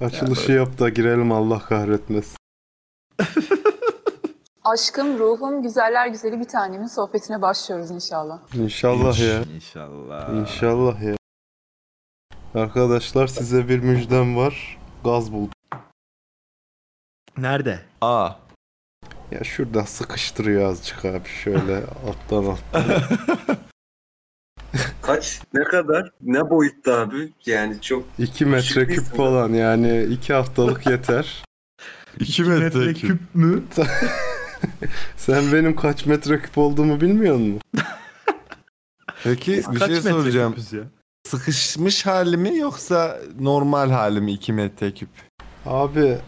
Açılışı yap da girelim Allah kahretmesin. Aşkım, ruhum, güzeller güzeli bir tanemin sohbetine başlıyoruz inşallah. İnşallah ya. İnşallah. İnşallah ya. Arkadaşlar size bir müjdem var. Gaz buldum. Nerede? Aa. Ya şurada sıkıştırıyor azıcık abi şöyle alttan al. Kaç? Ne kadar? Ne boyutta abi? Yani çok 2 metreküp Çıktıysa da. falan yani 2 haftalık yeter. 2 metre küp. küp mü? Sen benim kaç metreküp olduğumu bilmiyor musun? Peki bir Kaç şey metre soracağım. küpüz ya? Sıkışmış hali mi yoksa normal hali mi 2 metre küp? Abi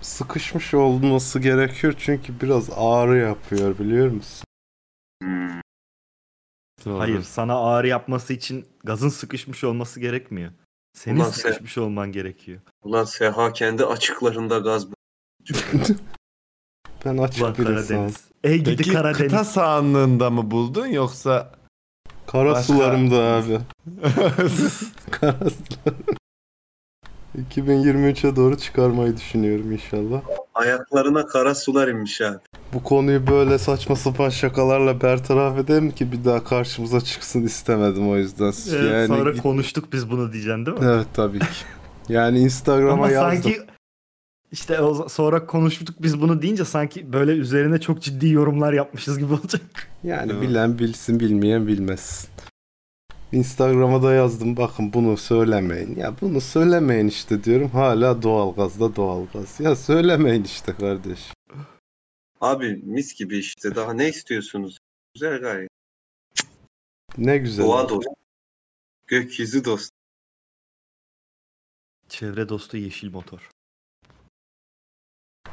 sıkışmış olması gerekiyor çünkü biraz ağrı yapıyor biliyor musun? Hmm. Doğru. Hayır sana ağır yapması için gazın sıkışmış olması gerekmiyor. Senin Ulan sen- sıkışmış olman gerekiyor. Ulan Seha kendi açıklarında gaz bu- Ben açık Ulan bir insanım. Karadeniz. Ey gidi Peki Karadeniz. kıta sahanlığında mı buldun yoksa? Kara Başka- sularımda abi. Kara sularım. 2023'e doğru çıkarmayı düşünüyorum inşallah. Ayaklarına kara sular inmiş abi. Bu konuyu böyle saçma sapan şakalarla bertaraf edelim ki bir daha karşımıza çıksın istemedim o yüzden. Ee, sonra konuştuk biz bunu diyeceksin değil mi? Evet tabii ki. Yani Instagram'a Ama yazdım. sanki işte o za- sonra konuştuk biz bunu deyince sanki böyle üzerine çok ciddi yorumlar yapmışız gibi olacak. Yani Evet. bilen bilsin bilmeyen bilmez. Instagram'a da yazdım bakın bunu söylemeyin. Ya bunu söylemeyin işte diyorum. Hala doğalgaz da doğalgaz. Ya söylemeyin işte kardeş. Abi mis gibi işte daha ne istiyorsunuz? Güzel gayet. Ne güzel. Doğa dostu. Gökyüzü dostu. Çevre dostu yeşil motor.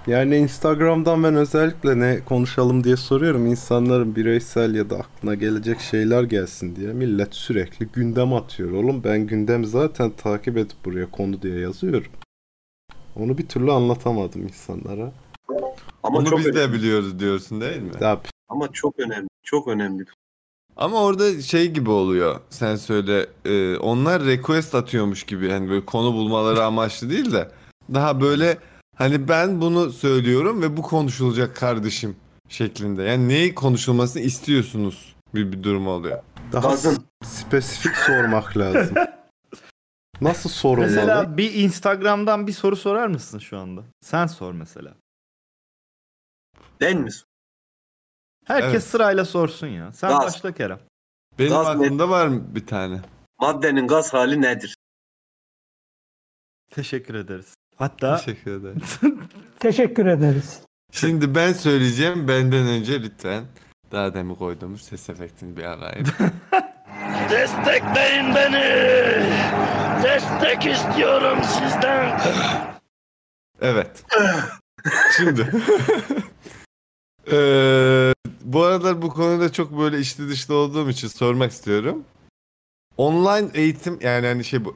Yani Instagram'dan ben özellikle ne konuşalım diye soruyorum. İnsanların bireysel ya da aklına gelecek şeyler gelsin diye. Millet sürekli gündem atıyor. Oğlum ben gündem zaten takip edip buraya konu diye yazıyorum. Onu bir türlü anlatamadım insanlara. Ama Onu çok biz önemli. de biliyoruz diyorsun değil mi? Ya Ama çok önemli. Çok önemli. Ama orada şey gibi oluyor. Sen söyle. e, onlar request atıyormuş gibi. Hani böyle konu bulmaları amaçlı değil de. Daha böyle hani ben bunu söylüyorum ve bu konuşulacak kardeşim şeklinde. Yani neyi konuşulmasını istiyorsunuz bir, bir durum oluyor. daha Gazın. spesifik sormak lazım. Nasıl sorulmalı? Mesela bir Instagram'dan bir soru sorar mısın şu anda? Sen sor mesela. Ben mi? sor- Herkes Evet. sırayla sorsun ya. Sen Gaz. başla Kerem. Benim Gaz net- aklımda var mı bir tane? Maddenin gaz hali nedir? Teşekkür ederiz. Hatta Teşekkür ederim. Teşekkür ederiz. Şimdi ben söyleyeceğim benden önce lütfen. Daha demin koyduğumuz ses efektini bir arayın. Destekleyin beni. Destek istiyorum sizden. Evet. Şimdi. Eee, bu aralar bu konuda çok böyle içli dışlı olduğum için sormak istiyorum. Online eğitim yani hani şey bu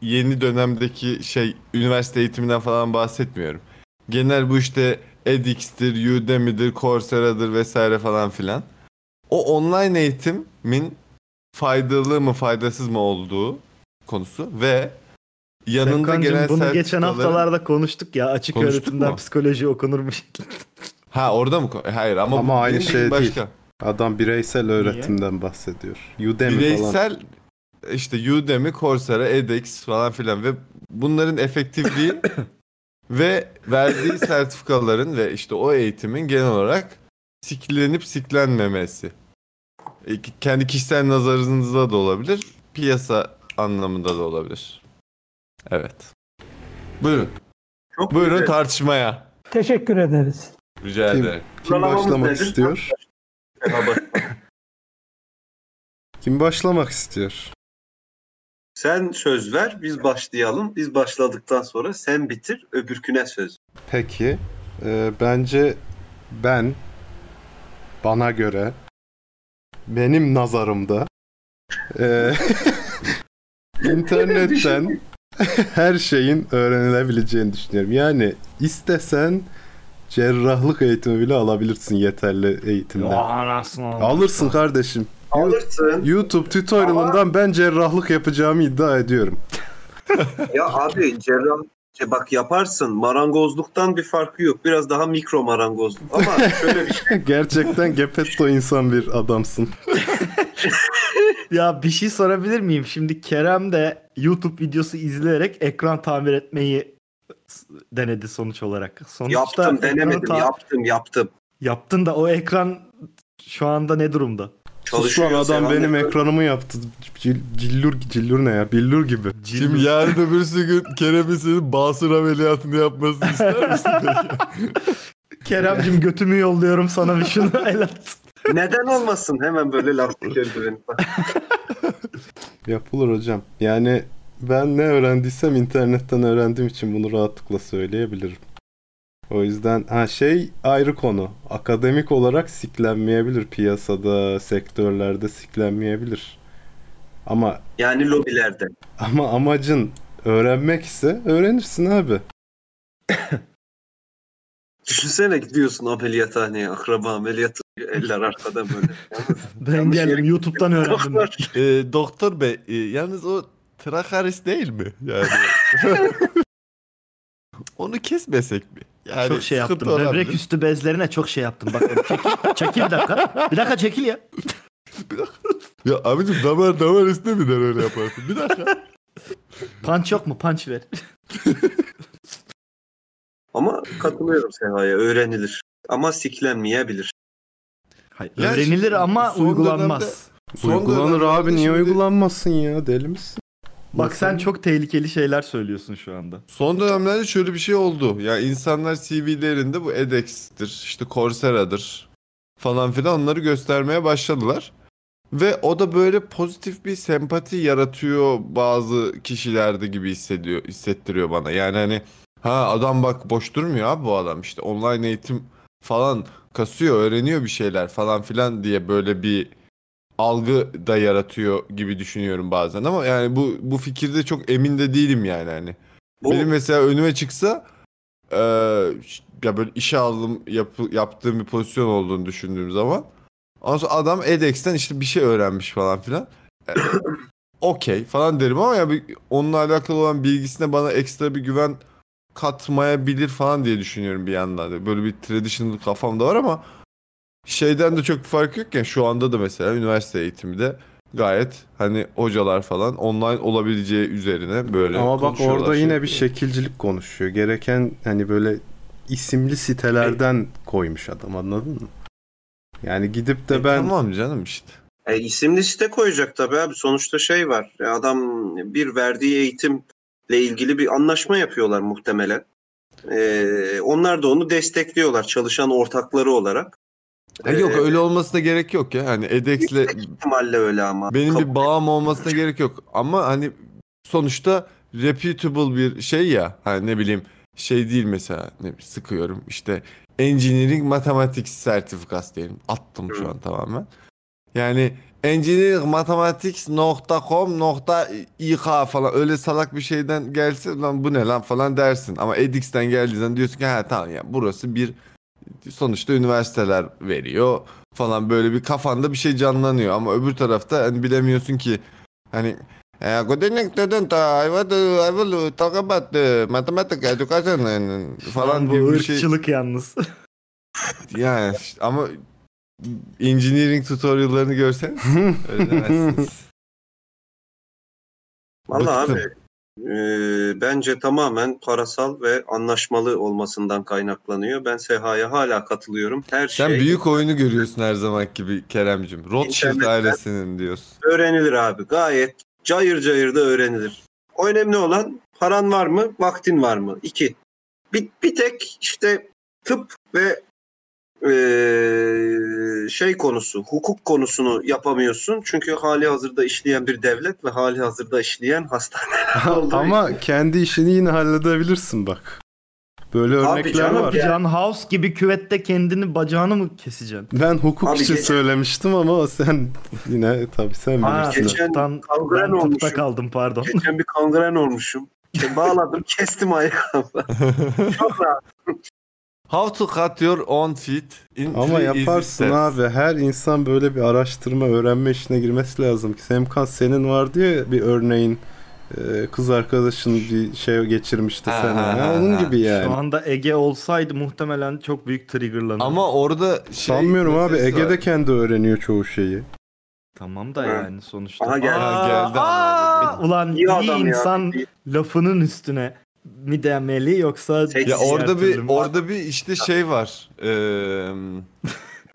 yeni dönemdeki şey üniversite eğitiminden falan bahsetmiyorum. Genel bu işte edX'tir, Udemy'dir, Coursera'dır vesaire falan filan. O online eğitimin faydalı mı faydasız mı olduğu konusu ve yanında Serkan'cığım gelen bunu geçen sertifikaların- haftalarda konuştuk ya. Açık Konuştuk öğretimden mu? psikoloji okunurmuş. Ha orada mı? ko- E, Hayır ama, Ama bu aynı dediğim şey değil. başka. Adam bireysel öğretimden bahsediyor. Udemy falan. Bireysel işte Udemy, Coursera, edX falan filan ve bunların efektifliği ve verdiği sertifikaların ve işte o eğitimin genel olarak siklenip siklenmemesi. E, ki- Kendi kişisel nazarınızda da olabilir, piyasa anlamında da olabilir. Evet. Buyurun. Çok Buyurun güzel. tartışmaya. Teşekkür ederiz. Rica Kim? ederim. Kim Sıralamamız başlamak nedir? istiyor? Merhaba. Kim başlamak istiyor? sen söz ver, biz başlayalım. Biz başladıktan sonra sen bitir, öbürküne söz. Peki. e, bence ben bana göre benim nazarımda e, internetten her şeyin öğrenilebileceğini düşünüyorum. Yani istesen cerrahlık eğitimi bile alabilirsin yeterli eğitimden. Alırsın kardeşim. Alırsın. YouTube tutorialından ben cerrahlık yapacağımı iddia ediyorum. ya abi cerrah E bak yaparsın. Marangozluktan bir farkı yok. Biraz daha mikro marangozluk. Ama şöyle bir şey. Gerçekten Gepetto insan bir adamsın. Ya bir şey sorabilir miyim? Şimdi Kerem de YouTube videosu izleyerek ekran tamir etmeyi s- denedi sonuç olarak. Sonuçta Yaptım ekran denemedim. ta- Yaptım yaptım. Yaptın da o ekran şu anda ne durumda? Çalışıyor Çalışıyor. adam devam benim ediyor. ekranımı yaptı. Cil- Cillur, cillur ne ya? Billur gibi. Şimdi yarın öbürsü gün Kerem'in senin basur ameliyatını yapmasını ister misin? peki? Kerem'cim götümü yolluyorum sana bir şunu el at. Neden olmasın? Hemen böyle lastik eldiveni. Yapılır hocam. Yani ben ne öğrendiysem internetten öğrendiğim için bunu rahatlıkla söyleyebilirim. O yüzden ha şey ayrı konu. Akademik olarak siklenmeyebilir piyasada, sektörlerde siklenmeyebilir. Ama Yani lobilerde. ama amacın öğrenmek ise öğrenirsin abi. Düşünsene gidiyorsun ameliyathaneye. Akraba ameliyatı. Eller arkada böyle. Ben geldim yere- YouTube'dan öğrendim. ben. Doktor. Ee, doktor bey e, yalnız o trakaris değil mi? Yani onu kesmesek mi? Yani çok şey yaptım. sıkıntı olabilir. Böbrek üstü bezlerine çok şey yaptım. Bak çekil, çekil bir dakika. Bir dakika çekil ya. Ya abicim damar damar üstüne mi der öyle yaparsın? Bir dakika. Punch yok mu? Punch ver. Ama katılıyorum Seha'ya. Öğrenilir. Ama siklenmeyebilir. Hayır, Ya öğrenilir şimdi ama son uygulanmaz. Uygulanır dönemlerde abi niye şimdi- uygulanmasın ya deli misin? Bak sen çok tehlikeli şeyler söylüyorsun şu anda. Son dönemlerde şöyle bir şey oldu. Ya insanlar CV'lerinde bu edX'tir, işte Coursera'dır falan filan onları göstermeye başladılar. Ve o da böyle pozitif bir sempati yaratıyor bazı kişilerde gibi hissediyor, hissettiriyor bana. Yani hani ha adam bak boş durmuyor abi bu adam işte online eğitim falan kasıyor, öğreniyor bir şeyler falan filan diye böyle bir algı da yaratıyor gibi düşünüyorum bazen ama yani bu bu fikirde çok emin de değilim yani hani. Bu Benim mesela önüme çıksa eee, ya böyle işe aldım yapı- yaptığım bir pozisyon olduğunu düşündüğüm zaman ondan sonra adam edX'ten işte bir şey öğrenmiş falan filan. E, Okey falan derim ama ya bir, onunla alakalı olan bilgisine bana ekstra bir güven katmayabilir falan diye düşünüyorum bir yandan. Böyle bir traditional kafam da var ama şeyden de çok bir fark yok ya şu anda da mesela üniversite eğitimi de gayet hani hocalar falan online olabileceği üzerine böyle Ama bak konuşuyorlar, orada şey yine bir yapıyorlar. şekilcilik konuşuyor. Gereken hani böyle isimli sitelerden koymuş adam anladın mı? Yani gidip de E, ben Tamam canım işte. E, isim liste koyacak tabii abi. Sonuçta şey var. E, Adam bir verdiği eğitimle ilgili bir anlaşma yapıyorlar muhtemelen. E, onlar da onu destekliyorlar çalışan ortakları olarak. E, yok E, öyle olmasına gerek yok ya. Hani edex'le ihtimalle öyle ama. benim Kabul- bir bağım olmasına gerek yok. Ama hani sonuçta reputable bir şey ya. Hani ne bileyim şey değil mesela ne bileyim, sıkıyorum işte engineering mathematics sertifikası diyelim. Attım şu Hı. an tamamen. Yani engineeringmathematics.com.ik falan öyle salak bir şeyden gelse lan bu ne lan falan dersin. Ama edX'ten geldiği zaman diyorsun ki ha tamam ya burası bir sonuçta üniversiteler veriyor falan böyle bir kafanda bir şey canlanıyor ama öbür tarafta hani bilemiyorsun ki hani "Eh, good evening, student. I want to- I will talk about the mathematics education and- falan Lan gibi bu bir şey. ırkçılık yalnız. Yani işte ama engineering tutorial'larını görseniz öyle demezsiniz. Vallahi Bıktım. abi e, bence tamamen parasal ve anlaşmalı olmasından kaynaklanıyor. Ben Seha'ya hala katılıyorum. Her Sen şey büyük oyunu görüyorsun her zaman gibi Keremcim. Rothschild İnternetten- ailesinin diyorsun. öğrenilir abi. Gayet cayır cayır da öğrenilir. O önemli olan paran var mı, vaktin var mı? İki. Bir, bir tek işte tıp ve eee, şey konusu, hukuk konusunu yapamıyorsun. Çünkü hali hazırda işleyen bir devlet ve hali hazırda işleyen hastane. olduğu ama kendi işini yine halledebilirsin bak. Böyle Abi örnekler canım var. ya. John House gibi küvette kendini bacağını mı keseceksin? Ben hukuk Abi için geçen- söylemiştim ama sen yine tabii sen Ha, bilirsin. geçen tıptan- kavgren ben tıpta olmuşum. kaldım pardon. Geçen bir kangren olmuşum. Bağladım, kestim ayağımı. Çok rahat. How to cut your own feet in Ama three easy yaparsın steps. abi. Her insan böyle bir araştırma, öğrenme işine girmesi lazım. Semkan senin vardı ya bir örneğin Ee, kız arkadaşın bir şey geçirmişti Ha, sen. ha, ha, onun ha. gibi yani. Şu anda Ege olsaydı muhtemelen çok büyük triggerlanırdı. Ama orada şey... Sanmıyorum abi meselesi var. Ege'de kendi öğreniyor çoğu şeyi. Tamam da Ha. yani sonuçta. Aha geldi. Aa, geldi aa, ama. ulan iyi, İyi adam ya. insan İyi. lafının üstüne mi demeli yoksa Seksi. Ya Diğer orada bir türlü mü? orada bir işte şey var. Eee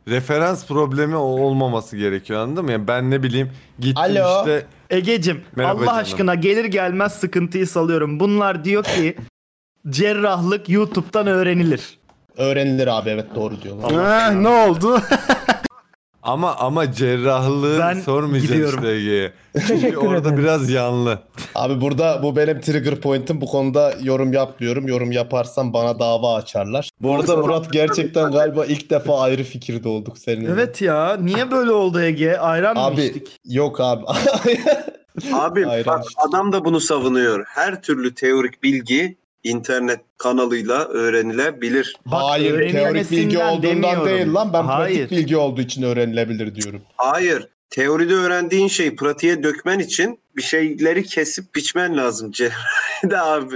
referans problemi o olmaması gerekiyor anladın mı? Yani ben ne bileyim gittim Alo. işte Egecim Merhaba Allah canım. aşkına gelir gelmez sıkıntıyı salıyorum. Bunlar diyor ki cerrahlık YouTube'dan öğrenilir. Öğrenilir abi evet doğru diyorlar. Eh, ne oldu? ama ama cerrahlığı Ben sormayacaksın gidiyorum. işte Ege'ye. Çünkü Teşekkür orada ederim. biraz yanlı. Abi burada bu benim trigger point'im. Bu konuda yorum yapmıyorum. Yorum yaparsam bana dava açarlar. Bu arada Murat gerçekten galiba ilk defa ayrı fikirde olduk seninle. Evet ya niye böyle oldu Ege? Ayran mı Abi- içtik? Yok abi. Abi Ayran bak içtim. adam da bunu savunuyor. Her türlü teorik bilgi internet kanalıyla öğrenilebilir. Bak, Hayır teorik bilgi öğrenilmesinden olduğundan demiyorum. değil lan. Ben Hayır. pratik bilgi olduğu için öğrenilebilir diyorum. Hayır. Teoride öğrendiğin şeyi pratiğe dökmen için bir şeyleri kesip biçmen lazım cerrahide abi.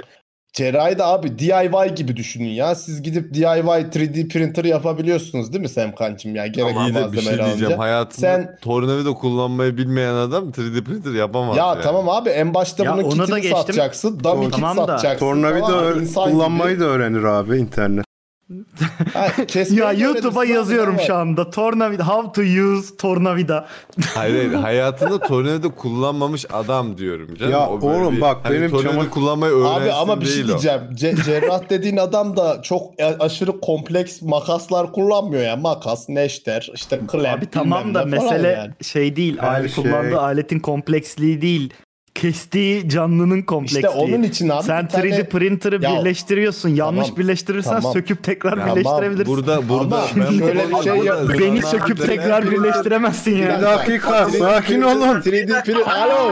Cerrahi de abi DIY gibi düşünün ya. Siz gidip DIY 3D printer yapabiliyorsunuz değil mi Semkancığım ya? Gerek Ama yine bir şey malzemeleri alınca. diyeceğim. Hayatında Sen- tornavida kullanmayı bilmeyen adam 3D printer yapamaz. Ya yani. tamam abi en başta Ya bunun ona da kitini geçtim. satacaksın. Dummy kit Tamam da, satacaksın. Tornavida tamam mı? öğ- İnsan gibi. kullanmayı da öğrenir abi internet. Ha, kesmeyi Ya de YouTube'a öğrenirsin abi, yazıyorum ne var? şu anda. Tornavida. How to use tornavida. Hayır, hayır hayatında tornavida kullanmamış adam diyorum canım. Ya böyle Hani oğlum bak, benim tornavida çamak- kullanmayı öğrensin Abi ama bir şey değil o. diyeceğim. Ce- cerrah dediğin adam da çok a- aşırı kompleks makaslar kullanmıyor ya. Makas, neşter, işte klem. Abi tamam da bilmem ne falan mesele yani. şey değil. Her alet- şey. Kullandığı aletin kompleksliği değil. Kestiği canlının kompleksliği. İşte onun için abi Sen bir tane- 3D printer'ı Ya- birleştiriyorsun. Yanlış Tamam, birleştirirsen tamam. söküp tekrar Tamam, birleştirebilirsin. Burada burada Ama şöyle bir şey yok. Beni söküp tekrar birleştiremezsin Bir ya. dakika sakin olun. 3D print. Alo.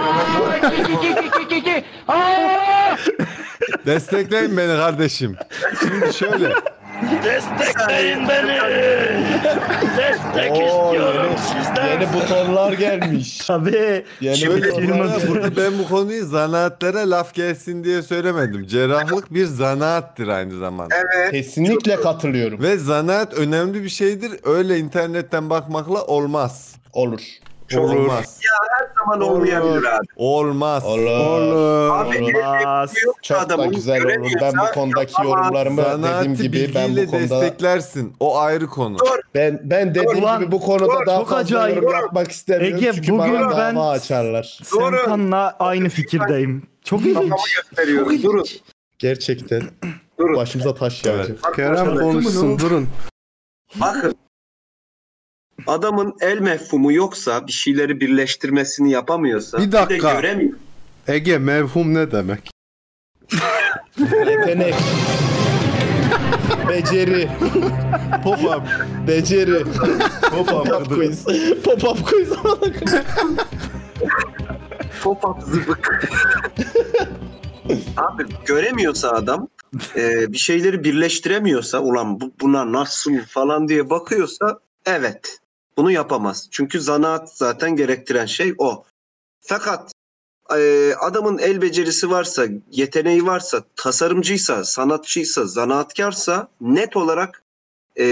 Destekleyin beni kardeşim. Şimdi şöyle. Destekleyin beni. Destek Oo, istiyorum yeni- sizden. Yeni butonlar gelmiş. Tabii. Yeni Şöyle- butonlar Ya burada ben bu konuyu zanaatlere laf gelsin diye söylemedim. Cerrahlık bir zanaattir aynı zamanda. Kesinlikle katılıyorum. Ve zanaat önemli bir şeydir. Öyle internetten bakmakla olmaz. Olur. Olur. Olmaz. Aman olmayabilir abi. Olmaz. Olur. Oğlum. Abi Olmaz. yoksa Çok da adamın güzel olur. Ben bu göremiyorsa konudaki yapamaz. yorumlarımı dediğim Zanaati gibi ben bu bilgiyle konuda desteklersin. O ayrı konu. ben ben dediğim Ulan, gibi bu konuda dur, daha çok fazla acayip. yorum yapmak istemiyorum Ege, çünkü bana bugün dava ben- açarlar. Doğru. Semkan'la aynı fikirdeyim. Çok ilginç. Kafamı gösteriyorum. Çok Durun. ilginç. Gerçekten Durun. başımıza taş Evet. yağacak. Kerem şey konuşsun durun. Bakın. Adamın el mefhumu yoksa bir şeyleri birleştirmesini yapamıyorsa Bir de dakika. göremiyor. Ege mevhum ne demek? Yetenek. Beceri. Pop-up. Beceri. Pop-up quiz. Pop-up quiz. Top at zıbık. Abi göremiyorsa adam e, bir şeyleri birleştiremiyorsa ulan bu, buna nasıl falan diye bakıyorsa evet bunu yapamaz. Çünkü zanaat zaten gerektiren şey o. Fakat e, adamın el becerisi varsa, yeteneği varsa, tasarımcıysa, sanatçıysa, zanaatkarsa net olarak e,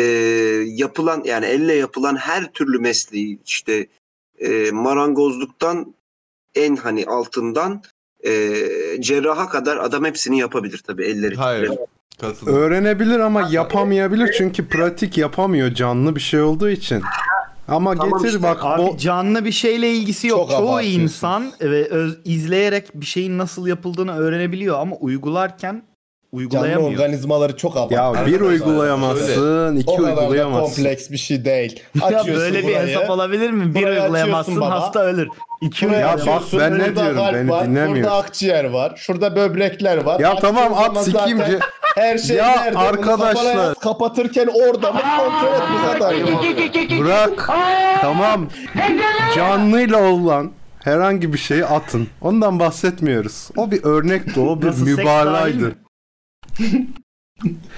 yapılan yani elle yapılan her türlü mesleği işte e, marangozluktan en hani altından e, cerraha kadar adam hepsini yapabilir tabii elleri. Hayır. titrer. Katılıyorum. Öğrenebilir ama yapamayabilir çünkü pratik yapamıyor canlı bir şey olduğu için. Ama Tamam getir işte, bak Abi o canlı bir şeyle ilgisi yok. Çok Çoğu abartıyorsun. insan e, ve öz- izleyerek bir şeyin nasıl yapıldığını öğrenebiliyor ama uygularken Canlı uygulayamıyor. organizmaları çok abartıyor. ya bir uygulayamazsın, O iki kadar da uygulayamazsın. kompleks bir şey değil. Ya Açıyorsun böyle bir burayı. hesap olabilir mi? Bir Burayı uygulayamazsın açıyorsun baba. hasta ölür. İki Buraya Ya uygulayamazsın. bak ben açıyorsun, ne burada diyorum, kalp beni var, dinlemiyorsun. Burada akciğer var. Şurada böbrekler var. Ya Açtığın tamam zaman at sikeyim. zaten ce- Her şey Ya nerede? Bunu arkadaşlar. kafana yaz, kapatırken orada mı kontrol et bu kadar. Bırak. tamam. Canlıyla olan herhangi bir şeyi atın. Ondan bahsetmiyoruz. O bir örnekti, o bir Nasıl, seks dahil mi? mübalaydı.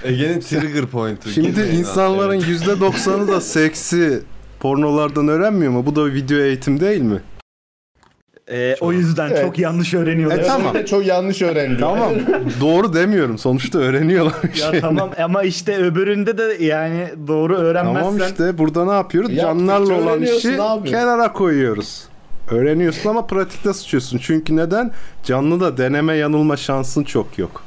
Ege'nin trigger point'i. Şimdi Kesin. insanların %90'ı da seksi pornolardan öğrenmiyor mu? Bu da video eğitim değil mi? Ee, o yüzden Evet. çok yanlış öğreniyorlar. E, Evet, tamam. Çok yanlış öğrendim. Tamam. Doğru demiyorum. Sonuçta öğreniyorlar bir Ya şey. tamam ama işte öbüründe de yani doğru öğrenmezsen Tamam işte burada ne yapıyoruz? Yaptıkça Canlarla olan öğreniyorsun işi abi. kenara koyuyoruz. Öğreniyorsun ama pratikte sıçıyorsun. Çünkü neden? Canlı da deneme yanılma şansın çok yok.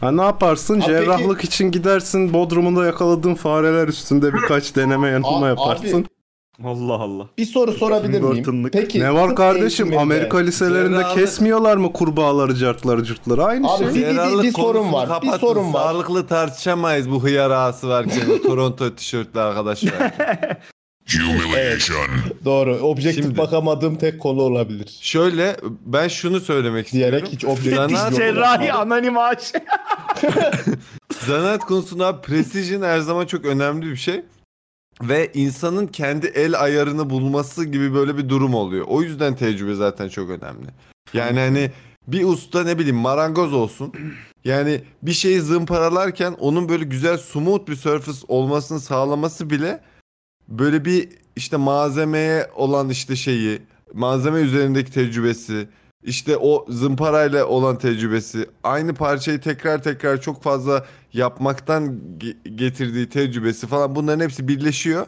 Ha ne yaparsın? Ha peki- Cerrahlık için gidersin. Bodrumunda yakaladığın fareler üstünde birkaç deneme yanılma A- yaparsın. abi, Allah Allah. Bir soru sorabilir miyim? Burton'lık. Peki. ne var tıp kardeşim? eğitiminde- Amerika liselerinde Cerrahlık- kesmiyorlar mı kurbağaları, cartları, cırtları? Aynı Abi, şey. bir- bir- Herhalde bir sorun konusunu var, bir kapatın. sorun var. Sağlıklı tartışamayız bu hıyar ağası varken o Toronto tişörtlü arkadaşlar. Doğru. Objektif Şimdi. bakamadığım tek konu olabilir. Şöyle ben şunu söylemek istiyorum. Diyerek hiç objektif Zanaat- yok. Cerrahi anonim ağaç. Zanaat konusunda precision her zaman çok önemli bir şey. Ve insanın kendi el ayarını bulması gibi böyle bir durum oluyor. O yüzden tecrübe zaten çok önemli. Yani hani bir usta ne bileyim marangoz olsun. Yani bir şeyi zımparalarken onun böyle güzel smooth bir surface olmasını sağlaması bile böyle bir işte malzemeye olan işte şeyi, malzeme üzerindeki tecrübesi, işte o zımparayla olan tecrübesi, aynı parçayı tekrar tekrar çok fazla yapmaktan ge- getirdiği tecrübesi falan bunların hepsi birleşiyor.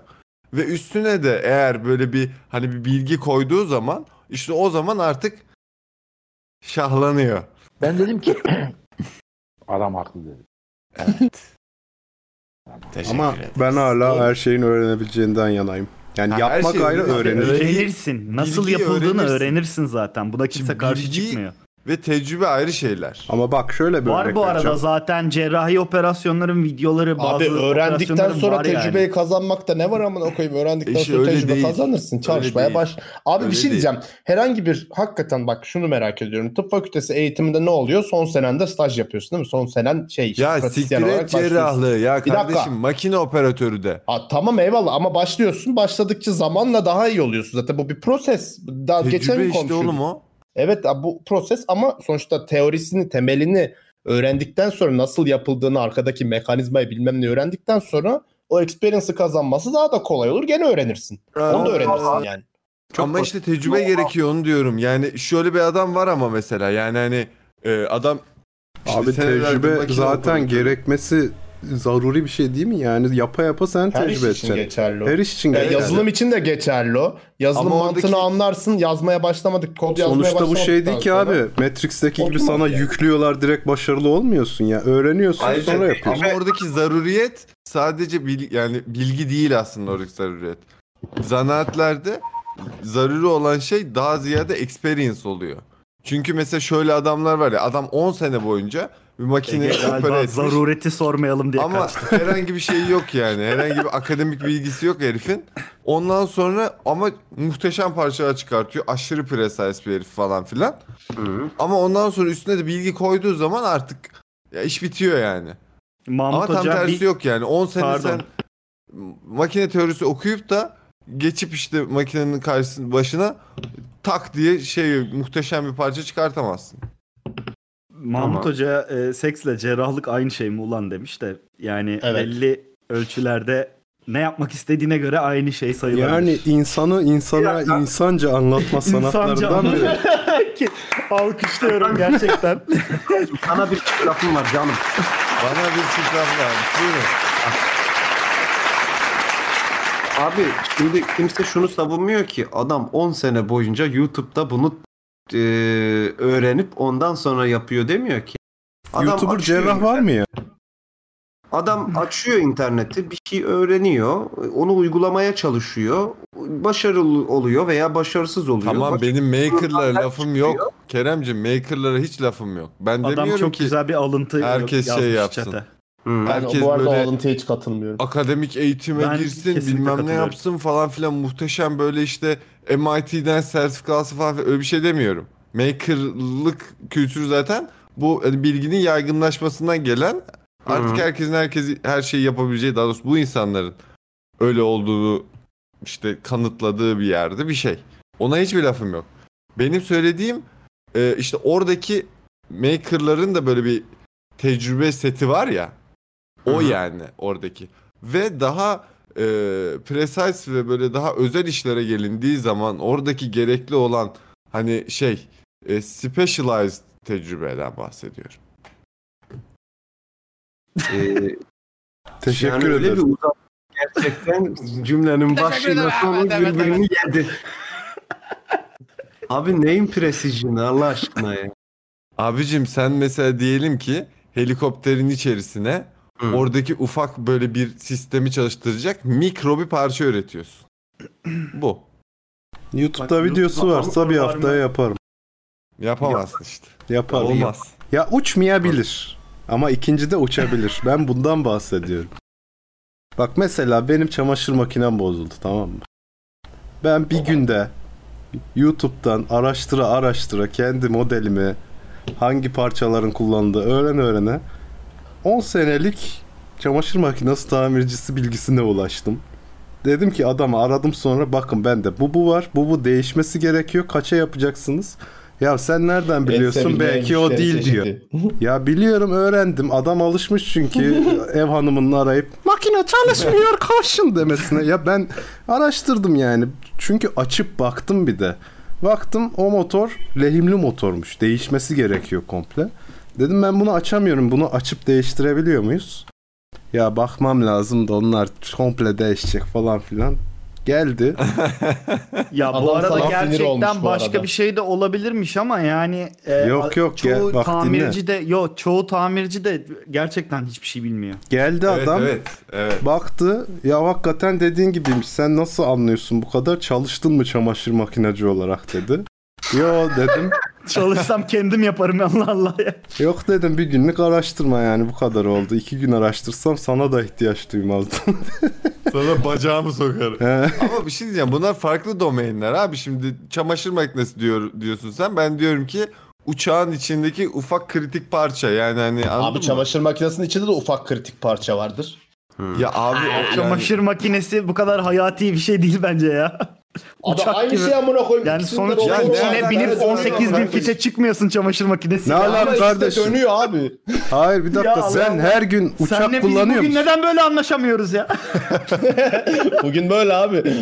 Ve üstüne de eğer böyle bir hani bir bilgi koyduğu zaman işte o zaman artık şahlanıyor. Ben dedim ki adam haklı dedi. Ama ben hala her şeyin öğrenebileceğinden yanayım. Yani Ha, her yapmak şeyi ayrı öğrenirsin. öğrenir. öğrenirsin. Nasıl Bilgiyi yapıldığını öğrenirsin. öğrenirsin. zaten. Buna kimse Şimdi karşı bilgi- çıkmıyor. Ve tecrübe ayrı şeyler. Ama bak şöyle bir Var örnek bu arada vereceğim. zaten cerrahi operasyonların videoları bazı Abi öğrendikten operasyonların sonra var yani. E, tecrübeyi kazanmakta ne var amına koyayım öğrendikten İşte sonra öyle tecrübe değil. kazanırsın değil. çalışmaya baş. Abi Öyle bir şey değil. diyeceğim herhangi bir hakikaten bak şunu merak ediyorum tıp fakültesi eğitiminde ne oluyor son senende staj yapıyorsun değil mi son senen şey işte Ya pratisyen siktir et olarak başlıyorsun. cerrahlığı ya Bir dakika. kardeşim makine operatörü de. Ha, tamam eyvallah ama başlıyorsun başladıkça zamanla daha iyi oluyorsun zaten bu bir proses daha geçen Tecrübe gün işte konuşuyorduk. oğlum o. Evet abi bu proses ama sonuçta teorisini, temelini öğrendikten sonra nasıl yapıldığını, arkadaki mekanizmayı bilmem ne öğrendikten sonra o experience'ı kazanması daha da kolay olur. Gene öğrenirsin. Onu da öğrenirsin yani. ama işte tecrübe gerekiyor onu diyorum. Yani şöyle bir adam var ama mesela yani hani e, adam işte Abi senelerde tecrübe makine zaten operatörü. gerekmesi zaruri bir şey değil mi? Yani yapa yapa sen Her iş tecrübe için edeceksin. geçerli o. Her iş şey için Ya gerekli. yazılım için de geçerli o. Yazılım Ama mantığını oradaki- anlarsın. Yazmaya başlamadık. Kod yazmaya Sonuçta bu şey değil başlamadıktan ki sonra- abi. Matrix'teki gibi Otomatik sana yani. yüklüyorlar direkt başarılı olmuyorsun ya. Öğreniyorsun Ayrıca- sonra yapıyorsun. Ama oradaki zaruriyet sadece bil, yani bilgi değil aslında oradaki zaruriyet. Zanaatlerde zaruri olan şey daha ziyade experience oluyor. Çünkü mesela şöyle adamlar var ya adam 10 sene boyunca bir makineyi Ege galiba opera etmiş. zarureti sormayalım diye Ama kaçtı. herhangi bir şey yok yani. Herhangi bir akademik bilgisi yok herifin. Ondan sonra ama muhteşem parçalar çıkartıyor. Aşırı precise bir herif falan filan. Ama ondan sonra üstüne de bilgi koyduğu zaman artık ya iş bitiyor yani. Mahmut Ama tam Hoca tersi bir- yok yani. 10 sene Pardon. sen makine teorisi okuyup da geçip işte makinenin karşısına başına tak diye şey muhteşem bir parça çıkartamazsın. Mahmut Tamam. Hoca e, seksle cerrahlık aynı şey mi ulan demiş de yani Evet. belli ölçülerde ne yapmak istediğine göre aynı şey sayılır. Yani insanı insana insanca anlatma sanatlarından biri. Alkışlıyorum gerçekten. Sana bir lafım var canım. Bana bir çıkram lazım. Buyurun. Abi şimdi kimse şunu savunmuyor ki adam 10 sene boyunca YouTube'da bunu e, öğrenip ondan sonra yapıyor demiyor ki. Adam YouTuber açıyor cerrah var mı ya? Adam açıyor interneti, bir şey öğreniyor, onu uygulamaya çalışıyor. Başarılı oluyor veya başarısız oluyor. Tamam Bak- benim maker'lara Bunlar lafım çıkıyor. yok. Keremcim maker'lara hiç lafım yok. Ben Adam demiyorum çok ki güzel bir alıntı herkes şey yazmış yapsın. chat'e. Hı. Ben Herkes bu arada böyle- o alıntıya hiç katılmıyorum. akademik eğitime Ben girsin kesinlikle bilmem ne katılıyorum. yapsın falan filan muhteşem böyle işte MIT'den sertifikası falan filan öyle bir şey demiyorum. Maker'lık kültürü zaten bu hani bilginin yaygınlaşmasından gelen artık Hı. herkesin herkesi her şeyi yapabileceği daha doğrusu bu insanların öyle olduğu işte kanıtladığı bir yerde bir şey. Ona hiçbir lafım yok. Benim söylediğim e, işte oradaki maker'ların da böyle bir tecrübe seti var ya. O Hı hı. yani oradaki. Ve daha e, precise ve böyle daha özel işlere gelindiği zaman oradaki gerekli olan Hani şey e, specialized tecrübeden bahsediyorum. Ee, Teşekkür yani öyle bir ederim. uzak gerçekten cümlenin başı nasıl birbirini yedi. Abi neyin prestijini Allah aşkına ya. Abicim sen mesela diyelim ki helikopterin içerisine Hı. oradaki ufak böyle bir sistemi çalıştıracak mikro bir parça üretiyorsun. Bu. YouTube'da Bak, videosu YouTube'da varsa bir var mı? haftaya yaparım. Yapamazsın işte. Yaparım. Olmaz. Ya uçmayabilir. Ama ikinci de uçabilir. Ben bundan bahsediyorum. Bak mesela benim çamaşır makinem bozuldu tamam mı? Ben bir günde YouTube'dan araştıra araştıra kendi modelimi hangi parçaların kullandığı öğren öğrene 10 senelik çamaşır makinesi tamircisi bilgisine ulaştım. Dedim ki adama aradım sonra bakın bende bu bu var bu bu değişmesi gerekiyor kaça yapabileceksiniz? Ya sen nereden biliyorsun belki o değil diyor. Ya biliyorum öğrendim. Adam alışmış çünkü ev hanımını arayıp makine çalışmıyor koşun demesine. Ya ben araştırdım yani. Çünkü açıp baktım bir de. Baktım o motor lehimli motormuş. Değişmesi gerekiyor komple. Dedim ben bunu açamıyorum. Bunu açıp değiştirebiliyor muyuz? Ya bakmam lazım da onlar komple değişecek falan filan. Geldi. Ya bu Adam arada sana sinir olmuş gerçekten bu başka arada. bir şey de olabilirmiş ama yani e, Yok, yok, çoğu gel- bak tamirci de yok çoğu tamirci de gerçekten hiçbir şey bilmiyor. Geldi Evet, adam. evet, evet. Baktı ya hakikaten dediğin gibiymiş sen nasıl anlıyorsun bu kadar çalıştın mı çamaşır makineci olarak dedi. Yo dedim. Çalışsam kendim yaparım Allah Allah ya. Yok dedim bir günlük araştırma yani bu kadar oldu. İki gün araştırsam sana da ihtiyaç duymazdım. Sana bacağımı sokarım. He. Ama bir şey diyeceğim. Bunlar farklı domainler abi. Şimdi çamaşır makinesi diyor diyorsun sen. Ben diyorum ki uçağın içindeki ufak kritik parça. Yani hani anladın Abi mı? çamaşır makinesinin içinde de ufak kritik parça vardır. Ya abi o yani- Çamaşır makinesi bu kadar hayati bir şey değil bence ya. Adam Uçak aynı gibi. şey amına koyayım. Yani İkisinde sonuç de Ya içine otomatik ne- olarak- binip ne- 18 bin ne- fite çıkmıyorsun çamaşır makinesi. Ne ya. ala- şey Ama Lan işte kardeşim. dönüyor abi. Hayır bir dakika Ya sen Allah. her gün uçak Senle biz kullanıyor bugün musun? neden böyle anlaşamıyoruz ya? Bugün böyle abi.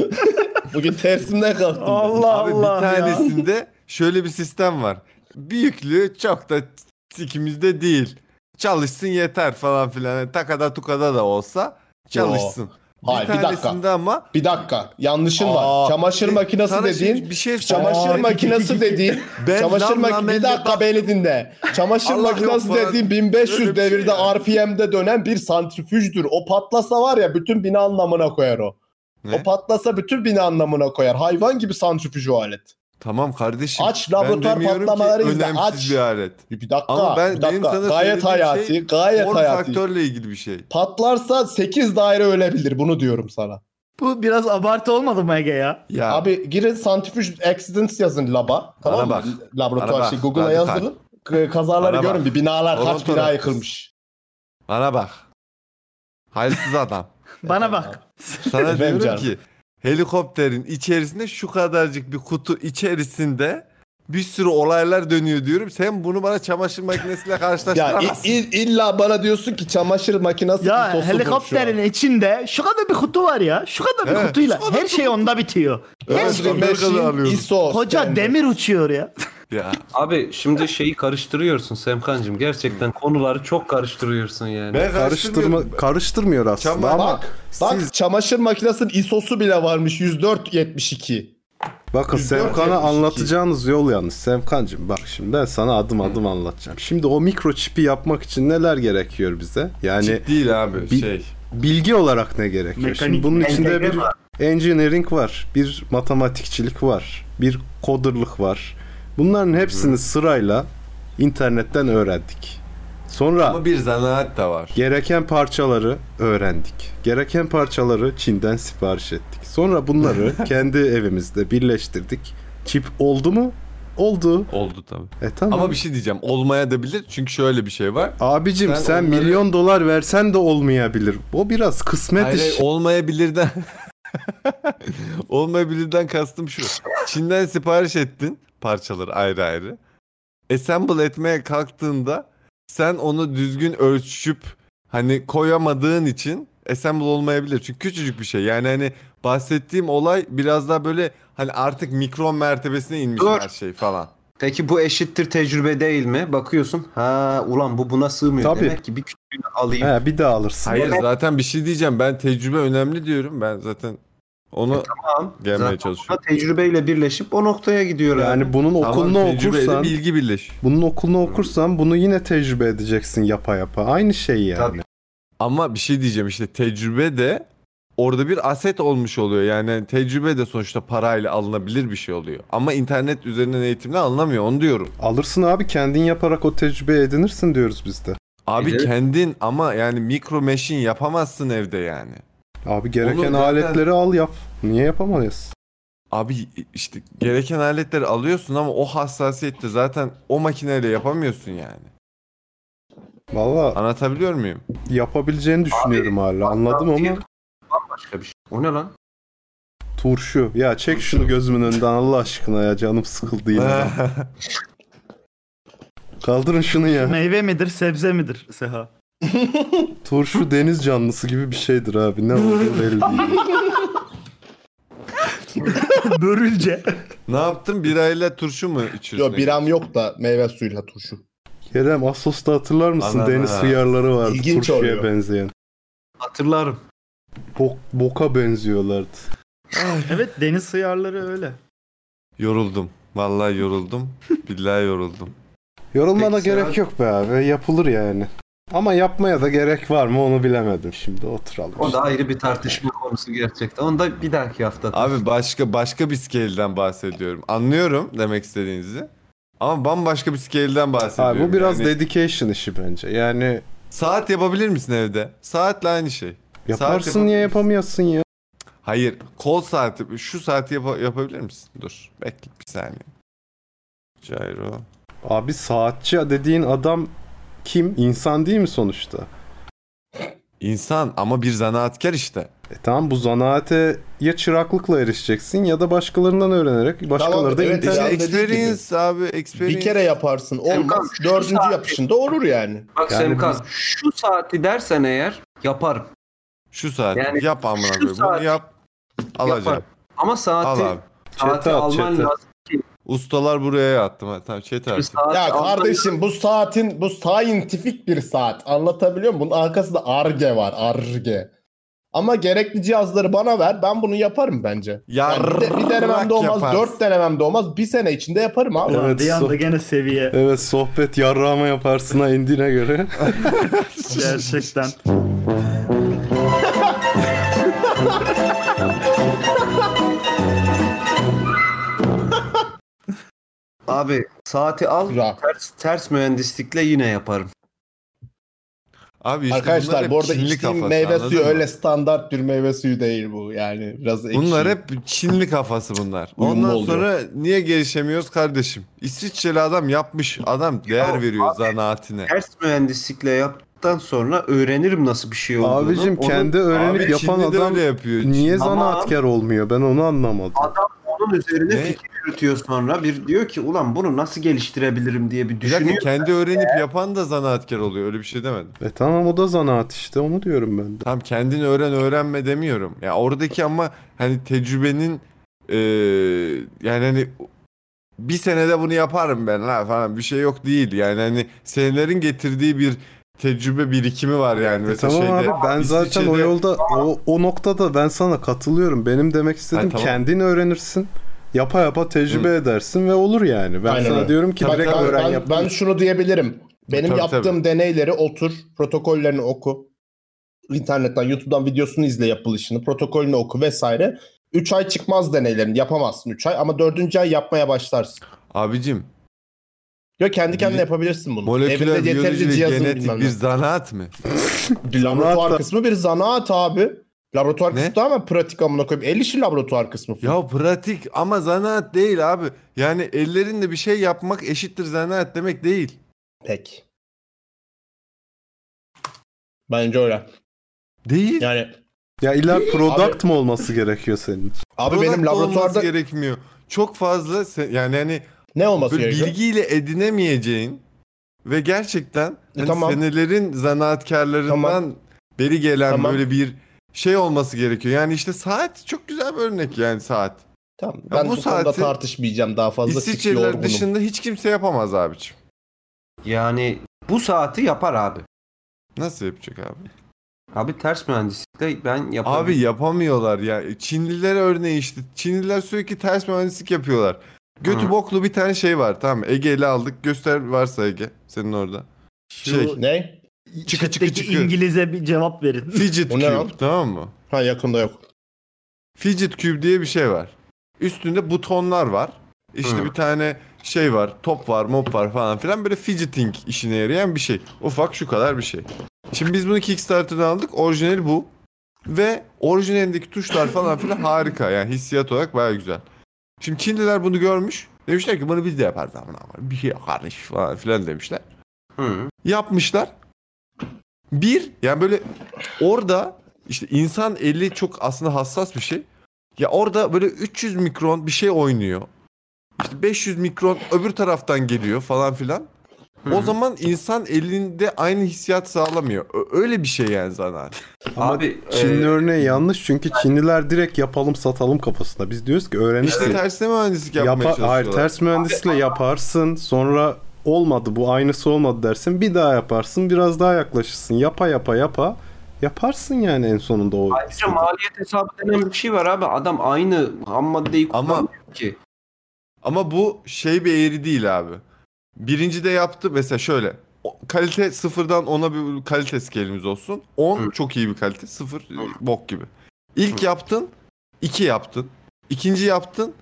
Bugün tersinden kalktım. ben. Allah Abi Allah bir ya. tanesinde şöyle bir sistem var. Büyüklüğü çok da sikimizde değil. Çalışsın yeter falan filan. Yani takada tukada da olsa çalışsın. Bir Hayır, bir dakika. tanesinde ama Bir dakika yanlışın Aa, var. Çamaşır bir- makinesi sana dediğin şimdi bir şey Çamaşır söyleyeyim. makinesi dediğin Ben çamaşır lan lan makinesi bir elle bak- dakika beni dinle. Çamaşır Allah makinesi yok falan. dediğin 1500 Öyle bir şey devirde yani. RPM'de dönen bir santrifüjdür. O patlasa var ya bütün bina anlamına koyar o. Ne? O patlasa bütün bina anlamına koyar. Hayvan gibi santrifüj o alet. Tamam kardeşim. Aç laboratuvar ben demiyorum ki patlamaları izle, önemsiz aç. bir alet. Bir dakika, Ama ben- bir benim dakika. sana Gayet söylediğim hayati, şey gayet Form hayati. faktörle ilgili bir şey. Patlarsa 8 daire ölebilir bunu diyorum sana. Bu biraz abartı olmadı mı Ege ya? Ya Abi girin santrifüj accidents yazın laba. Tamam mı? bak, Laboratuvar bana şey bak, Google'a radikal. yazın. K- Kazaları Bana bak. görün bir binalar kaç Toronto'da. bina yıkılmış. bana bak. Halsiz adam. Bana bak. Sana Efendim diyorum canım. ki helikopterin içerisinde şu kadarcık bir kutu içerisinde bir sürü olaylar dönüyor diyorum. Sen bunu bana çamaşır makinesiyle Ya karşılaştıramazsın. i- i- illa bana diyorsun ki çamaşır makinesi Ya sosu helikopterin içinde şu kadar bir kutu var ya. Şu kadar bir Evet. kutuyla her şey onda bitiyor. Her şey. Amerika'da alıyorum. ISO. Koca standard. demir uçuyor ya. Ya. Abi şimdi şeyi karıştırıyorsun Semkancığım. Gerçekten konuları çok karıştırıyorsun yani. Ben Karıştırma, karıştırmıyor aslında Çama- ama Bak, bak siz çamaşır makinesinin ISO'su bile varmış 104.72. bakın yüz Semkan'a dört yetmiş iki. anlatacağınız yol yanlış. Semkancığım bak şimdi ben sana adım adım anlatacağım. Şimdi o mikroçipi yapmak için neler gerekiyor bize? Yani Çip değil abi Bir- şey. bilgi olarak ne gerekiyor? Şimdi Mekanik bunun içinde entegre bir engineering var, bir matematikçilik var, bir kodırlık var. Bunların hepsini sırayla internetten öğrendik. Sonra Ama bir zanaat da var. gereken parçaları öğrendik. Gereken parçaları Çin'den sipariş ettik. Sonra bunları kendi evimizde birleştirdik. Çip oldu mu? Oldu. Oldu tabii. E tamam. Ama bir şey diyeceğim. Olmaya da bilir. Çünkü şöyle bir şey var. Abicim sen, Sen onları- milyon dolar versen de olmayabilir. O biraz kısmet Hayır, hayır, işi. olmayabilirden olmayabilirden kastım şu. Çin'den sipariş ettin parçaları ayrı ayrı. Assemble etmeye kalktığında sen onu düzgün ölçüp hani koyamadığın için assemble olmayabilir. Çünkü küçücük bir şey. Yani hani bahsettiğim olay biraz daha böyle hani artık mikron mertebesine inmiş Dur. her şey falan. Peki bu eşittir tecrübe değil mi? Bakıyorsun ha ulan bu buna sığmıyor. Tabii. Demek ki bir küçüğünü alayım. He, bir daha alırsın. Hayır zaten bir şey diyeceğim. Ben tecrübe önemli diyorum. Ben zaten onu gelmeye E, Zaten çalışıyorum. Tecrübeyle birleşip o noktaya gidiyor Yani abi. bunun okulunu tecrübeyle okursan bilgi birleş. Bunun okulunu okursan bunu yine tecrübe edeceksin yapa yapa. Aynı şey yani. Ama bir şey diyeceğim işte tecrübe de orada bir aset olmuş oluyor. Yani tecrübe de sonuçta parayla alınabilir bir şey oluyor. Ama internet üzerinden eğitimle alınamıyor onu diyorum. Alırsın abi kendin yaparak o tecrübe edinirsin diyoruz biz de. Abi Evet. kendin ama yani mikro machine yapamazsın evde yani. Abi gereken zaten- aletleri al yap. Niye yapamayız? Abi işte gereken aletleri alıyorsun ama o hassasiyette zaten o makineyle yapamıyorsun yani. Valla anlatabiliyor muyum? Yapabileceğini düşünüyorum hala. Anladım ama Başka bir şey. O ne lan? turşu. Ya çek şunu gözümün önünden Allah aşkına ya canım sıkıldı yine. Kaldırın şunu ya. Meyve midir, sebze midir Seha? Turşu deniz canlısı gibi bir şeydir abi. Ne olduğu belli değil. Börülce. Ne yaptın? Birayla turşu mu içiyorsun? Yok biram yok da meyve suyuyla turşu. Kerem Assos'ta hatırlar mısın? Ana. Deniz hıyarları vardı. İlginç turşuya oluyor. benzeyen. Hatırlarım. Bok, boka benziyorlardı. evet deniz hıyarları öyle. Yoruldum. Vallahi yoruldum. Billahi yoruldum. Yorulmana Peki, gerek Serhat- yok be abi. Yapılır yani. Ama yapmaya da gerek var mı onu bilemedim şimdi. Oturalım. O da ayrı bir tartışma konusu gerçekten. Onu da bir dahaki hafta. Abi başka başka bir scale'den bahsediyorum. Anlıyorum demek istediğinizi. Ama bambaşka bir scale'den bahsediyorum. Abi bu biraz yani. dedication işi bence. Yani Saat yapabilir misin evde? Saatle aynı şey. Saat yaparsın yap- ya yapamıyorsun ya. Hayır. Kol saati. Şu saati yapa- yapabilir misin? Dur. Bekle bir saniye. Cairo. Abi saatçi dediğin adam kim? İnsan değil mi sonuçta? İnsan ama bir zanaatkar işte. E tamam bu zanaate ya çıraklıkla erişeceksin ya da başkalarından öğrenerek başkaları Tamam, da evet, internet- işte Experience abi experience. Bir kere yaparsın olmaz. Emkan, şu Dördüncü saat- yapışında olur yani. Bak Yani Semkan biz- şu saati dersen eğer yaparım. Şu saat. Yani yap amına şu koyayım. Bunu saat- yap. Alacağım. Yaparım. Ama saati, Al abi. saati Çete at, alman çete. lazım. Ustalar buraya attım. Ha, Tamam chat Bir artık. saati Ya alman- kardeşim bu saatin bu scientific bir saat. Anlatabiliyor muyum? Bunun arkasında arge var. Arge. Ama gerekli cihazları bana ver. Ben bunu yaparım bence. Yani bir, de- bir denememde olmaz. yaparsın. Dört denememde olmaz. Bir sene içinde yaparım abi. Ulan Evet, bir so- anda gene seviye. Evet sohbet yarrağıma yaparsına indiğine göre. Gerçekten. Abi saati al. Bra. Ters, ters mühendislikle yine yaparım. Abi işte bunlar hep Arkadaşlar bu arada Çinli içtiğim kafası, meyve anladın suyu mı? öyle standart bir meyve suyu değil bu. Yani biraz ekşi. Bunlar hep Çinli kafası bunlar. Uyumlu Ondan oluyor. sonra niye gelişemiyoruz kardeşim? İsviçreli adam yapmış. Adam değer Ya veriyor abi, zanaatine. Ters mühendislikle yaptıktan sonra öğrenirim nasıl bir şey olduğunu. Abicim Onun- kendi öğrenip Abi yapan Çinli de adam öyle yapıyor. niye Ama- zanaatkar olmuyor? Ben onu anlamadım. Adam onun üzerine Ne? fikir yürütüyor sonra. Bir diyor ki ulan bunu nasıl geliştirebilirim diye bir Bir dakika, düşünüyor. kendi öğrenip yapan da zanaatkar oluyor. Öyle bir şey demedim. E tamam o da zanaat işte onu diyorum ben de. Tam kendin öğren öğrenme demiyorum. Ya oradaki ama hani tecrübenin eee, yani hani bir senede bunu yaparım ben la falan bir şey yok değil. Yani hani senelerin getirdiği bir tecrübe birikimi var yani. E Mesela tamam şeyde, abi ben zaten o İsviçre'de- yolda o, o noktada ben sana katılıyorum. Benim demek istediğim tamam. kendin öğrenirsin. Yapa yapa tecrübe edersin ve olur yani. Ben Aynen sana öyle. diyorum ki Bak, direkt ben, öğren ben- yap. ben şunu diyebilirim. Benim Tabii, yaptığım tabii. deneyleri otur, protokollerini oku. İnternetten, YouTube'dan videosunu izle yapılışını, protokolünü oku vesaire. 3 ay çıkmaz deneylerin. Yapamazsın 3 ay ama 4. ay yapmaya başlarsın. Abicim Yok kendi kendine Bili- yapabilirsin bunu. moleküler Evinde biyoloji yeterli ve cihazın genetik bilmem bir ne. zanaat mı? Bir Laboratuvar Zanaat da- kısmı bir zanaat abi. Ne? Laboratuvar kısmı da ama pratik amına koyayım. El işi laboratuvar kısmı. Ya pratik ama zanaat değil abi. Yani ellerinle bir şey yapmak eşittir zanaat demek değil. Pek. Bence öyle. Değil. Yani Ya illa product mı olması gerekiyor senin için? abi Product benim olması laboratuvarda gerekmiyor. Çok fazla se- yani hani ne olması böyle gerekiyor? bilgiyle edinemeyeceğin ve gerçekten hani E, tamam. senelerin zanaatkarlarından Tamam. beri gelen Tamam. böyle bir şey olması gerekiyor. Yani işte saat çok güzel bir örnek yani saat. Tamam. Ya ben bu bu, konuda saati tartışmayacağım daha fazla. çünkü İsviçreliler yorgunum. dışında hiç kimse yapamaz abiciğim. Yani bu saati yapar abi. Nasıl yapacak abi? Abi ters mühendislikle ben yaparım. Abi yapamıyorlar ya. Çinliler örneği işte. Çinliler sürekli ters mühendislik yapıyorlar. Götü Hı. boklu bir tane şey var tamam mı? Ege'li aldık. Göster varsa Ege. Senin orada. Şey. Ne? Çıkı çıkı Peki çıkı. İngiliz'e bir cevap verin. Fidget O ne lan? Cube tamam mı? Ha yakında yok. Fidget Cube diye bir şey var. Üstünde butonlar var. İşte Hı. bir tane şey var, top var, mop var falan filan böyle fidgeting işine yarayan bir şey. Ufak şu kadar bir şey. Şimdi biz bunu Kickstarter'dan aldık. Orijinali bu. Ve orijinalindeki tuşlar falan filan harika. Yani hissiyat olarak baya güzel. Şimdi Çinliler bunu görmüş. Demişler ki bunu biz de yaparız amına koyayım. Bir şey yok kardeş falan filan demişler. Hı. Yapmışlar. Bir yani böyle orada işte insan eli çok aslında hassas bir şey. Ya orada böyle 300 mikron bir şey oynuyor. İşte 500 mikron öbür taraftan geliyor falan filan. O zaman insan elinde aynı hissiyat sağlamıyor. Ö- Öyle bir şey yani zanaat. Abi Çinli Ee, e, örneği yanlış çünkü Çinliler direkt yapalım satalım kafasında. Biz diyoruz ki öğrenirsin. İşte tersine mühendislik yapmaya Yapa- çalışıyorlar. hayır ters mühendisle yaparsın sonra olmadı bu aynısı olmadı dersin bir daha yaparsın biraz daha yaklaşırsın yapa yapa yapa yaparsın yani en sonunda o ayrıca maliyet hesabı denen bir şey var abi. Adam aynı ham maddeyi Ama- kullanmıyor ki. Ama bu şey bir eğri değil abi. Birinci de yaptı mesela şöyle. O- Kalite sıfırdan ona bir kalite skelimiz olsun. 10 Hı. çok iyi bir kalite. Sıfır e, bok gibi. İlk yaptın. iki yaptın. İkinci yaptın.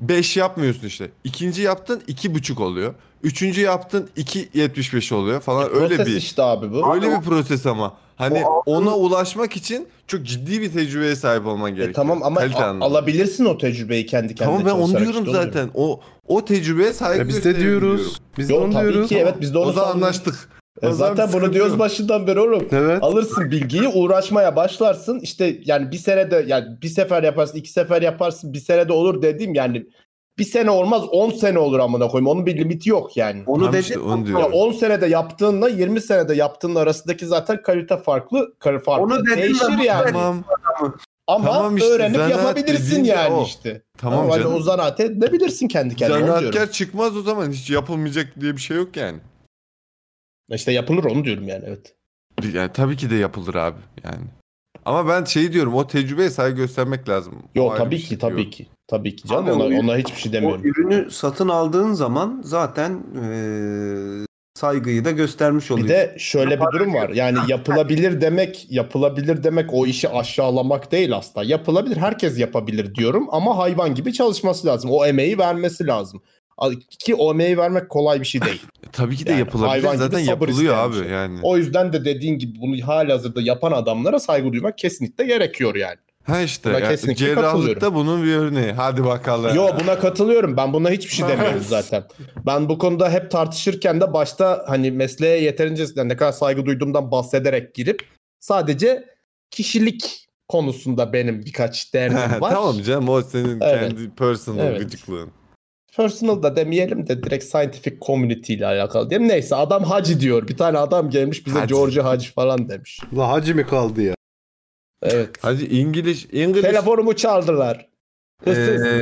5 yapmıyorsun işte. İkinci yaptın iki buçuk oluyor. Üçüncü yaptın 2.75 oluyor falan öyle E, Proses bir işte abi bu. öyle bir proses ama. Hani O altın- ona ulaşmak için çok ciddi bir tecrübeye sahip olman E, gerekiyor. tamam ama Kalite a- anlamında. alabilirsin o tecrübeyi kendi kendine. Tamam ben onu çalışarak diyorum işte, onu zaten. O o tecrübeye sahip E biz de diyoruz. Biz de Yok onu tabii diyoruz. ki evet biz de O onu zaman savunuyoruz. anlaştık. E, O zaman bir zaten bunu sıkıntı diyoruz yok. başından beri oğlum. Evet. Alırsın bilgiyi uğraşmaya başlarsın. İşte yani bir senede yani bir sefer yaparsın, iki sefer yaparsın, bir senede olur dediğim yani bir sene olmaz 10 sene olur amına koyayım. Onun bir limiti yok yani. Onu Tamam dedi. işte, onu Ya diyorum. 10 senede yaptığınla 20 senede yaptığın arasındaki zaten kalite farklı. Kar farklı. Onu dedim Değişir ben, yani. Tamam. Ama Tamam işte, öğrenip zanaat dediğin yapabilirsin de yani o. işte. Tamam hani canım. o zanaat edebilirsin kendi kendine. onu diyorum. Zanaatkar çıkmaz o zaman. Hiç yapılmayacak diye bir şey yok yani. İşte yapılır onu diyorum yani evet. Yani tabii ki de yapılır abi yani. Ama ben şey diyorum o tecrübeye saygı göstermek lazım. O Yok ayrı tabii bir ki şey tabii diyorum. ki. Tabii ki Abi, canım ona, o- ona hiçbir şey O demiyorum. ürünü satın aldığın zaman zaten eee, saygıyı da göstermiş oluyor. Bir de şöyle bir durum var. Yani yapılabilir demek, yapılabilir demek o işi aşağılamak değil asla. Yapılabilir, herkes yapabilir diyorum ama hayvan gibi çalışması lazım. O emeği vermesi lazım. Ki o emeği vermek kolay bir şey değil. E, Tabii ki de Yani hayvan yapılabilir. gibi Zaten sabır yapılıyor isteyen abi bir şey. yani. O yüzden de dediğin gibi bunu halihazırda yapan adamlara saygı duymak kesinlikle gerekiyor yani. Ha işte Buna yani kesinlikle cerrahlıkta katılıyorum. bunun bir örneği. Hadi bakalım. Yo buna katılıyorum. Ben buna hiçbir şey demiyorum zaten. Ben bu konuda hep tartışırken de başta hani mesleğe yeterince yani ne kadar saygı duyduğumdan bahsederek girip sadece kişilik konusunda benim birkaç derdim var. tamam canım o senin Evet. kendi personal Evet. gıcıklığın. Personal da demeyelim de direkt scientific community ile alakalı diyelim. Neyse adam hacı diyor. Bir tane adam gelmiş bize Hacı. George Hacı falan demiş. La hacı mı kaldı ya? Evet. Hadi İngiliz, İngiliz. Ee, Telefonumu çaldılar. Hırsız. Eee,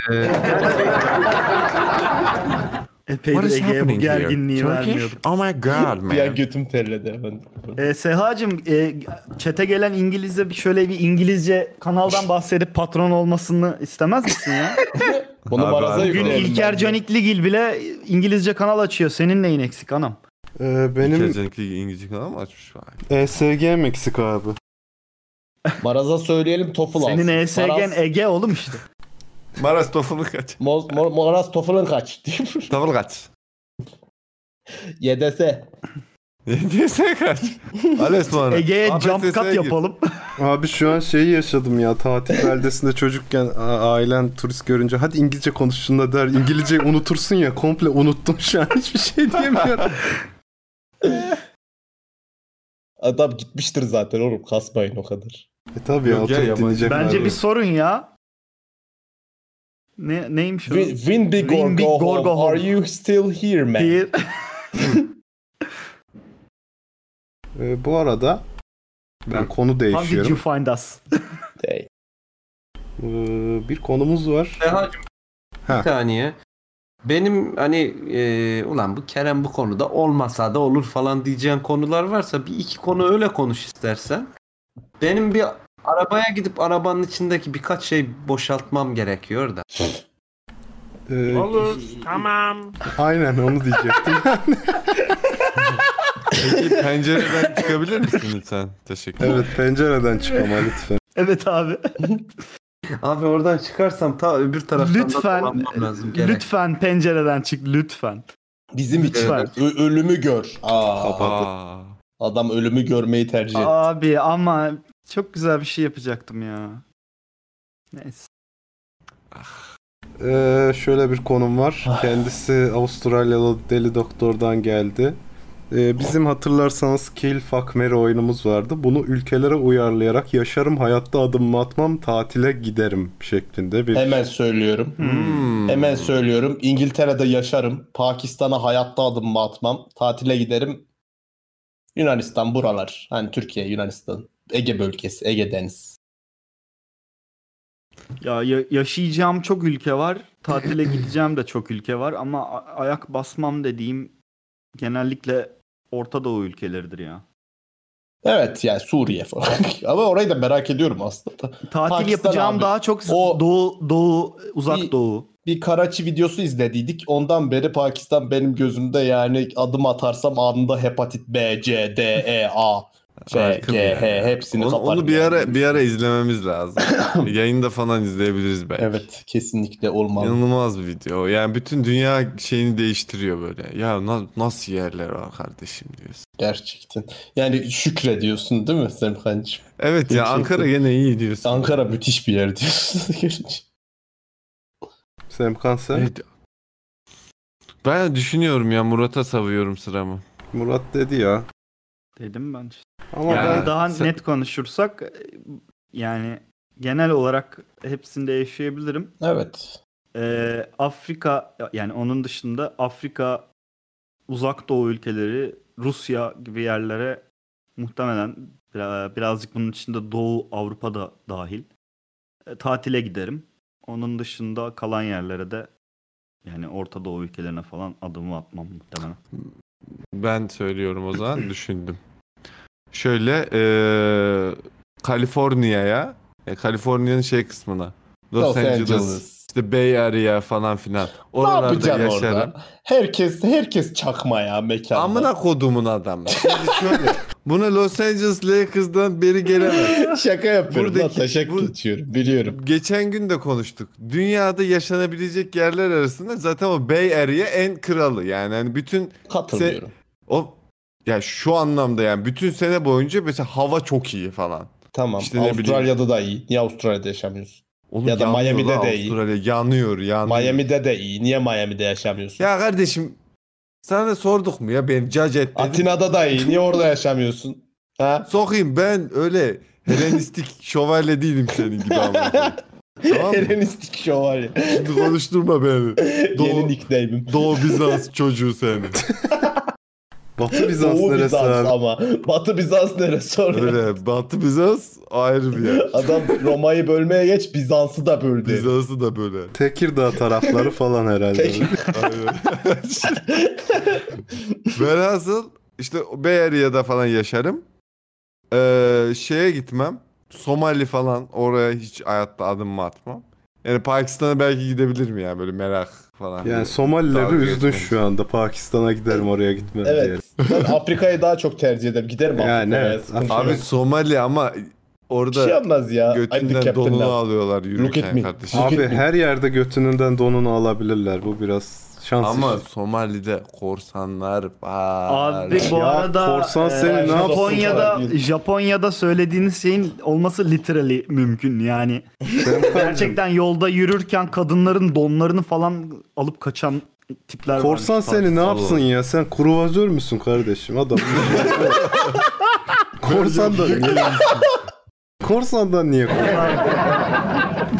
Epey de Ege'ye bu gerginliği vermiyordum. Oh my god bir an götüm terledi hemen. E, Seha'cığım e, çete gelen İngilizce bir şöyle bir İngilizce kanaldan bahsedip patron olmasını istemez misin ya? Bunu Abi, maraza abi. Bugün yükleyelim İlker bence. Canikligil bile İngilizce kanal açıyor. Senin neyin eksik anam? Ee, E, Benim... benim İngilizce kanal mı açmış? Vay. ESG E Meksika abi. Maraza söyleyelim TOEFL alsın. Senin E ESG'n Maraz- Ege oğlum işte. Maras tofunu kaç. Mo- Mo- Moraz Tofal'ın kaç? Tavul kaç. YDS. Neyse kaç. Ales bana. Ege'ye jump APSS'ye cut gir. yapalım. Abi şu an şeyi yaşadım ya tatil beldesinde çocukken a- ailen turist görünce hadi İngilizce konuşsun da der İngilizceyi unutursun ya komple unuttum şu an hiçbir şey diyemiyorum. Adam gitmiştir zaten oğlum kasmayın o kadar. e tabi ya Yok ya, oturup yabancı. dinleyecek Bence abi. bir sorun ya. Ne, neymiş o? Win, win big or Win big go, or home. go home. Are you still here man? Bir- Ee, bu arada Ben konu How did you değişiyorum. find us? Ee, bir konumuz var. Bir saniye. Benim hani e, ulan bu Kerem bu konuda olmasa da olur falan diyeceğin konular varsa bir iki konu öyle konuş istersen. Benim bir arabaya gidip arabanın içindeki birkaç şey boşaltmam gerekiyor da. Ee, Olur. Tamam. Aynen onu diyecektim. Peki pencereden çıkabilir misin lütfen? Teşekkür evet pencereden çıkama lütfen. Evet abi. Abi oradan çıkarsam ta öbür taraftan da Lütfen, dolanmam lazım. Gerek. lütfen pencereden çık lütfen. Bizim için Lütfen. ö- ölümü gör. Aa, Kapattı. Adam ölümü görmeyi tercih etti. Abi ama çok güzel bir şey yapacaktım ya. Neyse. Ee, şöyle bir konum var. Ah. Kendisi Avustralyalı deli doktordan geldi. Ee, bizim hatırlarsanız Kill Fuck Mary oyunumuz vardı. Bunu ülkelere uyarlayarak yaşarım hayatta adımımı atmam tatile giderim şeklinde bir... Hemen söylüyorum. Hmm. Hmm. Hemen söylüyorum. İngiltere'de yaşarım. Pakistan'a hayatta adımımı atmam. Tatile giderim. Yunanistan buralar. Hani Türkiye, Yunanistan. Ege bölgesi, Ege Deniz. Ya, ya- yaşayacağım çok ülke var. Tatile gideceğim de çok ülke var ama a- ayak basmam dediğim genellikle Orta Doğu ülkeleridir ya. Evet yani Suriye falan. Ama orayı da merak ediyorum aslında. Tatil Pakistan yapacağım abi. daha çok Doğu Doğu uzak Doğu. Bir Karaçi videosu izlediydik. Ondan beri Pakistan benim gözümde yani adım atarsam anında hepatit B, C, D, E, A, F, Harika bir G, yer. H hepsini onu, kaparım onu bir yani. ara bir ara izlememiz lazım. Yayında falan izleyebiliriz belki. Evet, kesinlikle olmalı. İnanılmaz bir video. Yani bütün dünya şeyini değiştiriyor böyle. Ya na- nasıl yerler var kardeşim diyorsun. Gerçekten. Yani şükrediyorsun değil mi Semkancığım? Evet ya Gerçekten. Ankara gene iyi diyorsun. Ankara müthiş bir yer diyorsun. Semkan sen? Evet. Ben düşünüyorum ya Murat'a savuyorum sıramı. Murat dedi ya. Dedim ben işte. Ama yani ben- daha sen- net konuşursak e, yani genel olarak hepsinde yaşayabilirim. Evet. Ee, Afrika yani onun dışında Afrika, Uzak Doğu ülkeleri, Rusya gibi yerlere muhtemelen bira- birazcık bunun içinde Doğu Avrupa da dahil e, tatile giderim. Onun dışında kalan yerlere de yani Orta Doğu ülkelerine falan adımı atmam muhtemelen. Ben söylüyorum o zaman düşündüm. Şöyle eee Kaliforniya'ya, e, Kaliforniya'nın şey kısmına. Los, Los Angeles, Angeles. işte Bay Area falan filan. ne Oralarda yapacaksın yaşarım. orada? Herkes herkes çakma ya mekanda. Amına kodumun adamı. Şimdi şöyle, Buna Los Angeles Lakers'dan beri gelemez. Şaka yapıyorum. Buradaki- Buradaki, şaka bu- geçiyorum. Biliyorum. Geçen gün de konuştuk. Dünyada yaşanabilecek yerler arasında zaten o Bay Area en kralı. Yani hani bütün se- Katılıyorum. o ya şu anlamda yani bütün sene boyunca mesela hava çok iyi falan. Tamam. İşte ne Avustralya'da da iyi. Niye Avustralya'da yaşamıyorsun? Oğlum ya da yanıyor Miami'de lan de iyi. Avustralya. Yanıyor, yanıyor. Miami'de de iyi. Niye Miami'de yaşamıyorsun? Ya kardeşim sana da sorduk mu ya benim cacet dedim. Atina'da da iyi. Niye orada yaşamıyorsun? Ha? Sokayım ben öyle Helenistik şövalye değilim senin gibi ama. tamam mı? Helenistik şövalye. Şimdi konuşturma beni. Yeni Doğu, nickname'im. Doğu Bizans çocuğu seni. Batı Bizans Doğu neresi Bizans abi? ama. Batı Bizans neresi orada? Öyle Batı Bizans ayrı bir yer. Adam Roma'yı bölmeye geç Bizans'ı da böldü. Bizans'ı da böyle. Tekirdağ tarafları falan herhalde. Tek- Aynen. Velhasıl işte Bay Area'da falan yaşarım. Ee, şeye gitmem. Somali falan oraya hiç hayatta adımımı atmam. Yani Pakistan'a belki gidebilirim ya böyle merak falan. Yani Somalileri Dalga üzdün geçmemiş. şu anda. Pakistan'a giderim oraya gitmem diye. E, Evet. Ben Afrika'yı daha çok tercih ederim. Giderim Yani Afrika'ya. evet. Sıkıntı Abi yok. Somali ama bir şey orada olmaz ya. I'm the götünden captain donunu now. alıyorlar Look at yürürken me. kardeşim. Look Abi at me. her yerde götününden donunu alabilirler. Bu biraz şans Ama işi. Somali'de korsanlar var. Abi bu Ya arada korsan e, seni ne Japonya'da yapsın? Japonya'da söylediğiniz şeyin olması literally mümkün yani. Gerçekten yolda yürürken kadınların donlarını falan alıp kaçan tipler var. Korsan seni ne yapsın ya? Sen kruvazör müsün kardeşim adam? Korsan da korsandan niye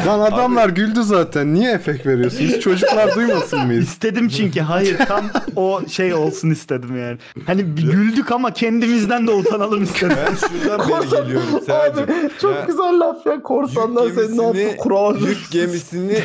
Lan adamlar güldü zaten. Niye efekt veriyorsunuz? Çocuklar duymasın mıyız? İstedim çünkü hayır tam o şey olsun istedim yani. Hani bir güldük ama kendimizden de utanalım istedim. Ben şuradan beri geliyorum Seracığım. Ya, güzel laf ya. Korsandan senin ne yaptı? Yük gemisini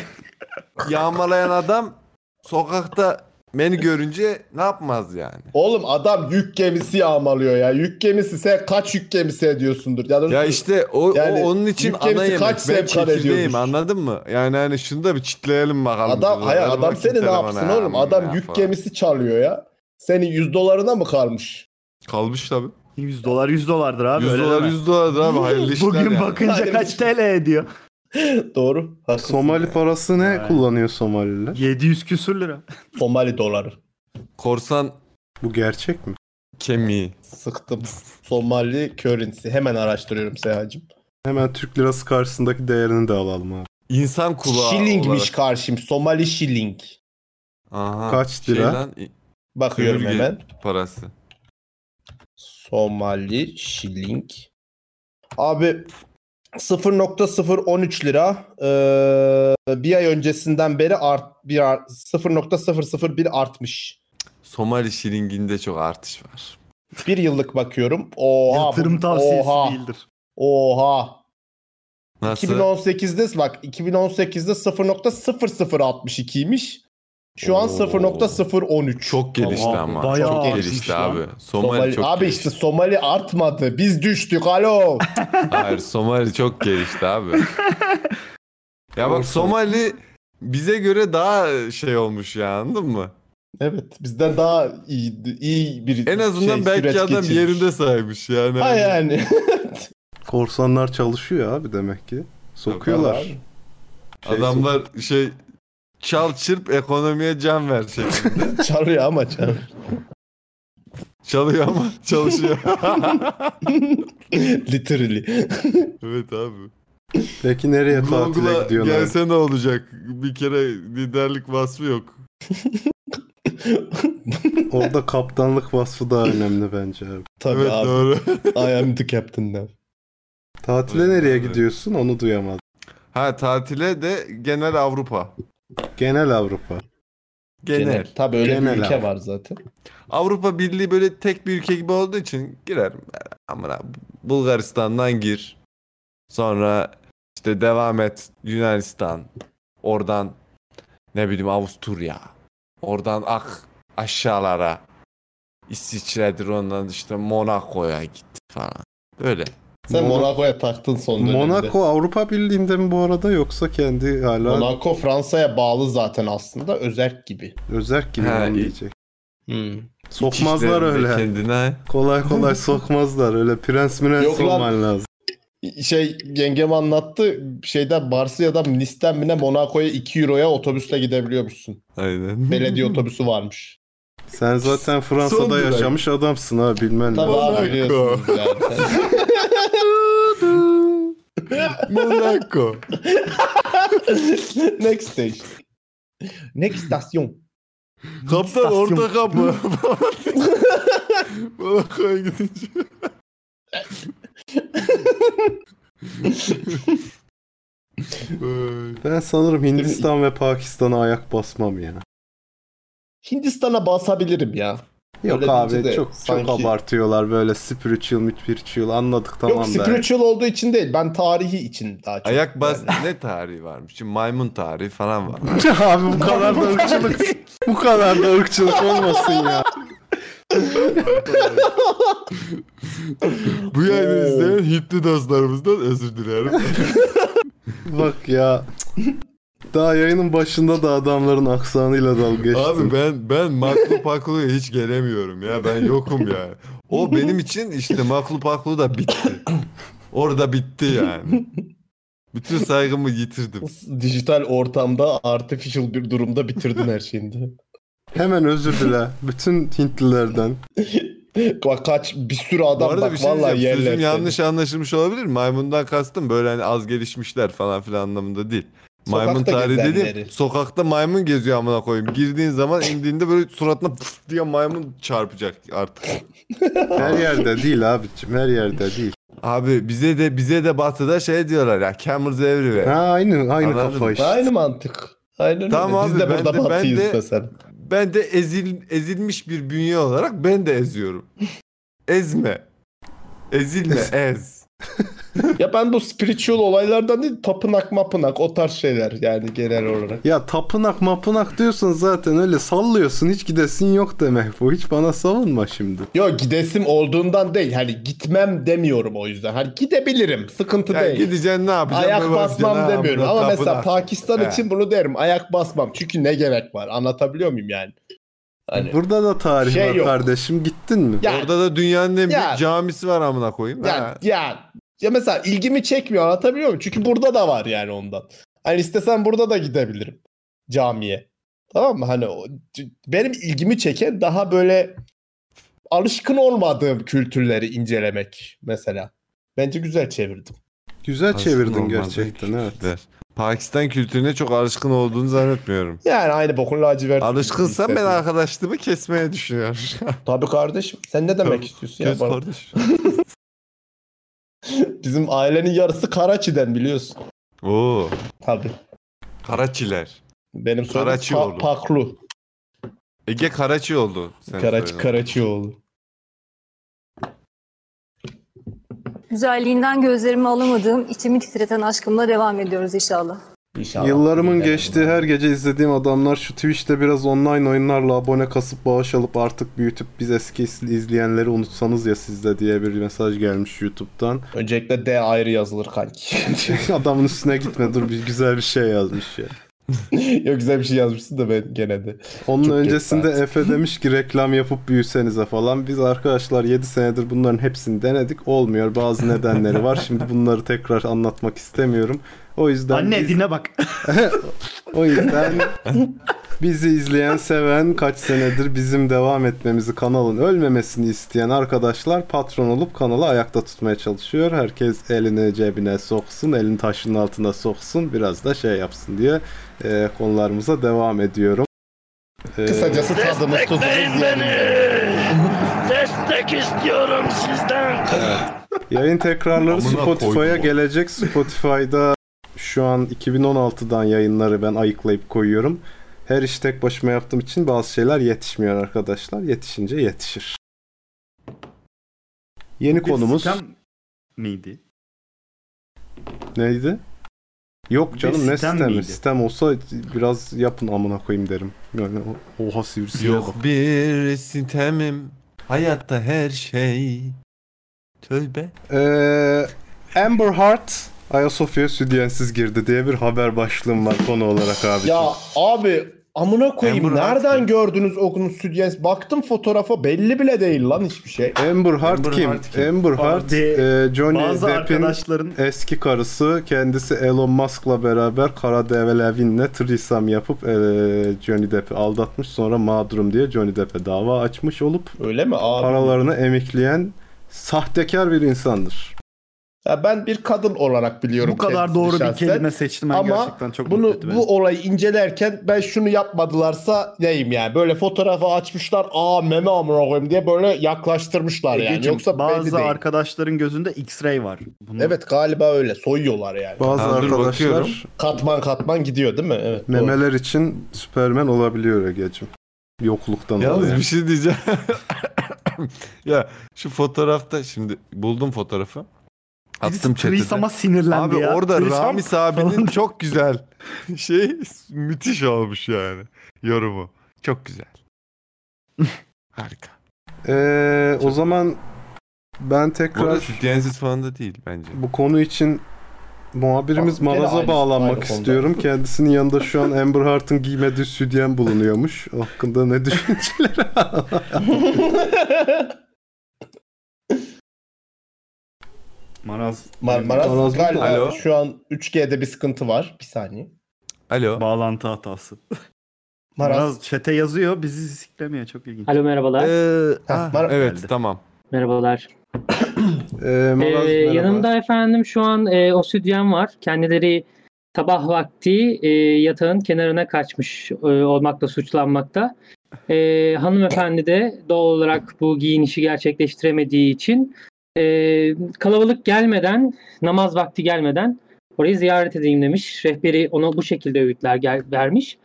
yağmalayan adam sokakta beni görünce ne yapmaz yani? Oğlum adam yük gemisi yağmalıyor ya. Yük gemisi sen kaç yük gemisi ediyorsundur? Ya, da- Ya işte o, o Yani onun için yük gemisi ana yemek. kaç ben sevkar çekirdeğim ediyormuş? anladın mı? Yani hani şunu da bir çitleyelim bakalım. adam Dur, hayır ver adam bakayım seni ne telefona yapsın ya, oğlum? hmm, Adam ya yük falan. gemisi çalıyor ya. Senin 100 dolarına mı kalmış? Kalmış tabii. 100 dolar 100 dolardır abi. 100 öyle dolar deme. 100 dolardır abi hayırlı işler Bugün yani. bakınca Hayırlı kaç TL ediyor? Doğru. haklısın. Somali parası ne kullanıyor Somaliler? 700 küsür lira. Somali doları. Korsan Bu gerçek mi? kemiği. Sıktım. Somali currency. Hemen araştırıyorum Sehacım. Hemen Türk lirası karşısındaki değerini de alalım abi. İnsan kulağı Shillingmiş olarak. karşım. Somali shilling. Aha, Kaç şey lira? lan, i- Bakıyorum sömürge hemen. Parası. Somali shilling. Abi 0.013 lira eee, bir ay öncesinden beri art, bir art, 0.001 artmış. Somali şilinginde çok artış var. Bir yıllık bakıyorum. Oha. Yatırım bu- tavsiyesi oha, değildir. Oha. Nasıl? 2018'de bak 2018'de 0.0062'ymiş. Şu an Oo. 0.013. Çok gelişti Oha, ama. bayağı çok artmış gelişti lan. abi. Somali, Somali, çok abi gelişti. işte Somali artmadı. Biz düştük. Alo. Hayır Somali çok gelişti abi. ya bak Somali bize göre daha şey olmuş ya anladın mı? evet, bizden daha iyi iyi bir En azından şey, süreç belki adam geçirmiş. yerinde Şey, saymış yani. Hani Ha yani. Korsanlar çalışıyor abi demek ki. Sokuyorlar. Abi. Şey Adamlar şey çal çırp ekonomiye can ver şeklinde. Çalıyor ama çalıyor. Çalıyor ama çalışıyor. Literally. evet abi. sok- Peki nereye tatile Google'a gidiyorsun abi? gelse ne olacak? Bir kere liderlik vasfı yok. Orada kaptanlık vasfı daha önemli bence abi. Tabii evet abi. doğru. I am the captain now. Tatile Evet, nereye abi. gidiyorsun onu duyamadım. ha tatile de genel Avrupa. Genel Avrupa. Genel. Tabii öyle Genel bir ülke abi. var zaten. Avrupa Birliği böyle tek bir ülke gibi olduğu için girer. Amına Bulgaristan'dan gir. Sonra işte devam et Yunanistan. Oradan ne bileyim Avusturya. Oradan ak aşağılara. İsviçre'dir ondan işte Monaco'ya git falan. Böyle. Sen Monaco- Monaco'ya taktın son dönemde. Monaco Avrupa Birliği'nde mi bu arada yoksa kendi hala Monaco Fransa'ya bağlı zaten aslında özerk gibi. Hmm. özerk gibi Ha, mi iyi. diyecek. İşlerinde Sokmazlar öyle. Kendine. Kolay kolay sokmazlar öyle. Prens Mürens Yok lan. olman lazım. Şey yengem anlattı şeyden Barcelona'dan Nice'den mi ne Monaco'ya 2 euroya otobüsle gidebiliyormuşsun. Aynen. Belediye otobüsü varmış. Sen zaten Son Fransa'da durak. yaşamış adamsın ha bilmen Tabii lazım. abi biliyorsunuz zaten. Monaco. Next station. Next station. Kaptan İstasyon. orta kapı. Monaco'ya gidince. Ben sanırım Hindistan ve Pakistan'a ayak basmam ya. Hindistan'a basabilirim ya. Yok Öyle abi deyince de çok sanki- çok abartıyorlar böyle spiritual spiritual anladık tamam Yok da. spiritual olduğu için değil. Ben tarihi için daha çok. Ayak bas Yani. ne tarihi varmış? Şimdi maymun tarihi falan var. abi bu kadar da ırkçılık bu kadar da ırkçılık olmasın ya. Bu yayını Oo. izleyen Hintli dostlarımızdan özür dilerim. Bak ya. Daha yayının başında da adamların aksanıyla dalga geçtim. Abi ben ben maklu pakluya hiç gelemiyorum ya. Ben yokum ya. O benim için işte maklu paklu da bitti. Orada bitti yani. Bütün saygımı yitirdim. Dijital ortamda artificial bir durumda bitirdin her şeyini. de. Hemen özür dile. Bütün Hintlilerden. Bak kaç bir sürü adam Bu arada bak bir şey vallahi diyeceğim. yerler. Sözüm seni. yanlış anlaşılmış olabilir. Maymundan kastım böyle hani az gelişmişler falan filan anlamında değil. Sokakta maymun tarihi gezenleri. dediğim sokakta maymun geziyor amına koyayım. Girdiğin zaman indiğinde böyle suratına pf diye maymun çarpacak artık. Her yerde değil abicim her yerde değil. Abi bize de bize de batıda şey diyorlar ya cameras everywhere. Ha, aynı- aynı Anladın kafa mı? işte. Aynı mantık. Aynen tamam öyle. Biz abi, de burada ben de, ben batıyız de, mesela. ben de ezil, ezilmiş bir bünye olarak ben de eziyorum. Ezme. Ezilme ez. ya ben bu spiritual olaylardan değil tapınak mapınak o tarz şeyler yani genel olarak. Ya tapınak mapınak diyorsun zaten öyle sallıyorsun hiç gidesin yok demek bu. Hiç bana savunma şimdi. Yok gidesim olduğundan değil. Hani gitmem demiyorum o yüzden. Hani gidebilirim. Sıkıntı Ya değil. gideceksin ne yapacaksın? Ayak Ne yapacaksın? Ha, basmam demiyorum. burada Ama mesela tapınak. Pakistan He. için bunu derim. Ayak basmam. Çünkü ne gerek var? Anlatabiliyor muyum yani? Burada da tarih Şey var yok. kardeşim gittin mi? Ya- Orada da dünyanın en Ya. büyük camisi var amına koyayım. Ya, ya, ya mesela ilgimi çekmiyor anlatabiliyor muyum? Çünkü burada da var yani ondan. Hani istesem burada da gidebilirim camiye. Tamam mı? Hani o- c- benim ilgimi çeken daha böyle alışkın olmadığım kültürleri incelemek mesela. Bence güzel çevirdim. Güzel Aslında çevirdin normalde gerçekten evet. Der. Pakistan kültürüne çok alışkın olduğunu zannetmiyorum. Yani aynı bokun lacivert. Alışkınsan ben hissettim. arkadaşlığımı kesmeye düşünüyorum. Tabii kardeşim. Sen ne demek Tabii. istiyorsun ya? Kes bana? kardeş. Bizim ailenin yarısı Karaçi'den biliyorsun. Oo. Tabii. Karaçiler. Benim soyadım Karaçi Pa- oğlu. Paklu. Ege Karaçi oldu. Sen Karaçi, söyle. Karaçioğlu. Güzelliğinden gözlerimi alamadığım, içimi titreten aşkımla devam ediyoruz inşallah. Yıllarımın geçtiği her gece izlediğim adamlar şu Twitch'te biraz online oyunlarla abone kasıp bağış alıp artık büyütüp biz eski izleyenleri unutsanız ya sizde diye bir mesaj gelmiş YouTube'dan. Öncelikle D ayrı yazılır kanki. Adamın üstüne gitme dur bir güzel bir şey yazmış ya. Yok güzel bir şey yazmışsın da ben gene de. Onun Çok geç öncesinde saat. Efe demiş ki reklam yapıp büyüsenize falan. Biz arkadaşlar 7 senedir bunların hepsini denedik. Olmuyor bazı nedenleri var. Şimdi bunları tekrar anlatmak istemiyorum. O yüzden Anne biz- dine bak. o yüzden bizi izleyen, seven, kaç senedir bizim devam etmemizi, kanalın ölmemesini isteyen arkadaşlar patron olup kanalı ayakta tutmaya çalışıyor. Herkes elini cebine soksun, elini taşın altına soksun, biraz da şey yapsın diye e, konularımıza devam ediyorum. E, Kısacası tadımız tuzumuz yerinde. Destek istiyorum sizden. Yayın tekrarları Amına Spotify'a koydum o. gelecek. Spotify'da şu an 2016'dan yayınları ben ayıklayıp koyuyorum. Her işi tek başıma yaptığım için bazı şeyler yetişmiyor arkadaşlar. Yetişince yetişir. Yeni Bir konumuz sitem miydi? neydi? Yok Bir canım ne sitem sistemi? miydi? Sistem olsa biraz yapın amına koyayım derim. Yani o- oha sivrisineğe bak. Yok bir sitemim. Hayatta her şey. Tövbe. Ee, Amber Heart Ayasofya stüdyensiz girdi diye bir haber başlığım var konu olarak abi. Ya abi amına koyayım Amber Heard nereden gördünüz Okun'un stüdyens? Baktım fotoğrafa belli bile değil lan hiçbir şey. Amber Heard kim? Amber Heard, e, Johnny bazı Depp'in arkadaşların- eski karısı. Kendisi Elon Musk'la beraber Kara Develevin'le threesome yapıp e, Johnny Depp'i aldatmış. Sonra mağdurum diye Johnny Depp'e dava açmış olup Öyle mi abi? paralarını emekleyen sahtekar bir insandır. Ya ben bir kadın olarak biliyorum. Bu kadar kendisini doğru bir şahsen. kelime seçtim. Ama Ama gerçekten çok bunu mutlu etti beni. bu olayı incelerken ben şunu yapmadılarsa neyim yani böyle fotoğrafı açmışlar aa meme amına koyayım diye böyle yaklaştırmışlar yani Egeciğim, yoksa belli bazı değil. arkadaşların gözünde X-ray var. Bunu Evet galiba öyle soyuyorlar yani. Bazı Ha, dur arkadaşlar- bakıyorum. katman katman gidiyor değil mi? Evet. doğru. Memeler için Superman olabiliyor Ege'cim. Yokluktan Yalnız dolayı. bir şey diyeceğim. ya şu fotoğrafta şimdi buldum fotoğrafı. Attım chat'e. de. Trisam'a sinirlendi Abi ya. orada Trisam Ramiz abinin çok güzel şey müthiş olmuş yani yorumu. Çok güzel. Harika. Ee, o zaman ben Bu arada tekrar sütyensiz falan da değil bence. Bu konu için muhabirimiz Gene Maraz'a aynı- bağlanmak aynı konuda. istiyorum. Kendisinin yanında şu an Amber Heard'ın giymediği südyen bulunuyormuş. O hakkında ne düşünceleri Maraz. Mar- Maraz Maraz mı? galiba Alo. şu an 3G'de bir sıkıntı var. Bir saniye. Alo. Bağlantı hatası. Maraz. Maraz çete yazıyor bizi siklemiyor çok ilginç. Alo merhabalar. ah, Mar- Ee, evet tamam. Merhabalar. Ee, Maraz, Ee, merhaba. yanımda efendim şu an e, obsidyen var. Kendileri sabah vakti e, yatağın kenarına kaçmış e, olmakla suçlanmakta. E, hanımefendi de doğal olarak bu giyinişi gerçekleştiremediği için e, Ee, kalabalık gelmeden, namaz vakti gelmeden orayı ziyaret edeyim demiş. Rehberi ona bu şekilde öğütler gel- vermiş.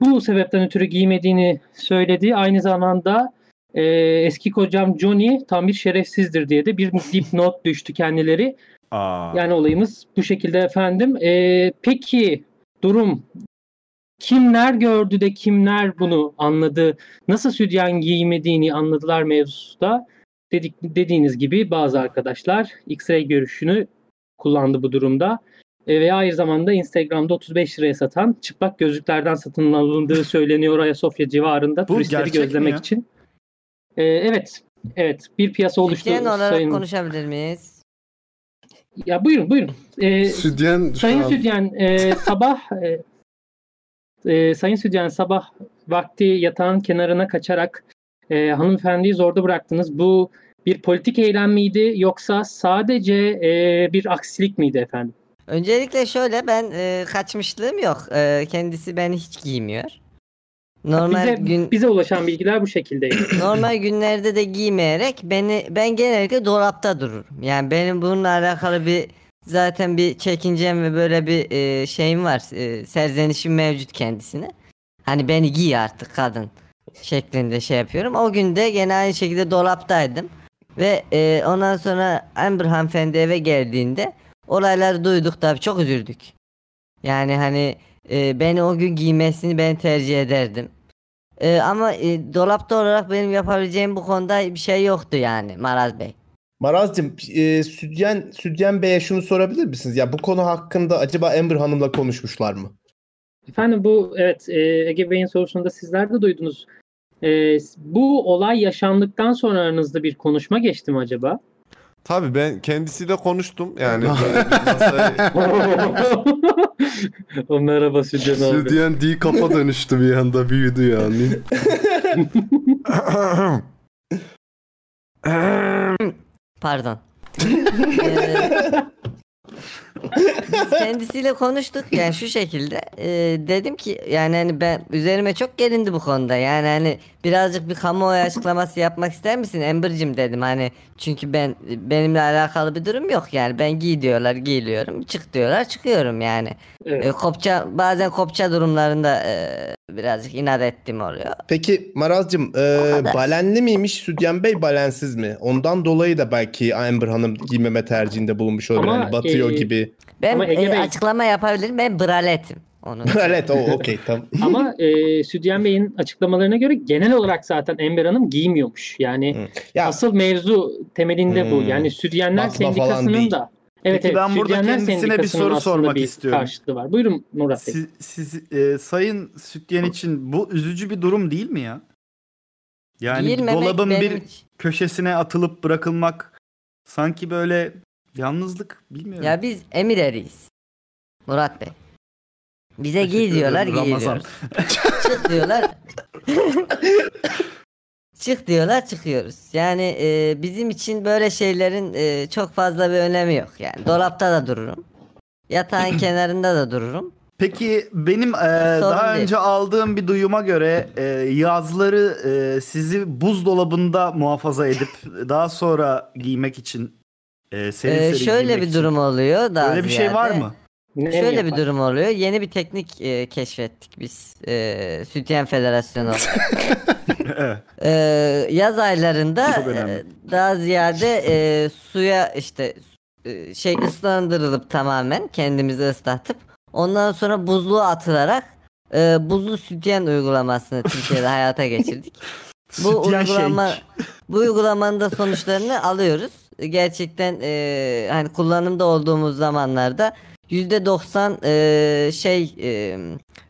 Bu sebepten ötürü giymediğini söyledi. Aynı zamanda e, eski kocam Johnny tam bir şerefsizdir diye de bir dipnot düştü kendileri. Aa. Yani olayımız bu şekilde efendim. Ee, peki durum kimler gördü de kimler bunu anladı? Nasıl sütyen giymediğini anladılar mevzuda. Dedik, dediğiniz gibi bazı arkadaşlar X-ray görüşünü kullandı bu durumda. E, ve aynı zamanda Instagram'da 35 liraya satan çıplak gözlüklerden satın alındığı söyleniyor Ayasofya civarında Bu turistleri gerçek mi gözlemek ya? için. E, evet, evet bir piyasa oluştu. Sütyen olarak sayın- konuşabilir miyiz? Ya buyurun buyurun. E, Sütyen şu Sayın an- Sütyen e, sabah e, e, Sayın Sütyen sabah vakti yatağın kenarına kaçarak e, hanımefendiyi zorda bıraktınız. Bu bir politik eylem miydi yoksa sadece e, bir aksilik miydi efendim? Öncelikle şöyle ben e, kaçmışlığım yok. E, kendisi beni hiç giymiyor. Normal bize, gün bize ulaşan bilgiler bu şekildeydi. Normal günlerde de giymeyerek beni ben genellikle dolapta dururum. Yani benim bununla alakalı bir zaten bir çekincem ve böyle bir e, şeyim var. E, serzenişim mevcut kendisine. Hani beni giy artık kadın şeklinde şey yapıyorum. O gün de gene aynı şekilde dolaptaydım. Ve e, ondan sonra Amber hanımefendi eve geldiğinde olayları duyduk tabii çok üzüldük. Yani hani e, beni o gün giymesini ben tercih ederdim. E, ama e, dolapta olarak benim yapabileceğim bu konuda bir şey yoktu yani Maraz Bey. Marazcığım, e, Südyen, Südyen Bey'e şunu sorabilir misiniz? Ya bu konu hakkında acaba Amber Hanım'la konuşmuşlar mı? Efendim bu evet e, Ege Bey'in sorusunu da sizler de duydunuz. E, bu olay yaşandıktan sonra aranızda bir konuşma geçti mi acaba? Tabii ben kendisiyle konuştum yani. o merhaba Sütyen abi. Sütyen D kapa dönüştü bir anda büyüdü yani. Pardon. E, biz kendisiyle konuştuk yani şu şekilde e, dedim ki yani hani ben üzerime çok gelindi bu konuda yani hani birazcık bir kamuoyu açıklaması yapmak ister misin Amber'cim dedim hani çünkü ben benimle alakalı bir durum yok yani ben giy diyorlar giyiliyorum çık diyorlar çıkıyorum yani Evet. E, kopça bazen kopça durumlarında e, birazcık inat ettim oluyor Peki Marazcığım, e, balenli miymiş Südyen Bey balensiz mi? Ondan dolayı da belki Amber Hanım giymeme tercihinde bulunmuş olabilir. Ama, Hani batıyor e, gibi. ben Ama Ege e, Bey- açıklama yapabilirim ben braletim onu evet o okey tamam. Ama e, Südyen Bey'in açıklamalarına göre genel olarak zaten Ember Hanım giymiyormuş. Yani asıl mevzu temelinde bu. Hmm. Yani Südyenler Bakma falan değil. Sendikası'nın da Evet, Peki evet, ben burada Südyenler kendisine bir Sendikası'nın soru aslında sormak bir istiyorum. karşılığı var. Buyurun Murat Bey. Siz, siz, e, sayın Sütyen için bu üzücü bir durum değil mi ya? Yani Giyilmemek dolabın benim bir için- köşesine atılıp bırakılmak sanki böyle yalnızlık bilmiyorum. ya biz emir eriyiz Murat Bey bize giy diyorlar Ramazan. giyiliyoruz çık diyorlar. çık diyorlar çıkıyoruz. Yani e, bizim için böyle şeylerin e, çok fazla bir önemi yok. Yani dolapta da dururum. Yatağın kenarında da dururum. Peki benim e, daha değil. önce aldığım bir duyuma göre e, yazları e, sizi buzdolabında muhafaza edip daha sonra giymek için e, seri E, seri şöyle giymek bir için- durum oluyor da. Öyle bir şey var mı? Ne Şöyle bir yapar? durum oluyor. Yeni bir teknik e, keşfettik biz. E, Sütyen Federasyonu. olarak. E, yaz aylarında Çok önemli. e, daha ziyade e, suya işte e, şey ıslandırılıp tamamen kendimizi ıslatıp ondan sonra buzluğa atılarak e, buzlu sütyen uygulamasını Türkiye'de hayata geçirdik. bu Sütyen şey. uygulama shake. bu uygulamanın da sonuçlarını alıyoruz. Gerçekten e, hani kullanımda olduğumuz zamanlarda %90 e, şey e,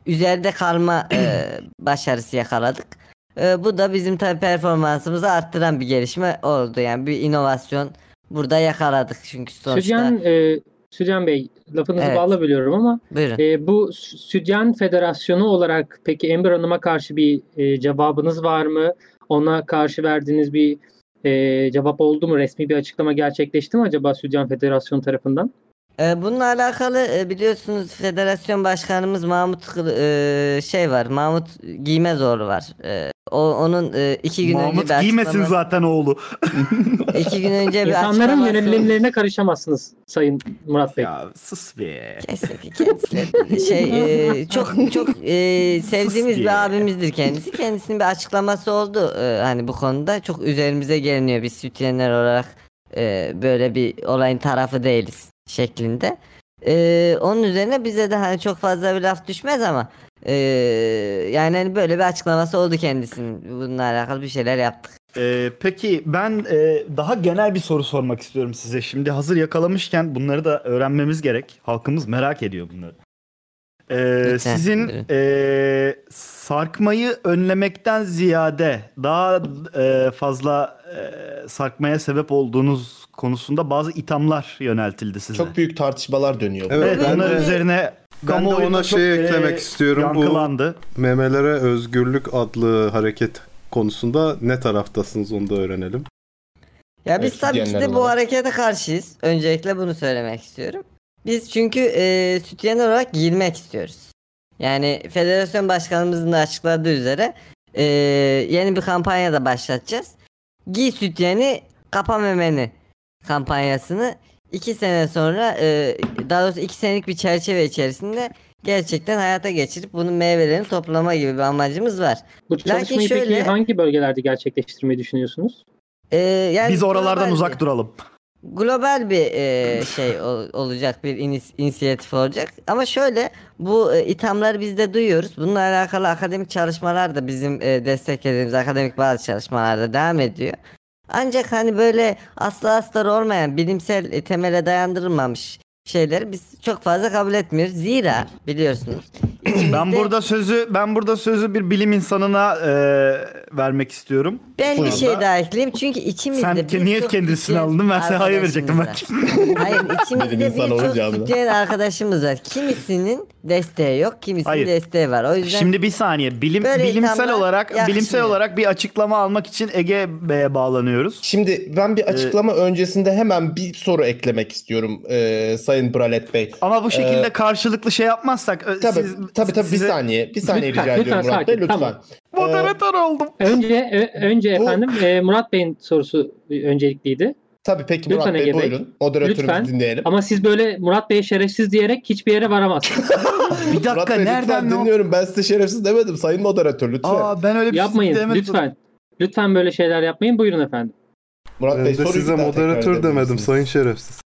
üzerinde kalma e, başarısı yakaladık. E, bu da bizim tabii performansımızı arttıran bir gelişme oldu. Yani bir inovasyon burada yakaladık çünkü sonuçta. Sütyen, e, Sütyen Bey lafınızı Evet. balla bölüyorum ama Buyurun. e, bu Sü- Sütyen Federasyonu olarak peki Ember Hanım'a karşı bir e, cevabınız var mı? Ona karşı verdiğiniz bir e, cevap oldu mu? Resmi bir açıklama gerçekleşti mi acaba Sütyen Federasyonu tarafından? Ee, bununla alakalı e, biliyorsunuz federasyon başkanımız Mahmut Kılı- e, şey var. Mahmut Giymezorlu var. E, o onun e, iki gün önce Mahmut bir açıklama- giymesin zaten oğlu. İki gün önce bir İnsanların açıklaması- yönelimlerine karışamazsınız Sayın Murat Bey. sus be. Kesinlikle kendisi. şey e, çok çok e, sevdiğimiz bir abimizdir kendisi. Kendisinin bir açıklaması oldu e, hani bu konuda. Çok üzerimize geliniyor biz sütyenler olarak e, böyle bir olayın tarafı değiliz şeklinde. E, onun üzerine bize de hani çok fazla bir laf düşmez ama e, yani hani böyle bir açıklaması oldu kendisinin. Bununla alakalı bir şeyler yaptık. Ee, peki ben e, daha genel bir soru sormak istiyorum size. Şimdi hazır yakalamışken bunları da öğrenmemiz gerek. Halkımız merak ediyor bunları. Ee, Lütfen, sizin buyurun. e, sarkmayı önlemekten ziyade daha e, fazla e, sarkmaya sebep olduğunuz konusunda bazı ithamlar yöneltildi size. Çok büyük tartışmalar dönüyor. Evet, Evet, ben bunlar de- üzerine Ben de kamuoyunda ona çok, şey e, eklemek istiyorum. Yankılandı. Bu memelere özgürlük adlı hareket konusunda ne taraftasınız onu da öğrenelim. Ya biz Evet, tabii ki sütyenler de bu olarak. harekete karşıyız. Öncelikle bunu söylemek istiyorum. Biz çünkü e, sütyenler olarak girmek istiyoruz. Yani federasyon başkanımızın da açıkladığı üzere e, yeni bir kampanya da başlatacağız. Giy sütyeni, kapa memeni kampanyasını 2 sene sonra e, daha doğrusu 2 senelik bir çerçeve içerisinde gerçekten hayata geçirip bunun meyvelerini toplama gibi bir amacımız var. Bu çalışmayı peki hangi bölgelerde gerçekleştirmeyi düşünüyorsunuz? e, yani Biz oralardan global bir- uzak duralım. global bir e, şey ol- olacak bir inis- inisiyatif olacak. Ama şöyle bu e, ithamları biz de duyuyoruz. Bununla alakalı akademik çalışmalar da bizim e, desteklediğimiz akademik bazı çalışmalarda devam ediyor. Ancak hani böyle asla astar olmayan bilimsel e, temele dayandırılmamış şeyleri biz çok fazla kabul etmiyoruz. Zira biliyorsunuz Ben burada sözü ben burada sözü bir bilim insanına e, vermek istiyorum. Ben bir Buyurun. şey daha ekleyeyim çünkü içimizde Sen birçok ke- niyet kendisini sütyen aldın ben sana hayır verecektim ben. arkadaşımız var. Hayır Dedim içimizde insan birçok olacağım da. sütyen arkadaşımız var. Kimisinin desteği yok, kimisinin Hayır. desteği var. O yüzden Şimdi bir saniye bilim Böyle bilimsel ithamlar olarak bilimsel yakışmıyor. olarak bir açıklama almak için Ege Bey'e bağlanıyoruz. E, Şimdi ben bir açıklama öncesinde hemen bir soru eklemek istiyorum eee, Sayın Bralet Bey. Ama bu şekilde Eee, karşılıklı şey yapmazsak ö, Tabii, siz tabii, tabii, bir size- saniye, bir saniye rica ediyorum Murat Bey, lütfen. Moderatör oldum. Önce ö- önce efendim e, Murat Bey'in sorusu öncelikliydi. Tabii peki Murat Bey, buyurun. Moderatörümüzü dinleyelim. Ama siz böyle Murat Bey'e şerefsiz diyerek hiçbir yere varamazsınız. bir dakika Murat Bey, lütfen dinliyorum. Ben size şerefsiz demedim Sayın Moderatör lütfen. ben öyle bir şey Yapmayın demedim. lütfen. Lütfen böyle şeyler yapmayın. Buyurun efendim. Murat Ben de size moderatör demedim sayın şerefsiz.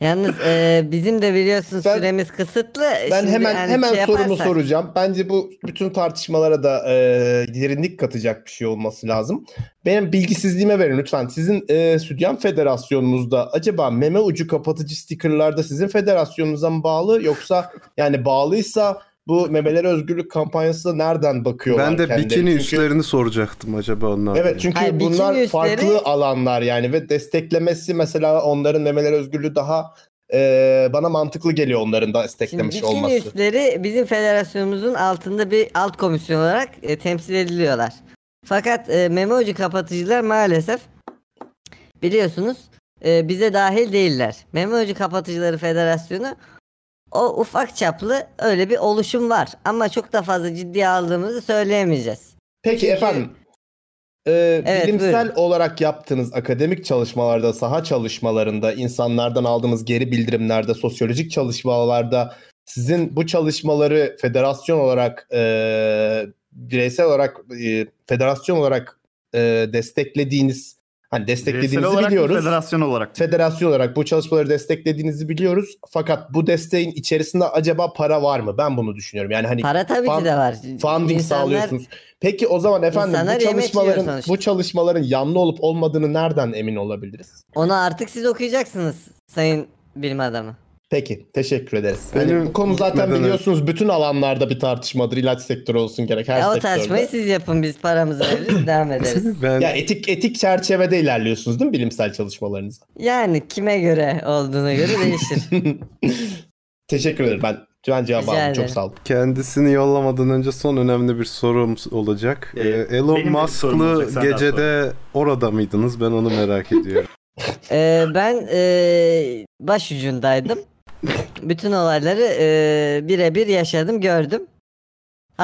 yalnız e, bizim de biliyorsunuz süremiz kısıtlı. Ben Şimdi hemen yani hemen şey sorumu yaparsak- soracağım. Bence bu bütün tartışmalara da e, derinlik katacak bir şey olması lazım. Benim bilgisizliğime verin lütfen. Sizin e, Sütyen Federasyonunuzda acaba meme ucu kapatıcı stickerlarda sizin federasyonunuza mı bağlı yoksa yani bağlıysa bu memelere özgürlük kampanyası da nereden bakıyorlar Ben de kendileri? bikini Çünkü- üstlerini soracaktım acaba onlar. Evet çünkü bunlar farklı alanlar yani ve desteklemesi mesela onların memeler özgürlüğü daha e, bana mantıklı geliyor onların da desteklemiş Bikini olması. üstleri bizim federasyonumuzun altında bir alt komisyon olarak e, temsil ediliyorlar. Fakat e, meme ucu kapatıcılar maalesef biliyorsunuz e, bize dahil değiller. Meme ucu kapatıcıları federasyonu o ufak çaplı öyle bir oluşum var. Ama çok da fazla ciddiye aldığımızı söyleyemeyeceğiz. Peki Çünkü- efendim. Ee, Evet, bilimsel buyurun. olarak yaptığınız akademik çalışmalarda, saha çalışmalarında, insanlardan aldığımız geri bildirimlerde, sosyolojik çalışmalarda sizin bu çalışmaları federasyon olarak, e, bireysel olarak, e, federasyon olarak e, desteklediğiniz, hani desteklediğinizi olarak mı, biliyoruz. federasyon olarak. Federasyon olarak bu çalışmaları desteklediğinizi biliyoruz. Fakat bu desteğin içerisinde acaba para var mı? Ben bunu düşünüyorum. Yani hani Para tabii ki de var. Funding İnsanlar- sağlıyorsunuz. Peki o zaman efendim İnsanlar bu yemek yiyor çalışmaların sonuçta. bu çalışmaların yanlı olup olmadığını nereden emin olabiliriz? Onu artık siz okuyacaksınız sayın bilim adamı. Peki, teşekkür ederiz. Benim hani bu konu zaten gitmeden- biliyorsunuz bütün alanlarda bir tartışmadır. İlaç sektörü olsun gerek her Ya o sektörde. tartışmayı siz yapın biz paramızı veririz devam ederiz. Ya etik etik çerçevede ilerliyorsunuz değil mi bilimsel çalışmalarınıza? Yani kime göre olduğuna göre değişir. Teşekkür ederim. Ben ben cevabı Rica aldım. Çok ederim. sağ olun. Kendisini yollamadan önce son önemli bir sorum olacak. Ee, Elon benim de bir sorum Musk'lı olacak, senden gecede orada mıydınız? Ben onu merak ediyorum. Ee, ben ee, başucundaydım. Bütün olayları ee, birebir yaşadım, gördüm.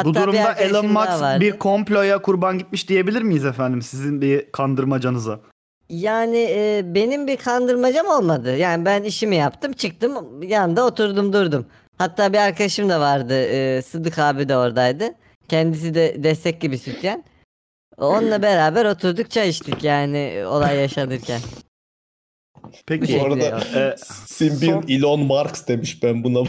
Bu durumda arkadaşım Elon daha Musk vardı. bir komploya kurban gitmiş diyebilir miyiz efendim sizin bir kandırmacanıza? Yani e, benim bir kandırmacam olmadı. Yani ben işimi yaptım, çıktım, yanında oturdum durdum. Hatta bir arkadaşım da vardı. E, Sıdık abi de oradaydı. Kendisi de destek gibi sütyen. Onunla beraber oturduk çay içtik yani e, olay yaşanırken. Şey, Peki. Bu arada Ee, e, Simbil Elon Marx demiş ben buna.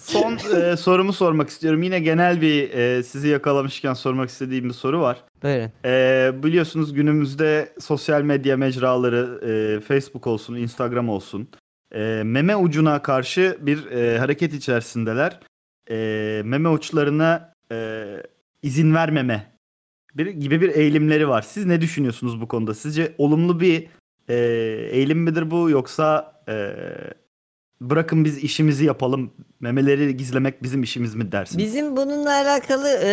Son e, sorumu sormak istiyorum. Yine genel bir e, sizi yakalamışken sormak istediğim bir soru var. Buyurun. E, biliyorsunuz günümüzde sosyal medya mecraları e, Facebook olsun, Instagram olsun e, meme ucuna karşı bir e, hareket içerisindeler. E, meme uçlarına e, izin vermeme bir, gibi bir eğilimleri var. Siz ne düşünüyorsunuz bu konuda? Sizce olumlu bir e, eğilim midir bu yoksa e, bırakın biz işimizi yapalım memeleri gizlemek bizim işimiz mi dersiniz? Bizim bununla alakalı e,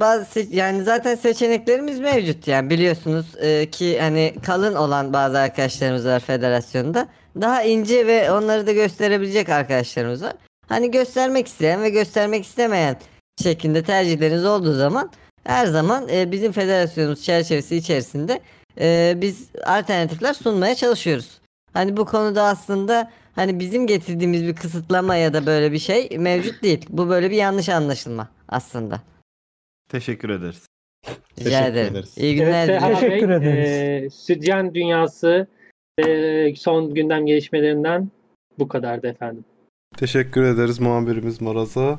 bazı se- yani zaten seçeneklerimiz mevcut yani biliyorsunuz e, ki hani kalın olan bazı arkadaşlarımız var federasyonda. Daha ince ve onları da gösterebilecek arkadaşlarımız var. Hani göstermek isteyen ve göstermek istemeyen şeklinde tercihleriniz olduğu zaman her zaman e, bizim federasyonumuz çerçevesi içerisinde e, biz alternatifler sunmaya çalışıyoruz. Hani bu konuda aslında hani bizim getirdiğimiz bir kısıtlama ya da böyle bir şey mevcut değil. Bu böyle bir yanlış anlaşılma aslında. Teşekkür ederiz. Rica ederim. İyi günler. Evet, diliyorum. Serhat Bey, E, Sütyen Dünyası e, son gündem gelişmelerinden bu kadardı efendim. Teşekkür ederiz muhabirimiz Maraz'a.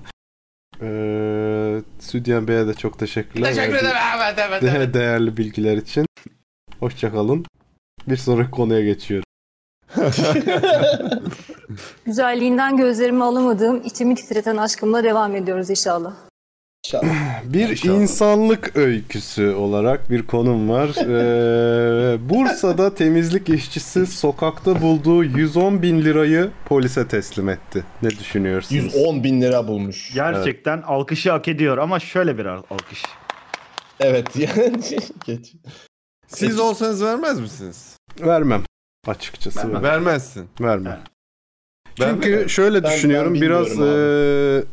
Ee, Südyen Bey'e de çok teşekkürler. Teşekkür Verdiği ederim. Evet, evet, de- evet. değerli bilgiler için. Hoşçakalın. Bir sonraki konuya geçiyorum. Güzelliğinden gözlerimi alamadığım, içimi titreten aşkımla devam ediyoruz inşallah. bir insanlık öyküsü olarak bir konum var. Ee, Bursa'da temizlik işçisi sokakta bulduğu 110 bin lirayı polise teslim etti. Ne düşünüyorsunuz? 110 bin lira bulmuş. Gerçekten alkışı hak ediyor ama şöyle bir al- alkış. Evet yani. Geç. Siz olsanız vermez misiniz? Vermem. Açıkçası Vermem. vermem. Vermezsin. Vermem. Ben Çünkü de- şöyle Ben- düşünüyorum ben biraz bilmiyorum eee,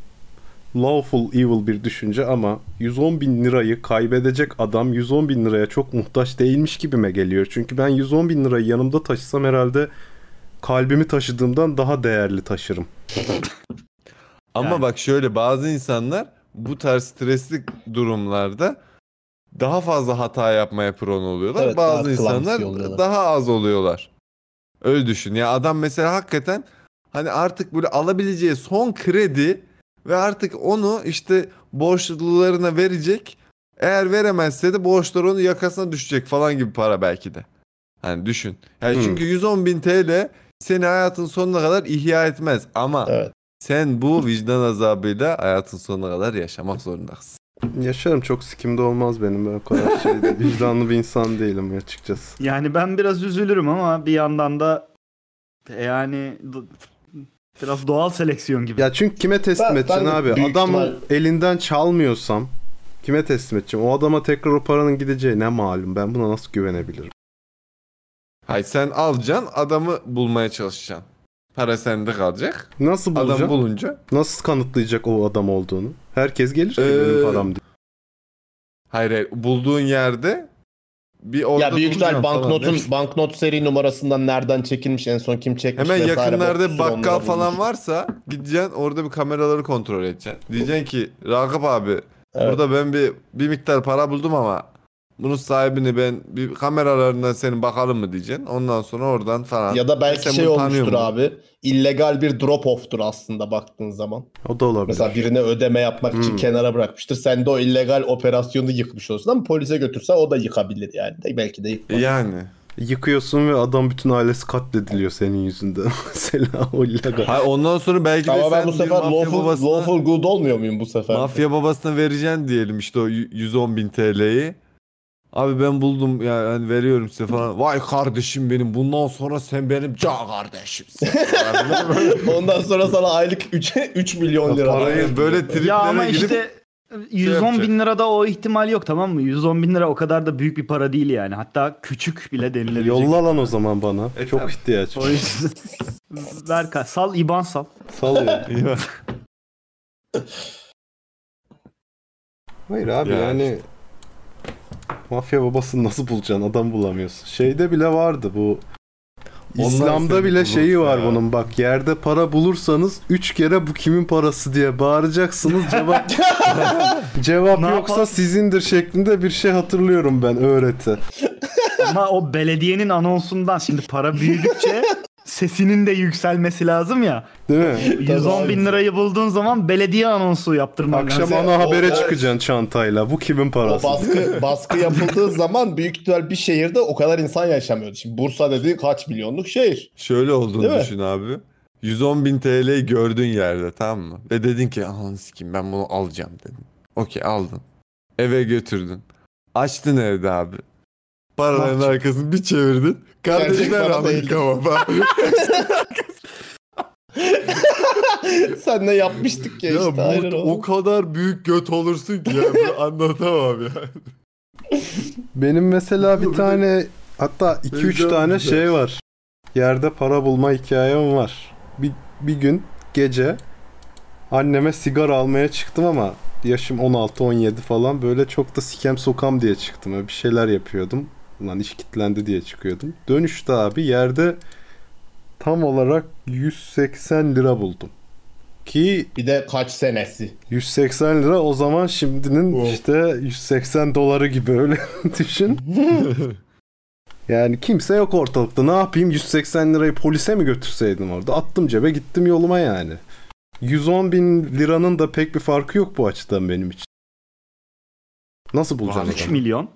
lawful evil bir düşünce ama 110 bin lirayı kaybedecek adam 110 bin liraya çok muhtaç değilmiş gibime geliyor. Çünkü ben 110 bin lirayı yanımda taşısam herhalde kalbimi taşıdığımdan daha değerli taşırım. Ama bak şöyle bazı insanlar bu tarz stresli durumlarda daha fazla hata yapmaya prone oluyorlar. Evet, daha bazı clumsy insanlar oluyorlar. daha az oluyorlar. Öyle düşün. Ya adam mesela hakikaten hani artık böyle alabileceği son kredi ve artık onu işte borçlularına verecek. Eğer veremezse de borçlar onun yakasına düşecek falan gibi para belki de. Hani düşün. Yani Hmm. çünkü 110 bin TL seni hayatın sonuna kadar ihya etmez ama sen bu vicdan azabıyla hayatın sonuna kadar yaşamak zorundasın. Yaşarım çok sikimde olmaz benim ben o kadar şeyde. Vicdanlı bir insan değilim açıkçası. Yani ben biraz üzülürüm ama bir yandan da yani do- biraz doğal seleksiyon gibi. Ya çünkü kime teslim Ben- ben edeceksin de abi? büyük Adamın ihtimal- elinden çalmıyorsam kime teslim edeceğim? O adama tekrar o paranın gideceği ne malum? Ben buna nasıl güvenebilirim? Hayır sen alacaksın adamı bulmaya çalışacaksın. Para sende kalacak. Nasıl Adam bulacağım? bulunca? Nasıl kanıtlayacak o adam olduğunu? Herkes gelir ki Ee, benim param diye. Hayır hayır bulduğun yerde bir orada ya büyük ihtimal duracaksın falan banknotun değil mi? banknot seri numarasından nereden çekilmiş en son kim çekmiş Hemen vesaire yakınlarda bakmışsın, onları bakkal bulmuş. falan varsa gideceksin orada bir kameraları kontrol edeceksin. Diyeceksin ki Ragıp abi burada ben bir bir miktar para buldum ama bunun sahibini ben bir kameralarından senin bakalım mı diyeceksin. Ondan sonra oradan falan. Ya da belki Sen şey bunu tanıyor olmuştur musun? abi. illegal bir drop off'tur aslında baktığın zaman. O da olabilir. Mesela birine ödeme yapmak için Hmm. kenara bırakmıştır. Sen de o illegal operasyonu yıkmış olsun ama polise götürsen o da yıkabilir yani. De- belki de yıkmaz. Yani. Yıkıyorsun ve adam bütün ailesi katlediliyor senin yüzünden. Mesela o illegal. Hayır ondan sonra belki de Ama sen ben bir bu sefer mafya lawful, babasına- lawful good olmuyor muyum bu sefer? Mafya babasına vereceksin diyelim işte o y- 110 bin TL'yi. Abi ben buldum yani hani veriyorum size falan. Vay kardeşim benim bundan sonra sen benim can kardeşimsin. Ondan sonra sana aylık 3, 3 milyon lira. Parayı böyle triplere ya ama girip işte şey 110 yapacak. bin lirada o ihtimal yok tamam mı? 110 bin lira o kadar da büyük bir para değil yani. Hatta küçük bile denilebilecek. Yolla lan o zaman bana. E, Çok tamam. ihtiyaç O var. yüzden- Ver ka- sal iban sal. Salıyorum. Hayır abi Ya yani mafya babasını nasıl bulacaksın? Adam bulamıyorsun. Şeyde bile vardı bu. Onlar İslam'da seni bile bulursa şeyi var ya. bunun bak yerde para bulursanız 3 kere bu kimin parası diye bağıracaksınız cevap cevap yoksa sizindir şeklinde bir şey hatırlıyorum ben öğreti. Ama o belediyenin anonsundan şimdi para büyüdükçe sesinin de yükselmesi lazım ya. Değil mi? 110 bin lirayı bulduğun zaman belediye anonsu yaptırman Akşam lazım. ana habere O- çıkacaksın çantayla. Bu kimin O parası? baskı, baskı yapıldığı zaman büyük ihtimal bir şehirde o kadar insan yaşamıyordu. Şimdi Bursa dediği kaç milyonluk şehir. Şöyle olduğunu Değil mi? düşün abi. 110 bin TL'yi gördün yerde tamam mı? Ve dedin ki ananı sikeyim ben bunu alacağım dedin. Okey aldın. Eve götürdün. Açtın evde abi. Paraların arkasını bir çevirdin. Gerçek Kardeşler para aldı değildi. kebaba. Sen ne yapmıştık ya, Ya işte. bu- aynen o kadar büyük göt olursun ki ya. bunu Anlatamam ya. Benim mesela bir tane hatta 2-3 Heyecan tane güzel. şey var. Yerde para bulma hikayem var. Bir, bir gün gece anneme sigara almaya çıktım ama yaşım 16-17 falan böyle çok da sikem sokam diye çıktım. Öyle bir şeyler yapıyordum. Lan iş kitlendi diye çıkıyordum. Dönüşte abi yerde tam olarak 180 lira buldum. Ki bir de kaç senesi? Oh. 180 lira o zaman şimdinin işte 180 doları gibi öyle düşün. yani kimse yok ortalıkta. Ne yapayım 180 lirayı polise mi götürseydim orada? Attım cebe gittim yoluma yani. 110 bin liranın da pek bir farkı yok bu açıdan benim için. Nasıl bulacaksın? 3 adamı? milyon.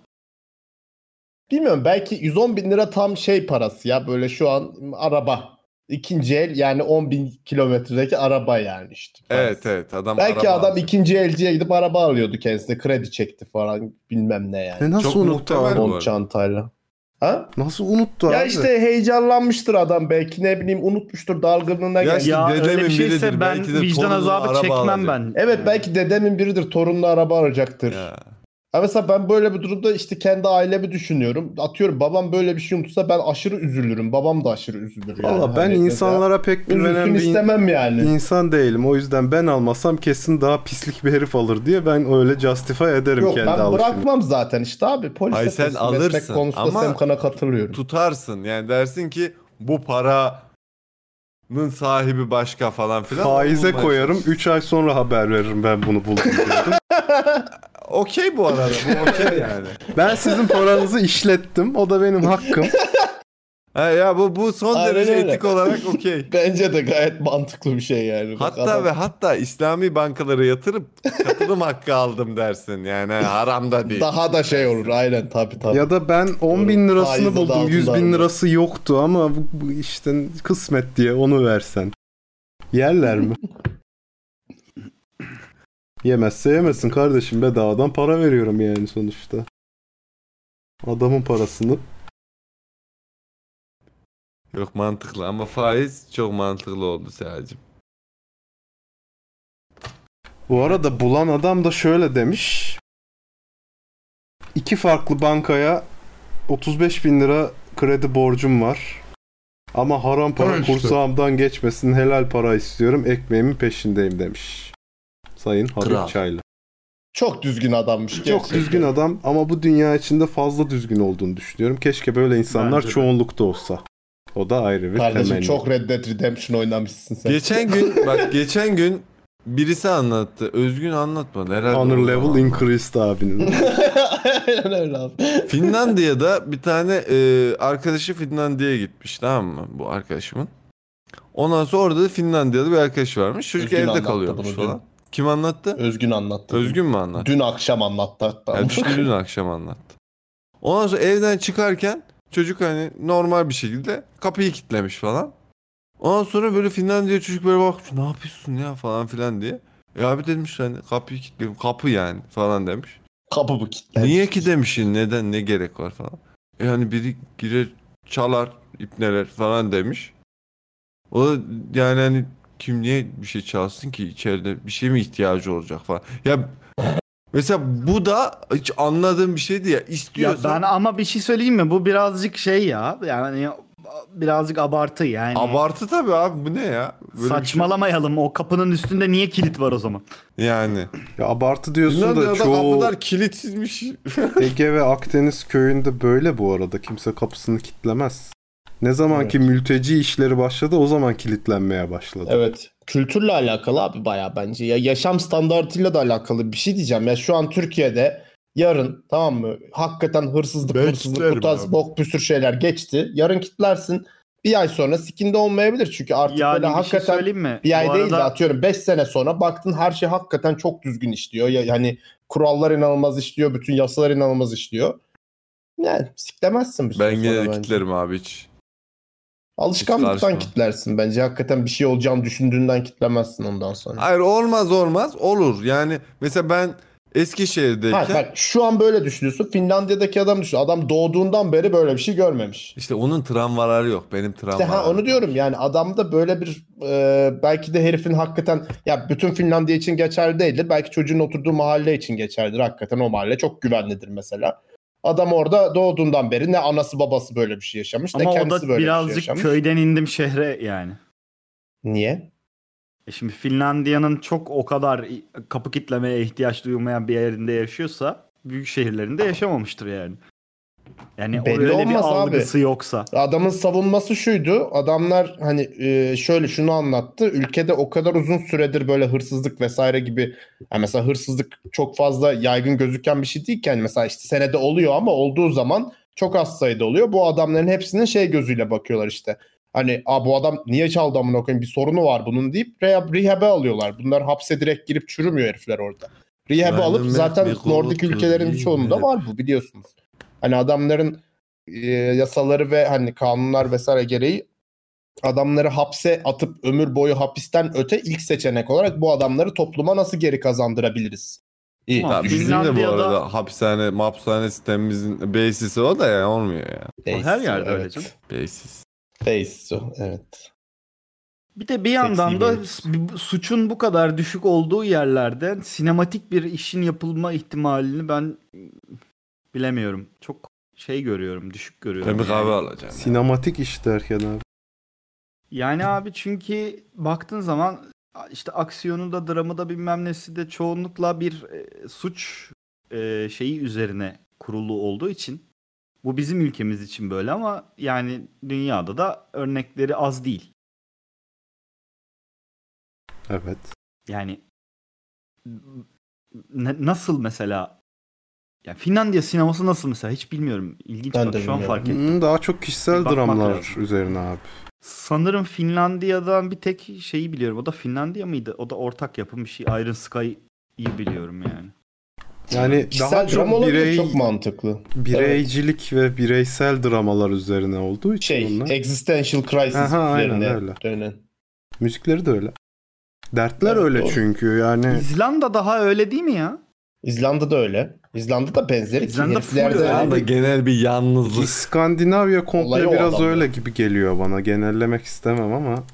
Bilmiyorum belki 110 bin lira tam şey parası ya böyle şu an araba. İkinci el yani 10 bin kilometredeki araba yani işte. evet evet adam belki araba adam alacak. ikinci elciye gidip araba alıyordu kendisine kredi çekti falan bilmem ne yani. E nasıl Çok unuttu muhtemel abi? bu On arada. çantayla. Ha? Nasıl unuttu Ya abi? işte heyecanlanmıştır adam belki ne bileyim unutmuştur dalgınlığına Ya geldi. işte Ya dedemin öyle bir şeyse biridir, ben belki de vicdan torununa azabı araba çekmem alacak. ben. Evet belki dedemin biridir torununa araba alacaktır. Ha mesela ben böyle bir durumda işte kendi ailemi düşünüyorum. Atıyorum babam böyle bir şey unutsa ben aşırı üzülürüm. Babam da aşırı üzülür. yani. Valla ben Hani insanlara mesela pek güvenen üzülsün bir istemem yani. insan değilim. O yüzden ben almasam kesin daha pislik bir herif alır diye ben öyle justify ederim Yok kendi ben alışımı. bırakmam zaten işte abi. Polise Hayır, sen teslim etmek alırsın konusunda ama Semkan'a katılıyorum. tutarsın. Yani dersin ki bu paranın sahibi başka falan filan. Faize Olmaz. koyarım. 3 ay sonra haber veririm ben bunu buldum diyordum. Okey bu arada. Bu okey yani. ben sizin paranızı Şey işlettim. O da benim hakkım. Ha, ya bu bu son Aynen derece öyle. etik olarak okey. Bence de gayet mantıklı bir şey yani. Bak Hatta adam- ve hatta İslami bankalara yatırıp katılım hakkı aldım dersin. Yani haram da değil. Daha da şey olur aynen tabii tabii. ya da ben 10 bin lirasını Faizi de buldum. 100 bin altından. lirası yoktu ama bu, bu işte kısmet diye onu versen. Yerler mi? Yemezse yemesin kardeşim bedavadan para veriyorum yani sonuçta. Adamın parasını. Yok mantıklı ama faiz çok mantıklı oldu Selacığım. Bu arada bulan adam da şöyle demiş. İki farklı bankaya 35 bin lira kredi borcum var. Ama haram para Ha işte. kursağımdan geçmesin helal para istiyorum ekmeğimin peşindeyim demiş. Sayın Habib Kral. Çaylı. Çok düzgün adammış. Çok gerçekten. düzgün adam ama bu dünya içinde fazla düzgün olduğunu düşünüyorum. Keşke böyle insanlar Bence de. çoğunlukta olsa. O da ayrı bir Kardeşim temenni. çok Red Dead Redemption oynamışsın sen. Geçen gün bak geçen gün birisi anlattı. Özgün anlatmadı herhalde. Honor o level zaman. increased abinin. Aynen öyle abi. Finlandiya'da bir tane e, arkadaşı Finlandiya'ya gitmiş tamam mı bu arkadaşımın. Ondan sonra orada da Finlandiya'da bir arkadaş varmış. Çocuk Özgün evde anlattı kalıyormuş bunu falan. Kim anlattı? Özgün anlattı. Özgün mü anlattı? Dün akşam anlattı hatta. Yani dün- dün akşam anlattı. Ondan sonra evden çıkarken çocuk hani normal bir şekilde kapıyı kilitlemiş falan. Ondan sonra böyle Finlandiya çocuk böyle bakmış ne yapıyorsun ya falan filan diye. E abi demiş hani kapıyı kilitliyorum kapı yani falan demiş. Kapı bu kilitlenmiş. Niye ki demişin neden ne gerek var falan. E hani biri girer çalar ipneler falan demiş. O da yani hani kim niye bir şey çalsın ki içeride bir şey mi ihtiyacı olacak falan. Ya Mesela bu da hiç anladığım bir şeydi ya. Ya İstiyorsan ben ama bir şey söyleyeyim mi? Bu birazcık şey ya. Yani birazcık abartı yani. Abartı tabii abi bu ne ya? Böyle bir şey- Saçmalamayalım. O kapının üstünde niye kilit var o zaman? Yani. Ya abartı diyorsun Bunlar da bir adam çoğu kapılar kilitsizmiş. Ege ve Akdeniz köyünde böyle bu arada. Kimse kapısını kilitlemez. Ne zaman ki mülteci işleri başladı o zaman kilitlenmeye başladı. Evet. Kültürle alakalı abi bayağı bence. Ya yaşam standartıyla da alakalı bir şey diyeceğim. Ya şu an Türkiye'de yarın tamam mı? Hakikaten hırsızlık, hırsızlık, bu tarz bok bir sürü şeyler geçti. Yarın kitlersin. Bir ay sonra sikinde olmayabilir. Çünkü artık Yani böyle bir şey hakikaten söyleyeyim mi? bir ay Bu değil de arada- atıyorum 5 sene sonra baktın her şey hakikaten çok düzgün işliyor. Ya, yani kurallar inanılmaz işliyor. Bütün yasalar inanılmaz işliyor. Yani siklemezsin bir süre Ben sonra gene bence. kitlerim abi hiç. Alışkanlıktan karışmam. kitlersin bence. Hakikaten bir şey olacağını düşündüğünden kitlemezsin ondan sonra. Hayır olmaz olmaz olur. Yani mesela ben Eskişehir'deyken Hayır, bak şu an böyle düşünüyorsun. Finlandiya'daki adam düşün. Adam doğduğundan beri böyle bir şey görmemiş. işte onun travmaları yok. Benim travmalarım. İşte ha onu diyorum yani adamda böyle bir e, belki de herifin hakikaten ya bütün Finlandiya için geçerli değildir. Belki çocuğun oturduğu mahalle için geçerlidir. Hakikaten o mahalle çok güvenlidir mesela. Adam orada doğduğundan beri ne anası babası böyle bir şey yaşamış ne Ama o kendisi da böyle bir birazcık şey yaşamış. köyden indim şehre yani. E Niye? şimdi Finlandiya'nın çok o kadar kapı kitlemeye ihtiyaç duymayan bir yerinde yaşıyorsa büyük şehirlerinde yaşamamıştır yani. Yani Belli öyle bir olmaz abi. algısı yoksa. Adamın savunması şuydu. Adamlar hani e, şöyle şunu anlattı. Ülkede o kadar uzun süredir böyle hırsızlık vesaire gibi yani mesela hırsızlık çok fazla yaygın gözüken bir şey değilken mesela işte senede oluyor ama olduğu zaman çok az sayıda oluyor. Bu adamların hepsine şey gözüyle bakıyorlar işte. Hani Aa, bu adam niye çaldı amına koyayım bir sorunu var bunun deyip rehab, rehab'e alıyorlar. Bunlar hapse direkt girip çürümüyor herifler orada. Rehab'e Verdim alıp mi? zaten Bir kolu Nordik ülkelerin tutayım birçoğunda mi? var bu biliyorsunuz. Hani adamların e, yasaları ve hani kanunlar vesaire gereği adamları hapse atıp ömür boyu hapisten öte ilk seçenek olarak bu adamları topluma nasıl geri kazandırabiliriz? İyi. Ha, bizim de bu Finlandiya'da- arada hapishane, mapishane sistemimizin basisi o da yani olmuyor ya. O her yerde öyle canım. Basis. Basis o evet. Bir de bir yandan da bu- suçun bu kadar düşük olduğu yerlerde sinematik bir işin yapılma ihtimalini ben bilemiyorum. Çok şey görüyorum, düşük görüyorum. Ben bir yani. kahve alacağım. Sinematik iş derken abi. Yani abi çünkü baktığın zaman işte aksiyonu da dramı da bilmem nesi de çoğunlukla bir e, suç e, şeyi üzerine kurulu olduğu için bu bizim ülkemiz için böyle ama yani dünyada da örnekleri az değil. Evet. Yani ne- nasıl mesela ya Finlandiya sineması nasıl mesela hiç bilmiyorum. İlginç bak, şu an fark ettim. Hmm, Daha çok kişisel Bakmak dramlar lazım. üzerine abi. Sanırım Finlandiya'dan bir tek şeyi biliyorum. O da Finlandiya mıydı? O da ortak yapım bir şey. Iron Sky'yi biliyorum yani. Yani Kişisel daha çok dram olabilir, birey, çok mantıklı. Bireycilik ve bireysel dramalar üzerine olduğu için şey, bunlar. Existential crisis Aha, aynen üzerine öyle. dönen. Müzikleri de öyle. Dertler öyle doğru. çünkü yani. İzlanda daha öyle değil mi ya? İzlanda'da öyle. İzlanda'da benzeri. ki İzlanda full heriflerde öyle. öyle. Ama genel bir yalnızlık. İskandinavya komple Olayı o biraz adamda. öyle gibi geliyor bana. Genellemek istemem ama.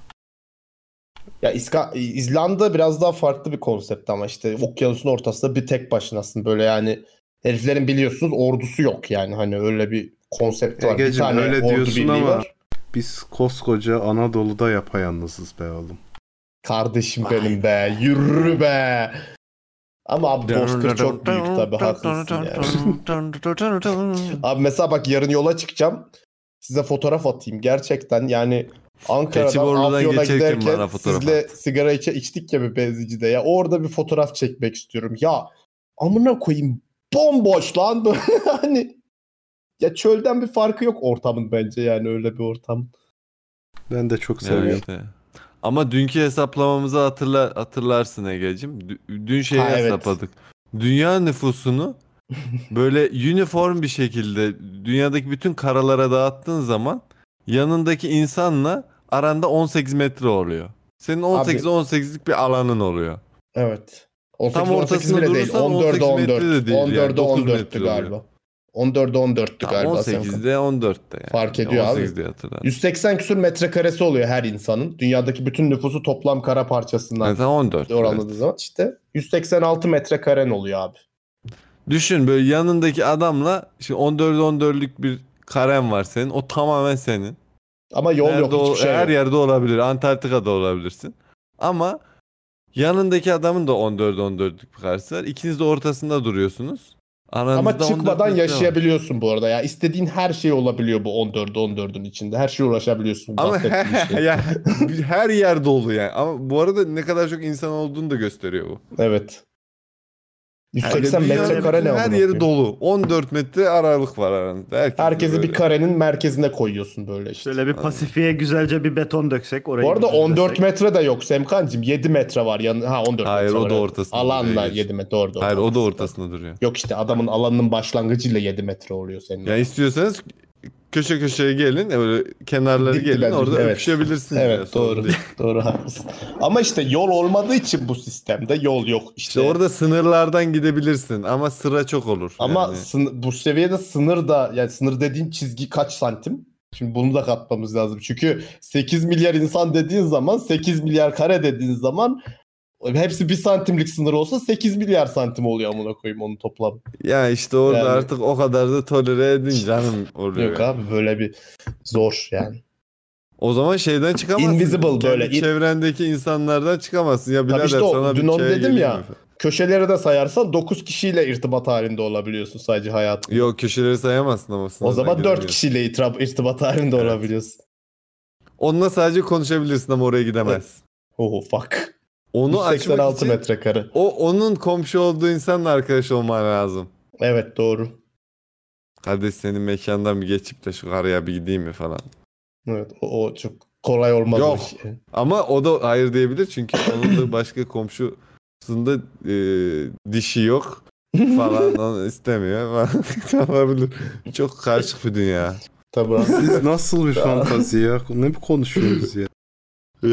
Ya İska- İzlanda biraz daha farklı bir konsept ama işte okyanusun ortasında bir tek başınasın böyle yani heriflerin biliyorsunuz ordusu yok yani hani öyle bir konsept var. bir Egeciğim tane öyle ordu diyorsun birliği ama var. biz koskoca Anadolu'da yapayalnızız be oğlum. Kardeşim benim be yürü be. Ama abi Bozkır çok büyük tabii haklısın yani. Abi mesela bak yarın yola çıkacağım. Size fotoğraf atayım. Gerçekten yani Ankara'dan Keçiborlu'dan Afyon'a geçerken giderken bana fotoğraf sizle sigara içe içtik ya bir benzincide ya. Orada bir fotoğraf çekmek istiyorum. Ya amına koyayım bomboş lan böyle hani. Ya çölden bir farkı yok ortamın bence yani öyle bir ortam. Ben de çok Evet seviyorum. işte. Ama dünkü hesaplamamızı hatırla, hatırlarsın Ege'cim. Dü- Dün şeyi Ha, evet. hesapladık. Dünya nüfusunu böyle uniform bir şekilde dünyadaki bütün karalara dağıttığın zaman yanındaki insanla aranda 18 metre oluyor. Senin 18 18'lik bir alanın oluyor. Evet. 18 Tam 18 ortasında bile değil. durursan 14 18 metre de 14. değil yani, 14 dokuz 14'tü metre oluyor. galiba. 14 14'tü Tam galiba. 18'de 14'te yani. Fark ediyor abi. 18'de hatırladım. 180 küsur metrekaresi oluyor her insanın. Dünyadaki bütün nüfusu toplam kara parçasından. Evet, 14. Oranladığı zaman işte 186 metrekaren oluyor abi. Düşün böyle yanındaki adamla şimdi 14 14'lük bir karen var senin. O tamamen senin. Ama yol yok, hiçbir şey Her yok. yerde olabilir. Antarktika'da olabilirsin. Ama yanındaki adamın da 14 14'lük bir karesi var. İkiniz de ortasında duruyorsunuz. Aranızda Ama 14 çıkmadan metre var. yaşayabiliyorsun bu arada ya. İstediğin her şey olabiliyor bu 14'ü 14'ün içinde. Her şeye uğraşabiliyorsun. Ama bahsettiğim şey. ya, her yer dolu yani. Ama bu arada ne kadar çok insan olduğunu da gösteriyor bu. Evet. 180 dünyanın metrekare bütün ne Her amına yeri koyayım? dolu. 14 metre aralık var aranızda. Herkes de Herkesi bir böyle. karenin merkezine koyuyorsun böyle işte. Şöyle bir Pasifik'e güzelce bir beton döksek orayı. Bu arada bir düzlesek. 14 metre de yok Semkancığım. 7 metre var yan ha 14 Hayır metre o var, da evet. ortasında. Alanla duruyor. 7 metre doğru. doğru. Hayır o da ortasında duruyor. Yok işte adamın alanının başlangıcıyla 7 metre oluyor senin. Ya istiyorsanız köşe köşeye gelin, e, böyle kenarları Dik gelin, direnci, orada evet. öpüşebilirsiniz. Evet, ya, sorun doğru. değil. Doğru haklısın. Ama işte yol olmadığı için bu sistemde yol yok işte. İşte orada sınırlardan gidebilirsin ama sıra çok olur. Ama yani. sın- bu seviyede sınır da yani sınır dediğin çizgi kaç santim? Şimdi bunu da katmamız lazım. Çünkü 8 milyar insan dediğin zaman 8 milyar kare dediğin zaman e, hepsi 1 santimlik sınır olsa 8 milyar santim oluyor amına koyayım onun toplamı. ya işte orada Yani- artık o kadar da tolere edin canım oluyor. Yok yani. abi böyle bir zor yani. O zaman şeyden çıkamazsın. Invisible Kendi böyle. İn- Çevrendeki insanlardan çıkamazsın. Ya Tabii birader işte o, sana dün bir onu şey dedim geliyor ya. mu? Köşeleri de sayarsan 9 kişiyle irtibat halinde olabiliyorsun sadece hayatında. Yok köşeleri sayamazsın ama O sınırdan zaman 4 giremiyorsun. kişiyle irtira- irtibat halinde olabiliyorsun. Onunla sadece konuşabilirsin ama oraya gidemezsin. Oh fuck. Onu açmak 186 için metrekare. o onun komşu olduğu insanla arkadaş olman lazım. Evet doğru. Hadi senin mekandan bir geçip de şu karaya bir gideyim mi falan. Evet o, o çok kolay olmaz. Yok. o iş. Ama o da hayır diyebilir çünkü onun da başka komşusunda e, dişi yok falan onu istemiyor falan. Olabilir. Çok karışık bir dünya. Tabii. Siz nasıl bir fantazi ya? Ne bir konuşuyoruz ya?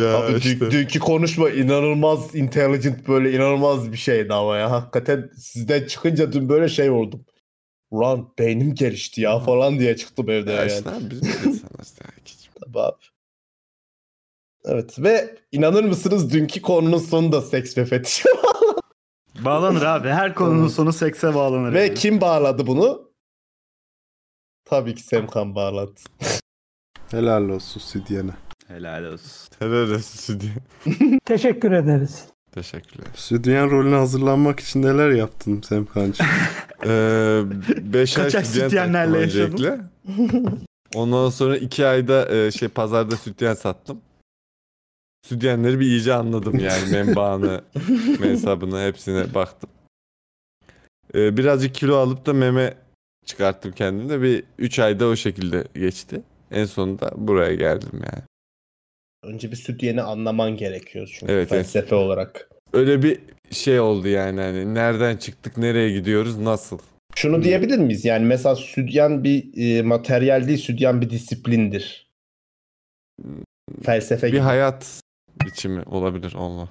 Ya Abi dün- dünkü konuşma inanılmaz intelligent böyle inanılmaz bir şeydi ama ya. Hakikaten sizden çıkınca dün böyle şey oldum. Ulan beynim gelişti ya falan diye çıktım evde Ya yani. işte abi, biz de insanız ya. Tabii abi. Evet ve inanır mısınız dünkü konunun sonu da seks ve fetiş. Bağlanır abi. Her konunun sonu sekse bağlanır. ve kim bağladı bunu? Tabii ki Semkan bağladı. Helal olsun Südyen'e. Helal olsun. Helal olsun Südyen. Teşekkür ederiz. Teşekkürler. Südyen rolüne hazırlanmak için neler yaptın Semkancığım? Ee, beş ay Kaçak sütyen sütyenlerle taktım yaşadın? öncelikle. Ondan sonra iki ayda e, şey pazarda sütyen sattım. Sütyenleri bir iyice anladım yani menbaını, mensabını hepsine baktım. Ee, birazcık kilo alıp da meme çıkarttım kendimde. Bir 3 ayda o şekilde geçti. En sonunda buraya geldim yani. Önce bir süt yeni anlaman gerekiyor çünkü Evet, evet. felsefe olarak. Öyle bir şey oldu yani hani nereden çıktık, nereye gidiyoruz, nasıl? Hmm. Şunu diyebilir miyiz? Yani mesela sütyen bir e, materyal değil, sütyen bir disiplindir. Felsefe Bir hayat biçimi olabilir Allah.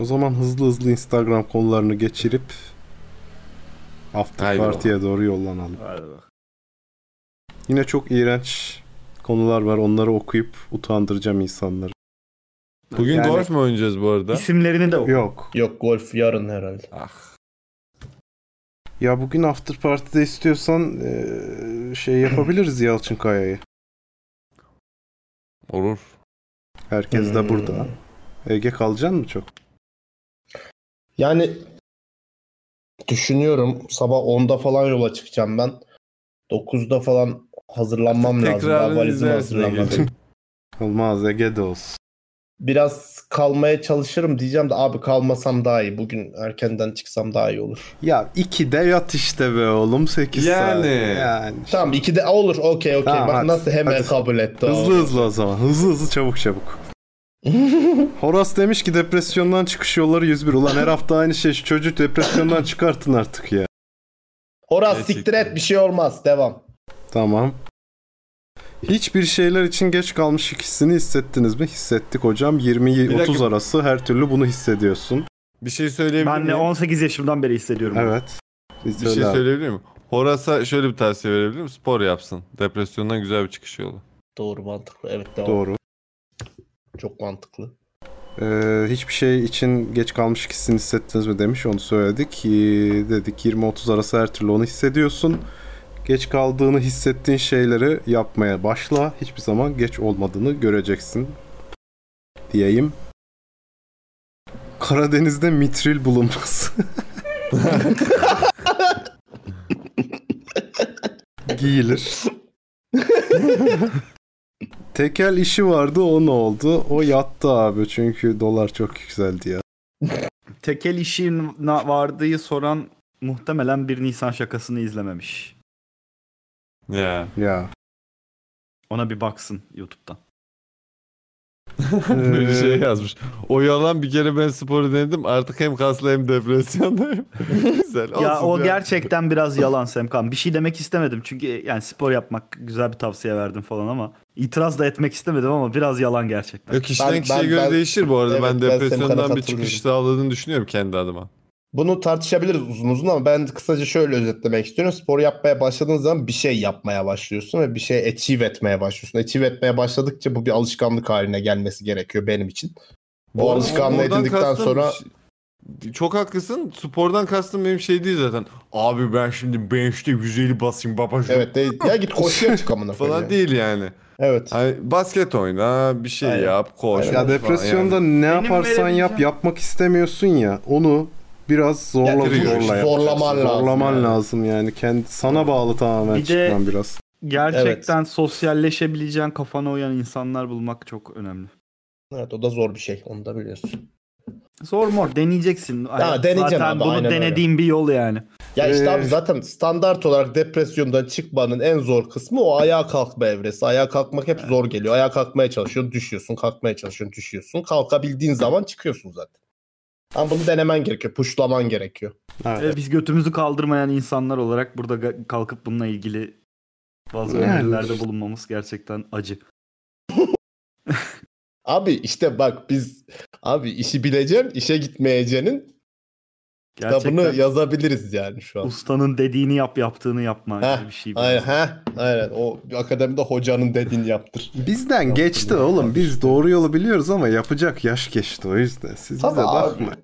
O zaman hızlı hızlı Instagram konularını geçirip after Haydi party'ye doğru yollanalım. Yine çok iğrenç konular var. Onları okuyup utandıracağım insanları. Bugün Yani- golf mu oynayacağız bu arada? İsimlerini de Yok. Yok golf yarın herhalde. Ah. Ya bugün after party'de istiyorsan eee, şey yapabiliriz Yalçın Kaya'yı. Olur. Herkes Hmm. de burada. Ege kalacaksın mı çok? Yani düşünüyorum sabah 10'da falan yola çıkacağım ben. 9'da falan hazırlanmam lazım. Daha valizimi hazırlamadım. Olmaz Ege de olsun. Biraz kalmaya çalışırım diyeceğim de abi kalmasam daha iyi. Bugün erkenden çıksam daha iyi olur. Ya 2'de yat işte be oğlum 8 saat. Yani. Yani. Tamam 2'de olur okey okey. Tamam, Bak hadi, nasıl hemen hadi. kabul etti. Hızlı hızlı o zaman. Hızlı hızlı çabuk çabuk. Horas demiş ki depresyondan çıkış yolları 101. Ulan her hafta aynı şey. Şu çocuğu depresyondan çıkartın artık ya. Horas siktir et bir şey olmaz. Devam. Tamam. Hiçbir şeyler için geç kalmış ikisini hissettiniz mi? Hissettik hocam. Bir 20-30 dakika. arası her türlü bunu hissediyorsun. Bir şey söyleyebilir Ben de 18 yaşımdan beri hissediyorum. bunu. Evet. Bir şey söyleyebilir miyim? Horas'a şöyle bir tavsiye verebilir miyim? Spor yapsın. Depresyondan güzel bir çıkış yolu. Doğru mantıklı. Evet devam. Doğru. Çok mantıklı. Ee, hiçbir şey için geç kalmış hissini hissettiniz mi demiş onu söyledik. Ee, dedik 20-30 arası her türlü onu hissediyorsun. Geç kaldığını hissettiğin şeyleri yapmaya başla. Hiçbir zaman geç olmadığını göreceksin diyeyim. Karadeniz'de mitril bulunması. Giyilir. Tekel işi vardı o ne oldu? O yattı abi çünkü dolar çok yükseldi ya. Tekel işin na- vardığı soran muhtemelen bir Nisan şakasını izlememiş. Ya. Ya. Ona bir baksın YouTube'dan. Böyle şey yazmış. O yalan bir kere ben sporu denedim. Artık hem kaslı hem depresyondayım. Güzel. Ya olsun o gerçekten biraz yalan Semkan. Bir şey demek istemedim çünkü yani spor yapmak güzel bir tavsiye verdim falan ama itiraz da etmek istemedim ama biraz yalan gerçekten. Yok kişiden kişiye göre değişir bu arada. ben depresyondan bir çıkış sağladığını düşünüyorum kendi adıma. Bunu tartışabiliriz uzun uzun ama ben kısaca şöyle özetlemek istiyorum. Spor yapmaya başladığın zaman bir şey yapmaya başlıyorsun ve bir şey achieve etmeye başlıyorsun. Achieve etmeye başladıkça bu bir alışkanlık haline gelmesi gerekiyor benim için. O Oradan- alışkanlığı oradan edindikten kastım şey- sonra ş- çok haklısın. Spordan kastım benim şey değil zaten. Abi ben şimdi bench'te 150 basayım babacığım. Evet değil. Ya git koşuya çık amına koyayım Falan yani. değil yani. Hani Evet. basket oyna, bir şey yap, koş. Ya falan depresyonda yani. ne yaparsan yap yapmak istemiyorsun ya onu biraz zorla Ya, zorla zorlaman yapacaksın. lazım Zorlaman yani. lazım yani. Kendi sana bağlı tamamen Bir de- çıkman biraz. Gerçekten sosyalleşebileceğin kafana uyan insanlar bulmak çok önemli. Evet o da zor bir şey onu da biliyorsun. Zor mor deneyeceksin. Ha, deneyeceğim Zaten abi, bunu aynen öyle. denediğim bir yol yani. Ya işte Ee, abi zaten standart olarak depresyondan çıkmanın en zor kısmı o ayağa kalkma evresi. Ayağa kalkmak hep zor geliyor. Ayağa kalkmaya çalışıyorsun, düşüyorsun, kalkmaya çalışıyorsun, düşüyorsun. Kalkabildiğin zaman çıkıyorsun zaten. Ama bunu denemen gerekiyor, puşlaman gerekiyor. Ee, Biz götümüzü kaldırmayan insanlar olarak burada ga- kalkıp bununla ilgili bazı Yani. önerilerde bulunmamız gerçekten acı. Abi işte bak biz abi işi bileceğin, işe gitmeyeceğinin kitabını Gerçekten yazabiliriz yani şu an. Ustanın dediğini yap yaptığını yapma Heh, gibi bir şey. aynen, heh, aynen. O akademide hocanın dediğini yaptır. Bizden geçti oğlum. Biz doğru yolu biliyoruz ama yapacak yaş geçti o yüzden. Siz Tabii bize abi. bakmayın.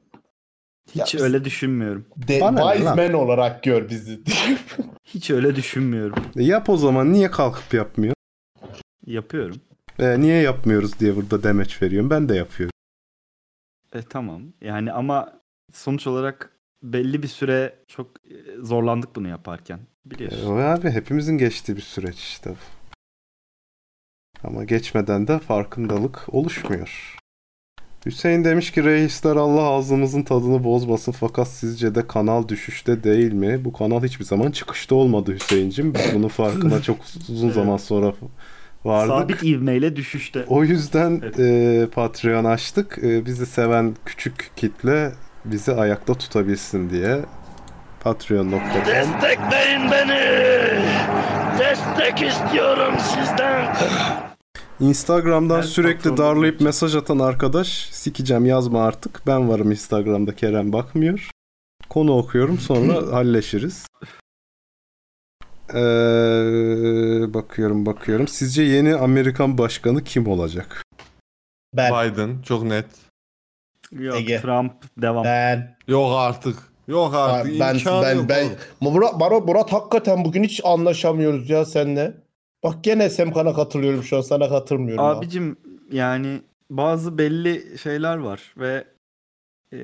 Hiç öyle düşünmüyorum. De, wise man olarak gör bizi. Hiç öyle düşünmüyorum. E, Yap o zaman niye kalkıp yapmıyor? Yapıyorum. E, niye yapmıyoruz diye burada demeç veriyorum. Ben de yapıyorum. E tamam. Yani ama sonuç olarak belli bir süre çok e, zorlandık bunu yaparken. E, Biliyorsun. o abi hepimizin geçtiği bir süreç işte. Ama geçmeden de farkındalık oluşmuyor. Hüseyin demiş ki reisler Allah ağzımızın tadını bozmasın fakat sizce de kanal düşüşte değil mi? Bu kanal hiçbir zaman çıkışta olmadı Hüseyin'cim. Biz bunun farkına çok uzun zaman sonra vardık. Sabit ivmeyle düşüşte. O yüzden e, Patreon açtık. E, bizi seven küçük kitle bizi ayakta tutabilsin diye. Patreon.com Destekleyin beni. Destek istiyorum sizden. Instagram'dan sürekli darlayıp mesaj atan arkadaş sikeceğim yazma artık. Ben varım Instagram'da Kerem bakmıyor. Konu okuyorum sonra halleşiriz. Ee, bakıyorum bakıyorum. Sizce yeni Amerikan başkanı kim olacak? Biden çok net. Yok Trump devam. Ben. Yok artık. Yok artık. ben İmkan ben yok ben oğlum. Murat, Murat, Murat hakikaten bugün hiç anlaşamıyoruz ya seninle. Bak gene Semkan'a katılıyorum şu an sana katılmıyorum. abi. Abicim yani bazı belli şeyler var ve e,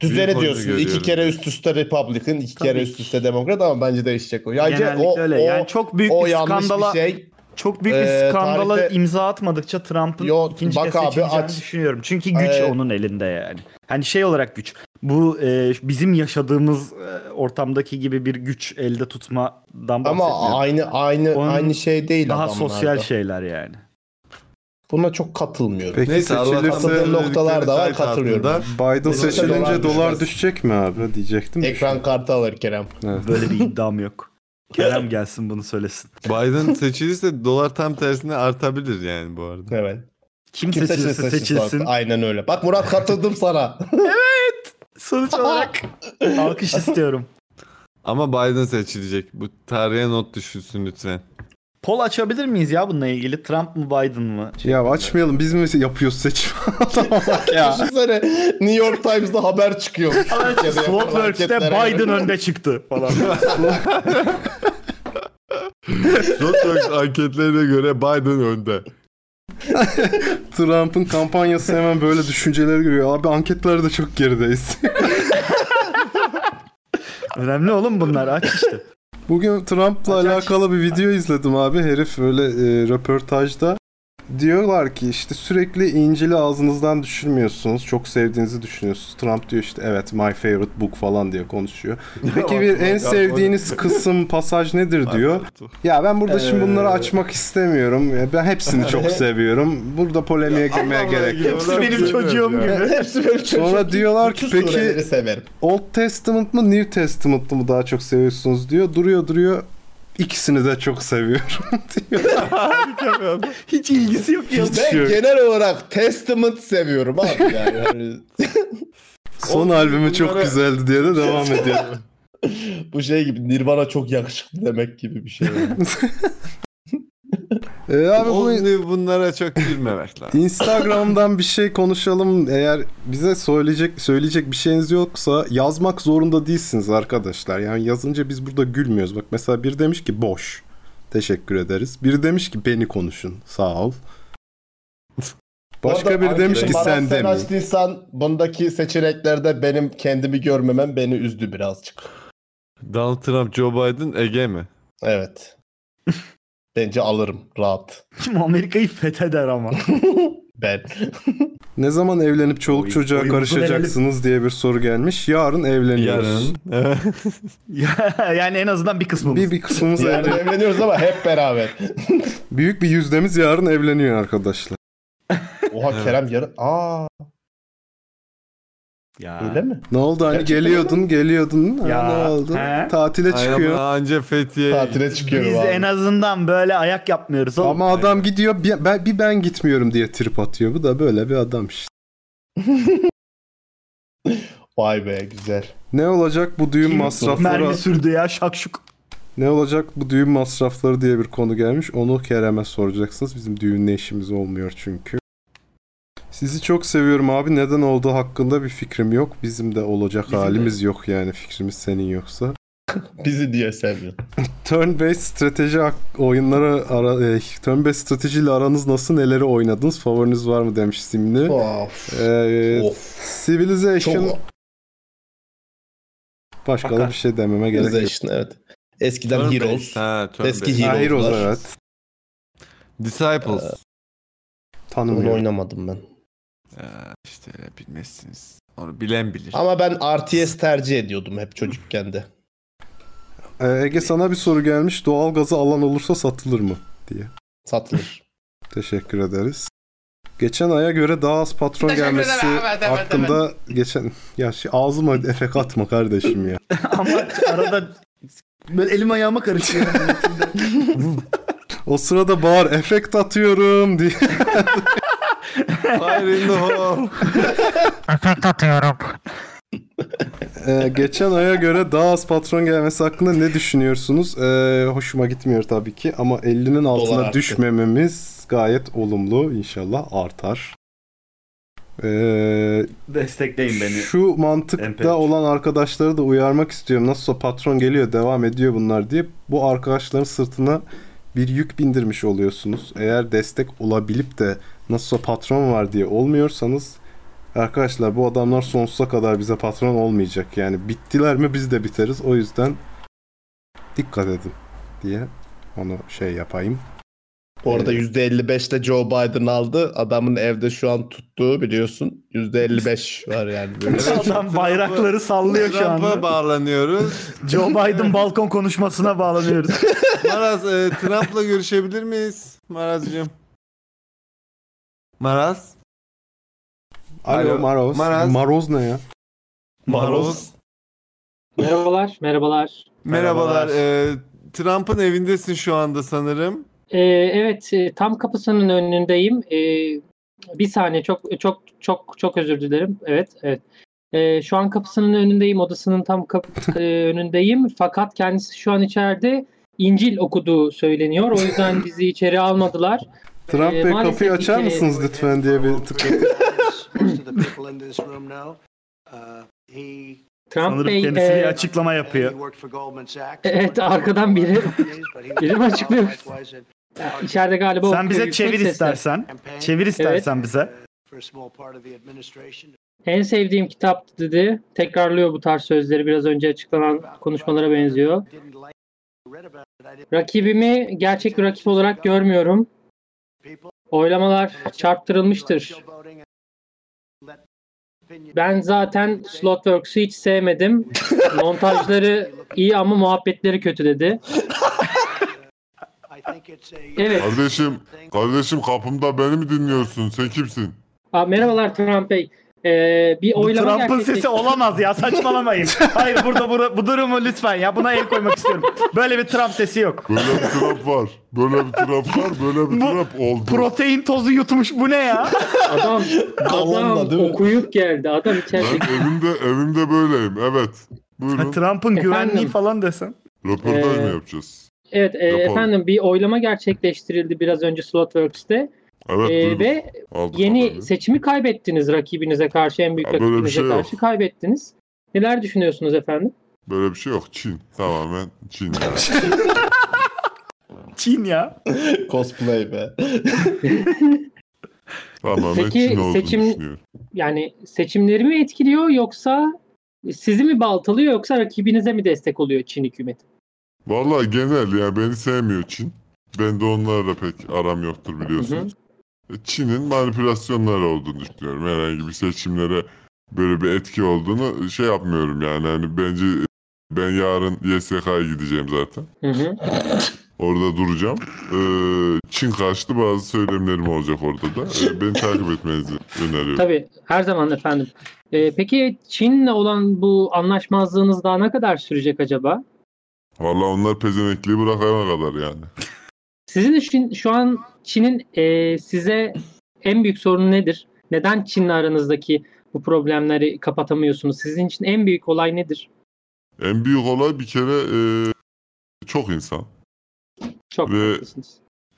Düzene diyorsun. iki kere üst üste Republican, iki kere üst üste Demokrat ama bence değişecek o. Yani Genellikle o, öyle. o- yani çok büyük o bir yanlış skandala bir şey. çok büyük bir Ee, skandala tarihte- imza atmadıkça Trump'ın ikinci bak kez abi, seçileceğini aç. düşünüyorum. Çünkü güç Ee, onun elinde yani. Hani şey olarak güç. Bu e, bizim yaşadığımız e, ortamdaki gibi bir güç elde tutmadan bahsetmiyorum. Ama aynı aynı Onun aynı şey değil Daha adamlarda. sosyal şey şeyler yani. Buna çok katılmıyorum. Peki seçilirse Katıldığım noktalar da var katılıyorum. Biden Neyse, seçilince dolar düşmez. düşecek mi abi diyecektim. Ekran kartı alır Kerem. Böyle bir iddiam yok. Kerem gelsin bunu söylesin. Biden seçilirse dolar tam tersine artabilir yani bu arada. Evet. Kim, seçilirse seçilsin. Aynen öyle. Bak Murat katıldım sana. evet. Sonuç olarak alkış istiyorum. Ama Biden seçilecek. Bu tarihe not düşünsün lütfen. Pol açabilir miyiz ya bununla ilgili? Trump mı Biden mı? Ya açmayalım biz mi yapıyoruz seçim? Ya. Düşünsene New York Times'da haber çıkıyor. Slotworks'te Biden önde çıktı falan. Sosyal anketlerine göre Biden önde. Trump'ın kampanyası hemen böyle düşünceler görüyor. Abi anketlerde çok gerideyiz. Önemli oğlum bunlar aç işte. Bugün Trump'la alakalı bir video izledim abi. Herif böyle e, röportajda diyorlar ki işte sürekli İncil'i ağzınızdan düşürmüyorsunuz. Çok sevdiğinizi düşünüyorsunuz. Trump diyor işte evet my favorite book falan diye konuşuyor. Peki bir en sevdiğiniz kısım pasaj nedir diyor. Ya ben burada şimdi Ee, bunları açmak istemiyorum. Ya Ben hepsini çok seviyorum. Burada polemiğe girmeye gerek yok. Hepsi benim çocuğum gibi. Hepsi benim çocuğum Sonra diyorlar ki Bütün peki sureleri severim. Old Testament mı New Testament mı daha çok seviyorsunuz diyor. Duruyor duruyor. İkisini de çok seviyorum diyor. Hiç ilgisi yok ya. Hiç ben yok. genel olarak Testament seviyorum abi yani. hani- yani. Son albümü çok güzeldi diye de devam ediyor. Bu şey gibi Nirvana çok yakışıklı demek gibi bir şey. abi bu- Onu- bunlara çok girmemek lazım. Instagram'dan bir şey konuşalım. Eğer bize söyleyecek söyleyecek bir şeyiniz yoksa yazmak zorunda değilsiniz arkadaşlar. Yani yazınca biz burada gülmüyoruz. Bak mesela bir demiş ki boş. Teşekkür ederiz. Biri demiş ki beni konuşun. Sağ ol. Başka biri demiş ki şey. Bana sen Sen demeyin. açtıysan bundaki seçeneklerde benim kendimi görmemem beni üzdü birazcık. Donald Trump, Joe Biden, Ege mi? Evet. Bence alırım rahat. Kim Amerika'yı fetheder ama. Ben. Ne zaman evlenip çoluk Oy- çocuğa oyumuzu karışacaksınız diye bir soru gelmiş. Yarın evleniyoruz. yani en azından bir kısmımız. Bir, bir kısmımız Yarın evlen- evleniyoruz ama hep beraber. Büyük bir yüzdemiz yarın evleniyor arkadaşlar. Oha Kerem yarın. Aa. Ya. Öyle mi? Ne oldu hani Gerçekten geliyordun geliyordun Ha, Ya, ne oldu? he? Tatile Ay çıkıyor. ama anca Fethiye. Tatile çıkıyor Biz en azından böyle ayak yapmıyoruz oğlum. Ama adam gidiyor bir ben, bir ben gitmiyorum diye trip atıyor. Bu da böyle bir adam işte. Vay be güzel. Ne olacak bu düğün masrafları? Mermi sürdü ya şakşuk. Ne olacak bu düğün masrafları diye bir konu gelmiş. Onu Kerem'e soracaksınız. Bizim düğünle işimiz olmuyor çünkü. Sizi çok seviyorum abi. Neden olduğu hakkında bir fikrim yok. Bizim de olacak halimiz yok yani. Fikrimiz senin yoksa. Bizi diye seviyor. Turn-based strateji ak- oyunları ara, e, turn-based stratejiyle aranız nasıl? Neleri oynadınız? Favoriniz var mı demiş Simli. Of. Ee, Civilization Çok- başka da bir şey dememe gerek yok. Civilization, evet. Eskiden Turn-based, Heroes. ha, turn-based. Eski Ha, Heroes'lar. Heroes, evet. Disciples. Ee, Onu Tanımıyorum. oynamadım ben. Ee, işte bilmezsiniz. Onu bilen bilir. Ama ben RTS tercih ediyordum hep çocukken de. Ee, Ege sana bir soru gelmiş. Doğalgazı alan olursa satılır mı? diye. Satılır. Teşekkür ederiz. Geçen aya göre daha az patron Teşekkür ederim, gelmesi evet, evet, hakkında geçen ya şey, ağzıma efek atma kardeşim ya. Ama arada böyle elim ayağıma karışıyor. O sırada bağır efekt atıyorum diye. Fire in the hole. efekt atıyorum. Ee, geçen aya göre daha az patron gelmesi hakkında ne düşünüyorsunuz? Ee, hoşuma gitmiyor tabii ki ama 50'nin altına arttı. düşmememiz gayet olumlu. İnşallah artar. Ee, Destekleyin beni. Şu mantıkta Emperyal. olan arkadaşları da uyarmak istiyorum. Nasılsa patron geliyor, devam ediyor bunlar diye. Bu arkadaşların sırtına bir yük bindirmiş oluyorsunuz. Eğer destek olabilip de nasılsa patron var diye olmuyorsanız arkadaşlar bu adamlar sonsuza kadar bize patron olmayacak. Yani bittiler mi biz de biteriz. O yüzden dikkat edin diye onu şey yapayım. Ee, Bu arada %55'le Joe Biden aldı. Adamın evde şu an tuttuğu biliyorsun. %55 var yani. Böyle. Adam bayrakları sallıyor şu Trump'a anda. bağlanıyoruz. Joe Biden balkon konuşmasına bağlanıyoruz. Maraz e, Trump'la görüşebilir miyiz? Marazcığım. Maraz. Alo, Alo, Maroz. Maroz. Maroz ne ya? Maroz. Merhabalar, merhabalar. Merhabalar. e, Trump'ın evindesin şu anda sanırım. Ee, evet, e, tam kapısının önündeyim. Ee, bir saniye, çok çok çok çok özür dilerim. Evet, evet. Ee, şu e, an kapısının önündeyim, odasının tam kap- e, önündeyim. Fakat kendisi şu an içeride. İncil okuduğu söyleniyor. O yüzden bizi içeri almadılar. Trump Ee, Bey maalesef kapıyı açar içeri- mısınız lütfen diye bir tıklatın. Trump Sanırım Bey kendisi e, bir açıklama yapıyor. evet arkadan biri biri mi açıklıyor? İçeride galiba Sen okuyor bize yüksek çevir sesle. istersen. Çevir istersen bize. En sevdiğim kitap dedi. Tekrarlıyor bu tarz sözleri. Biraz önce açıklanan konuşmalara benziyor. Rakibimi gerçek bir rakip olarak görmüyorum. Oylamalar çarptırılmıştır. Ben zaten Slotworks'u hiç sevmedim. Montajları iyi ama muhabbetleri kötü dedi. Evet. Kardeşim, kardeşim kapımda beni mi dinliyorsun? Sen kimsin? Aa, merhabalar Trump Bey. Ee, bir Bu oylama Trump'ın gerçekleşti. sesi olamaz ya saçmalamayın. Hayır burada bu, bu durumu lütfen ya buna el koymak istiyorum. Böyle bir Trump sesi yok. Böyle bir trap var. Böyle bir trap var. Böyle bir trap oldu. Protein tozu yutmuş bu ne ya? Adam, Galonla, adam değil mi? okuyup geldi. Adam içeride. Ben evimde, evimde böyleyim. Evet. Buyurun. Trump'ın güvenliği Efendim? falan desem. Röportaj Ee, mı yapacağız? Evet e, Yapalım. efendim bir oylama gerçekleştirildi biraz önce Slotworks'te. Evet, Ee, duydum. ve Aldık yeni seçimi kaybettiniz rakibinize karşı en büyük Ha, böyle bir rakibinize şey yok. karşı kaybettiniz. Neler düşünüyorsunuz efendim? Böyle bir şey yok. Çin. Tamamen Çin. Çin ya. Cosplay be. Tamamen Peki Çin olduğunu seçim düşünüyorum. yani seçimleri mi etkiliyor yoksa sizi mi baltalıyor yoksa rakibinize mi destek oluyor Çin hükümeti? Vallahi genel ya beni sevmiyor Çin. Ben de onlarla pek aram yoktur biliyorsunuz. E, Çin'in manipülasyonları olduğunu düşünüyorum. Herhangi bir seçimlere böyle bir etki olduğunu şey yapmıyorum yani. Hani bence ben yarın YSK'ya gideceğim zaten. Hı hı. Orada duracağım. Ee, Çin karşıtı bazı söylemlerim olacak orada da. Ee, beni takip etmenizi öneriyorum. Tabii her zaman efendim. Ee, peki Çin'le olan bu anlaşmazlığınız daha ne kadar sürecek acaba? Vallahi onlar pezenekliği bırakana kadar yani. Sizin için şu an Çin'in e, size en büyük sorunu nedir? Neden Çin'le aranızdaki bu problemleri kapatamıyorsunuz? Sizin için en büyük olay nedir? En büyük olay bir kere e, çok insan. Çok Ve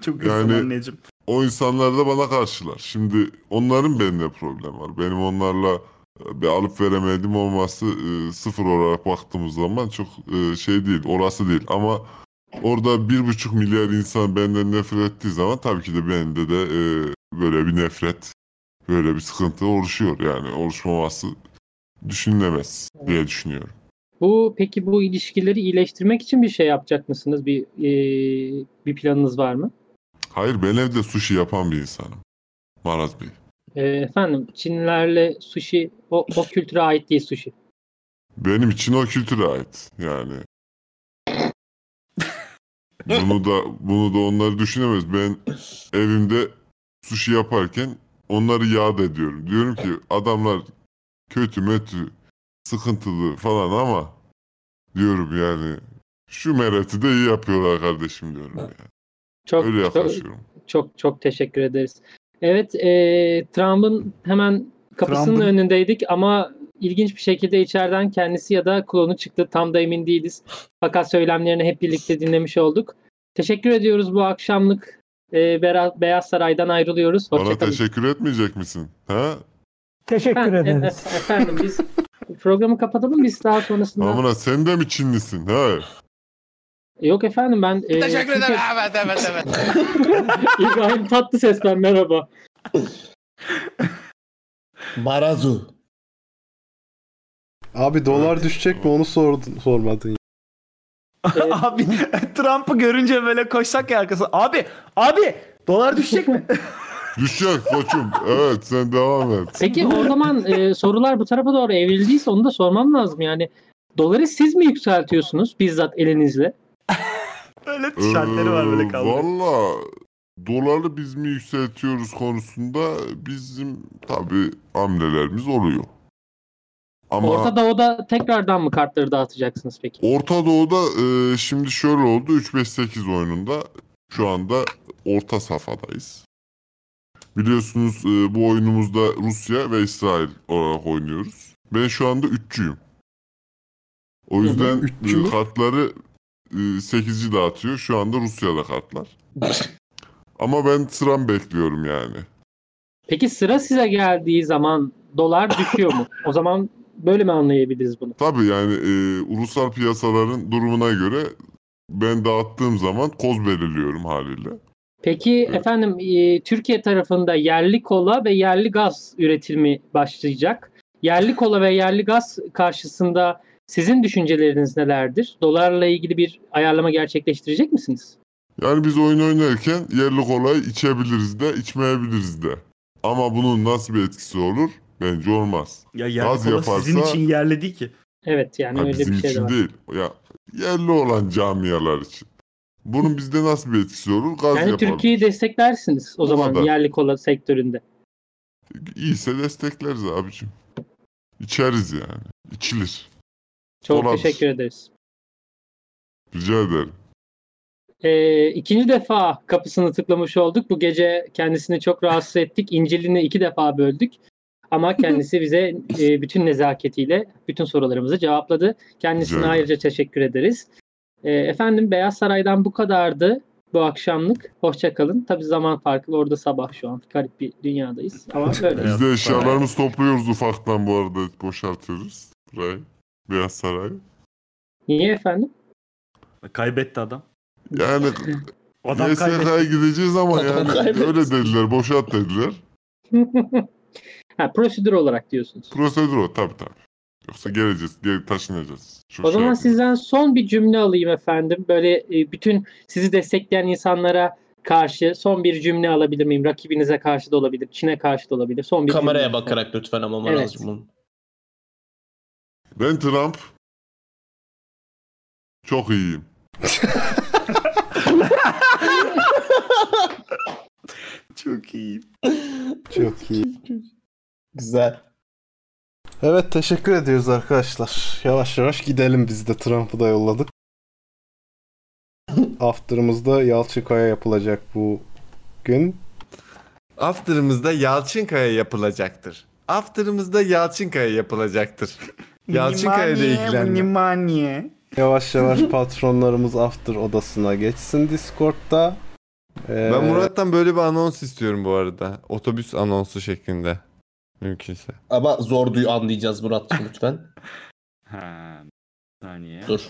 Çok yani yani... anneciğim. o insanlar da bana karşılar. Şimdi onların benimle problem var. Benim onlarla e, bir alıp veremedim olması e, sıfır olarak baktığımız zaman çok e, şey değil, orası değil. Ama orada bir buçuk milyar insan benden nefret ettiği zaman tabii ki de bende de e, böyle bir nefret, böyle bir sıkıntı oluşuyor. Yani oluşmaması düşünülemez diye düşünüyorum. Bu peki bu ilişkileri iyileştirmek için bir şey yapacak mısınız? Bir e, bir planınız var mı? Hayır ben evde sushi yapan bir insanım. Marat Bey. E, efendim Çinlerle sushi o, o kültüre ait değil sushi. Benim için o kültüre ait yani. bunu da bunu da onlar düşünemez. Ben evimde sushi yaparken onları yad ediyorum. Diyorum ki adamlar kötü mötü sıkıntılı falan ama diyorum yani şu mereti de iyi yapıyorlar kardeşim diyorum yani. Çok, Öyle çok- yaklaşıyorum. Çok çok teşekkür ederiz. Evet, e, Trump'ın hemen kapısının Trump'ın- önündeydik ama ilginç bir şekilde içeriden kendisi ya da klonu çıktı. Tam da emin değiliz. Fakat söylemlerini hep birlikte dinlemiş olduk. Teşekkür ediyoruz bu akşamlık. E, Bera- Beyaz Saray'dan ayrılıyoruz. Bana Hoşçakalın. teşekkür etmeyecek misin? Ha? Teşekkür ederiz. Efendim biz programı kapatalım biz daha sonrasında. Amına sen de mi Çinlisin? Ha? Yok efendim ben... e, Teşekkür çünkü- ederim. Evet evet evet. İbrahim Tatlıses ben merhaba. Barazu. Abi dolar düşecek mi onu sordun, sormadın. ya. Ee, abi Trump'ı görünce böyle koşsak ya arkasına. Abi abi dolar düşecek mi? Düşecek koçum. Evet sen devam et. Peki o zaman e, sorular bu tarafa doğru evrildiyse onu da sormam lazım. Yani doları siz mi yükseltiyorsunuz bizzat elinizle? Öyle tişörtleri var böyle Ee, kaldırıyor. Valla dolarla biz mi yükseltiyoruz konusunda bizim tabi hamlelerimiz oluyor. Ama Orta Doğu'da tekrardan mı kartları dağıtacaksınız peki? Orta Doğu'da e, şimdi şöyle oldu 3-5-8 oyununda şu anda orta safhadayız. Biliyorsunuz e, bu oyunumuzda Rusya ve İsrail e, olarak oynuyoruz. Ben şu anda 3'cüyüm. O yüzden Üççü mü? e, kartları e, 8. dağıtıyor. Şu anda Rusya'da kartlar. Ama ben sıram bekliyorum yani. Peki sıra size geldiği zaman dolar düşüyor mu? O zaman böyle mi anlayabiliriz bunu? Tabii yani e, ulusal piyasaların durumuna göre ben dağıttığım zaman koz belirliyorum haliyle. Peki efendim e, Türkiye tarafında yerli kola ve yerli gaz üretimi başlayacak. Yerli kola ve yerli gaz karşısında sizin düşünceleriniz nelerdir? Dolarla ilgili bir ayarlama gerçekleştirecek misiniz? Yani biz oyun oynarken yerli kolayı içebiliriz de içmeyebiliriz de. Ama bunun nasıl bir etkisi olur? Bence olmaz. Ya yerli kola sizin için yerli değil ki. Evet yani Ha, öyle bizim bir şey de için var. değil. Ya yerli olan camialar için. Bunun bizde nasıl bir etkisi olur? Gaz Yani yapalım. Türkiye'yi desteklersiniz o zaman kadar. yerli kola sektöründe. İyiyse destekleriz abicim. İçeriz yani. İçilir. Çok Dolar. teşekkür ederiz. Rica ederim. Ee, ikinci defa kapısını tıklamış olduk. Bu gece kendisini çok rahatsız ettik. İncil'ini iki defa böldük. Ama kendisi bize e, bütün nezaketiyle bütün sorularımızı cevapladı. Kendisine Rica ederim. ayrıca teşekkür ederiz. Ee, efendim Beyaz Saray'dan bu kadardı bu akşamlık. Hoşçakalın. Tabi zaman farklı. Orada sabah şu an. Garip bir dünyadayız. Ama böyle. Biz de eşyalarımızı topluyoruz ufaktan bu arada. Boşaltıyoruz. Burayı. Beyaz Saray. Niye efendim? Kaybetti adam. Yani Adam YSK'ya gideceğiz ama Adam yani kaybetti. öyle dediler. Boşalt dediler. ha, prosedür olarak diyorsunuz. Prosedür o tabii tabii. Yoksa geleceğiz. Gel, taşınacağız. Çok O şey zaman sizden son bir cümle alayım efendim. Böyle e, bütün sizi destekleyen insanlara karşı son bir cümle alabilir miyim? Rakibinize karşı da olabilir, Çin'e karşı da olabilir. Son bir Kameraya cümle. bakarak lütfen ama Evet. Maraz'cığım bunu. Ben Trump. Çok iyiyim. Çok iyi. Çok iyi. Güzel. Evet teşekkür ediyoruz arkadaşlar. Yavaş yavaş gidelim biz de Trump'ı da yolladık. After'ımızda Yalçıkaya yapılacak bu gün. After'ımızda Yalçınkaya yapılacaktır. After'ımızda Yalçınkaya yapılacaktır. Yalçınkaya ile ilgilenme. Nimaniye. Yavaş yavaş patronlarımız After odasına geçsin Discord'da. Ee, Ben Murat'tan böyle bir anons istiyorum bu arada. Otobüs anonsu şeklinde. Mümkünse. Ama zor duyu anlayacağız Murat'cığım lütfen. Ha, bir saniye. Dur.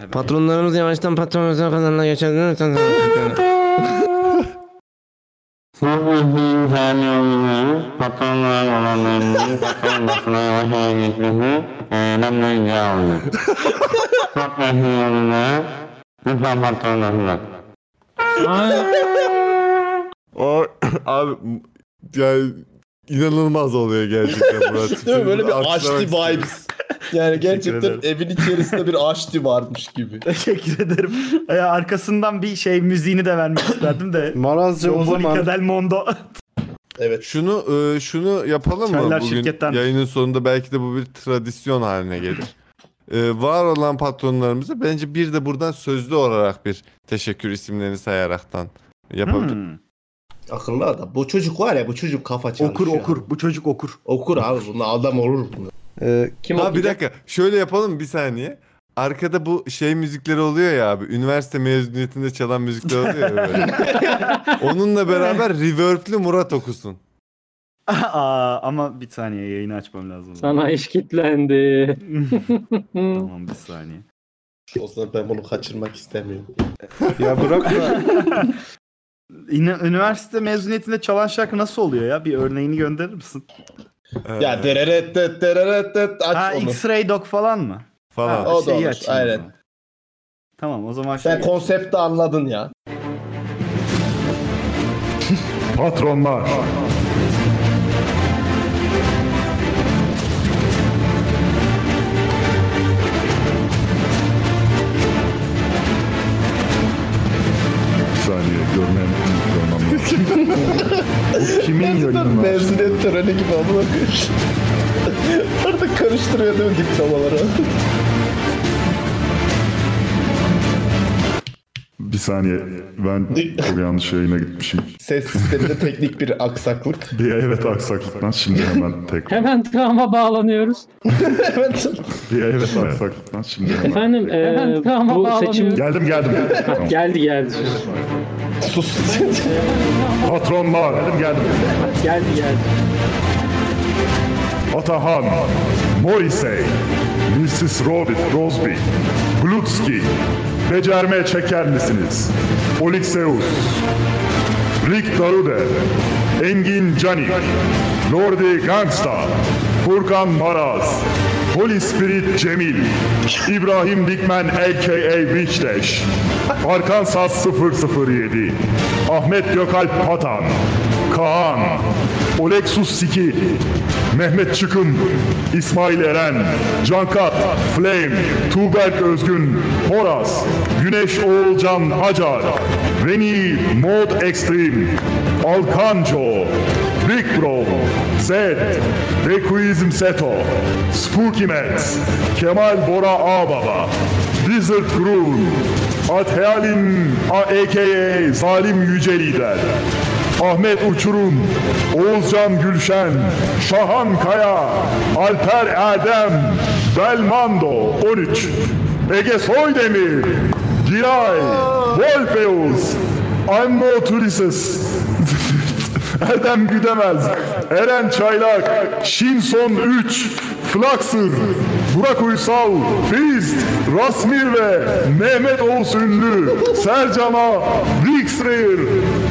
Evet. Patronlarımız yavaştan patronumuzun kanalına geçer. Ay, abi m- yani inanılmaz oluyor gerçekten Murat. Değil mi? Böyle bir Alkışlamak Ashti istiyorum. vibes. Yani gerçekten ederim. evin içerisinde bir Ashti varmış gibi. Teşekkür ederim. Ee, arkasından bir şey müziğini de vermek isterdim de. Marazca o zaman. Del Mondo. Evet. Şunu e, şunu yapalım mı Çaylar bugün şirketten. yayının sonunda belki de bu bir tradisyon haline gelir. E, var olan patronlarımıza bence bir de buradan sözlü olarak bir teşekkür isimlerini sayaraktan yapabilir. Hmm. Akıllı adam. Bu çocuk var ya bu çocuk kafa çalışıyor. Okur, okur. Bu çocuk okur. Okur abi. Bunun adam olur mu? ha bir dakika şöyle yapalım mı? bir saniye. Arkada bu şey müzikleri oluyor ya abi. Üniversite mezuniyetinde çalan müzikler oluyor ya böyle. Onunla beraber reverb'lü Murat okusun. Aa, ama bir saniye yayını açmam lazım. Sana iş kitlendi. tamam bir saniye. O zaman ben bunu kaçırmak istemiyorum. ya bırak İna- üniversite mezuniyetinde çalan şarkı nasıl oluyor ya? Bir örneğini gönderir misin? Ee, Ya dereret det dereret det aç Ha, onu. X-Ray Dog falan mı? Falan. Ha, O da şeyi olur, açayım o aynen. zaman. Tamam o zaman Sen konsepti anladın ya. Patronlar. Bir saniye görmem Bu kimin yayını mı? Mezuniyet töreni gibi ama bakış. Orada karıştırıyor değil mi diplomaları? Bir Bir saniye. Ben çok yanlış yayına gitmişim. Ses sisteminde teknik bir aksaklık. Bir evet aksaklıktan şimdi hemen tekrar. Hemen travma bağlanıyoruz. evet. Bir evet aksaklıktan şimdi hemen. Efendim, e, Hemen bu seçim... Geldim geldim. Tamam. geldi geldi. Sus. Patron var. Geldim geldim. geldi geldi. Atahan, Morrissey, Mrs. Robert Rosby, Glutski, becerme çeker misiniz? Olixeus, Rick Darude, Engin Cani, Lordi Gangsta, Furkan Maraz, Holy Spirit Cemil, İbrahim Dikmen a.k.a. Witchdash, Arkansas 007, Ahmet Gökalp Patan, Kaan, Olexus Siki, Mehmet Çıkım, İsmail Eren, Cankat, Flame, Tuğberk Özgün, Horas, Güneş Oğulcan Acar, Veni Mod Extreme, Alkanco, Big Bro, Z, Requism Seto, Spooky Mets, Kemal Bora Ağbaba, Wizard Groove, Athealin a.k.a. E Zalim Yüce Lider, Ahmet Uçurum, Oğuzcan Gülşen, Şahan Kaya, Alper Erdem, Belmando 13, Ege Soydemir, Giray, Wolfeus, Ambo Turises, Erdem Güdemez, Eren Çaylak, Şinson 3, Flaksır, Burak Uysal, Fist, Rasmir ve Mehmet Oğuz Ünlü, Sercama, Rix Rear,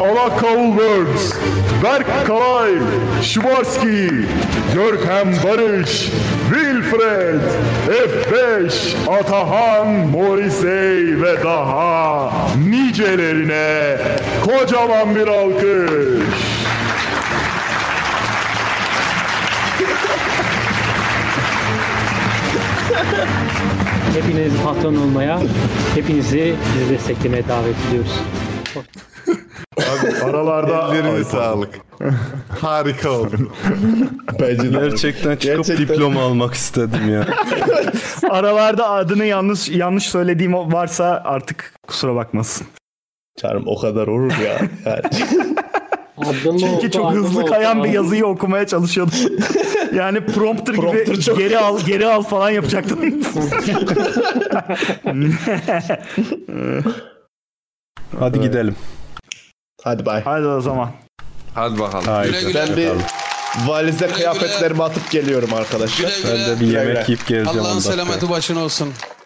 Alakaul Words, Berk Kalay, Şubarski, Görkem Barış, Wilfred, F5, Atahan, Morrissey ve daha nicelerine kocaman bir alkış. Hepiniz patron olmaya, hepinizi bizi desteklemeye davet ediyoruz. Aralarda Ellerine sağlık. Harika oldu. Ee, Gerçekten çıkıp diploma almak istedim ya. Aralarda adını yanlış yanlış söylediğim varsa artık kusura bakmasın. Çarım o kadar olur ya. Çünkü çok hızlı kayan bir yazıyı okumaya çalışıyordum. Yani prompter, gibi geri al geri al falan yapacaktım. Hadi gidelim. Hadi bay. Hadi o zaman. Hadi bakalım. Haydi. Güle güle. Ben bir valize kıyafetlerimi atıp geliyorum arkadaşlar. Ben de bir yemek yiyip geleceğim Allah'ın ondan. selameti başına olsun.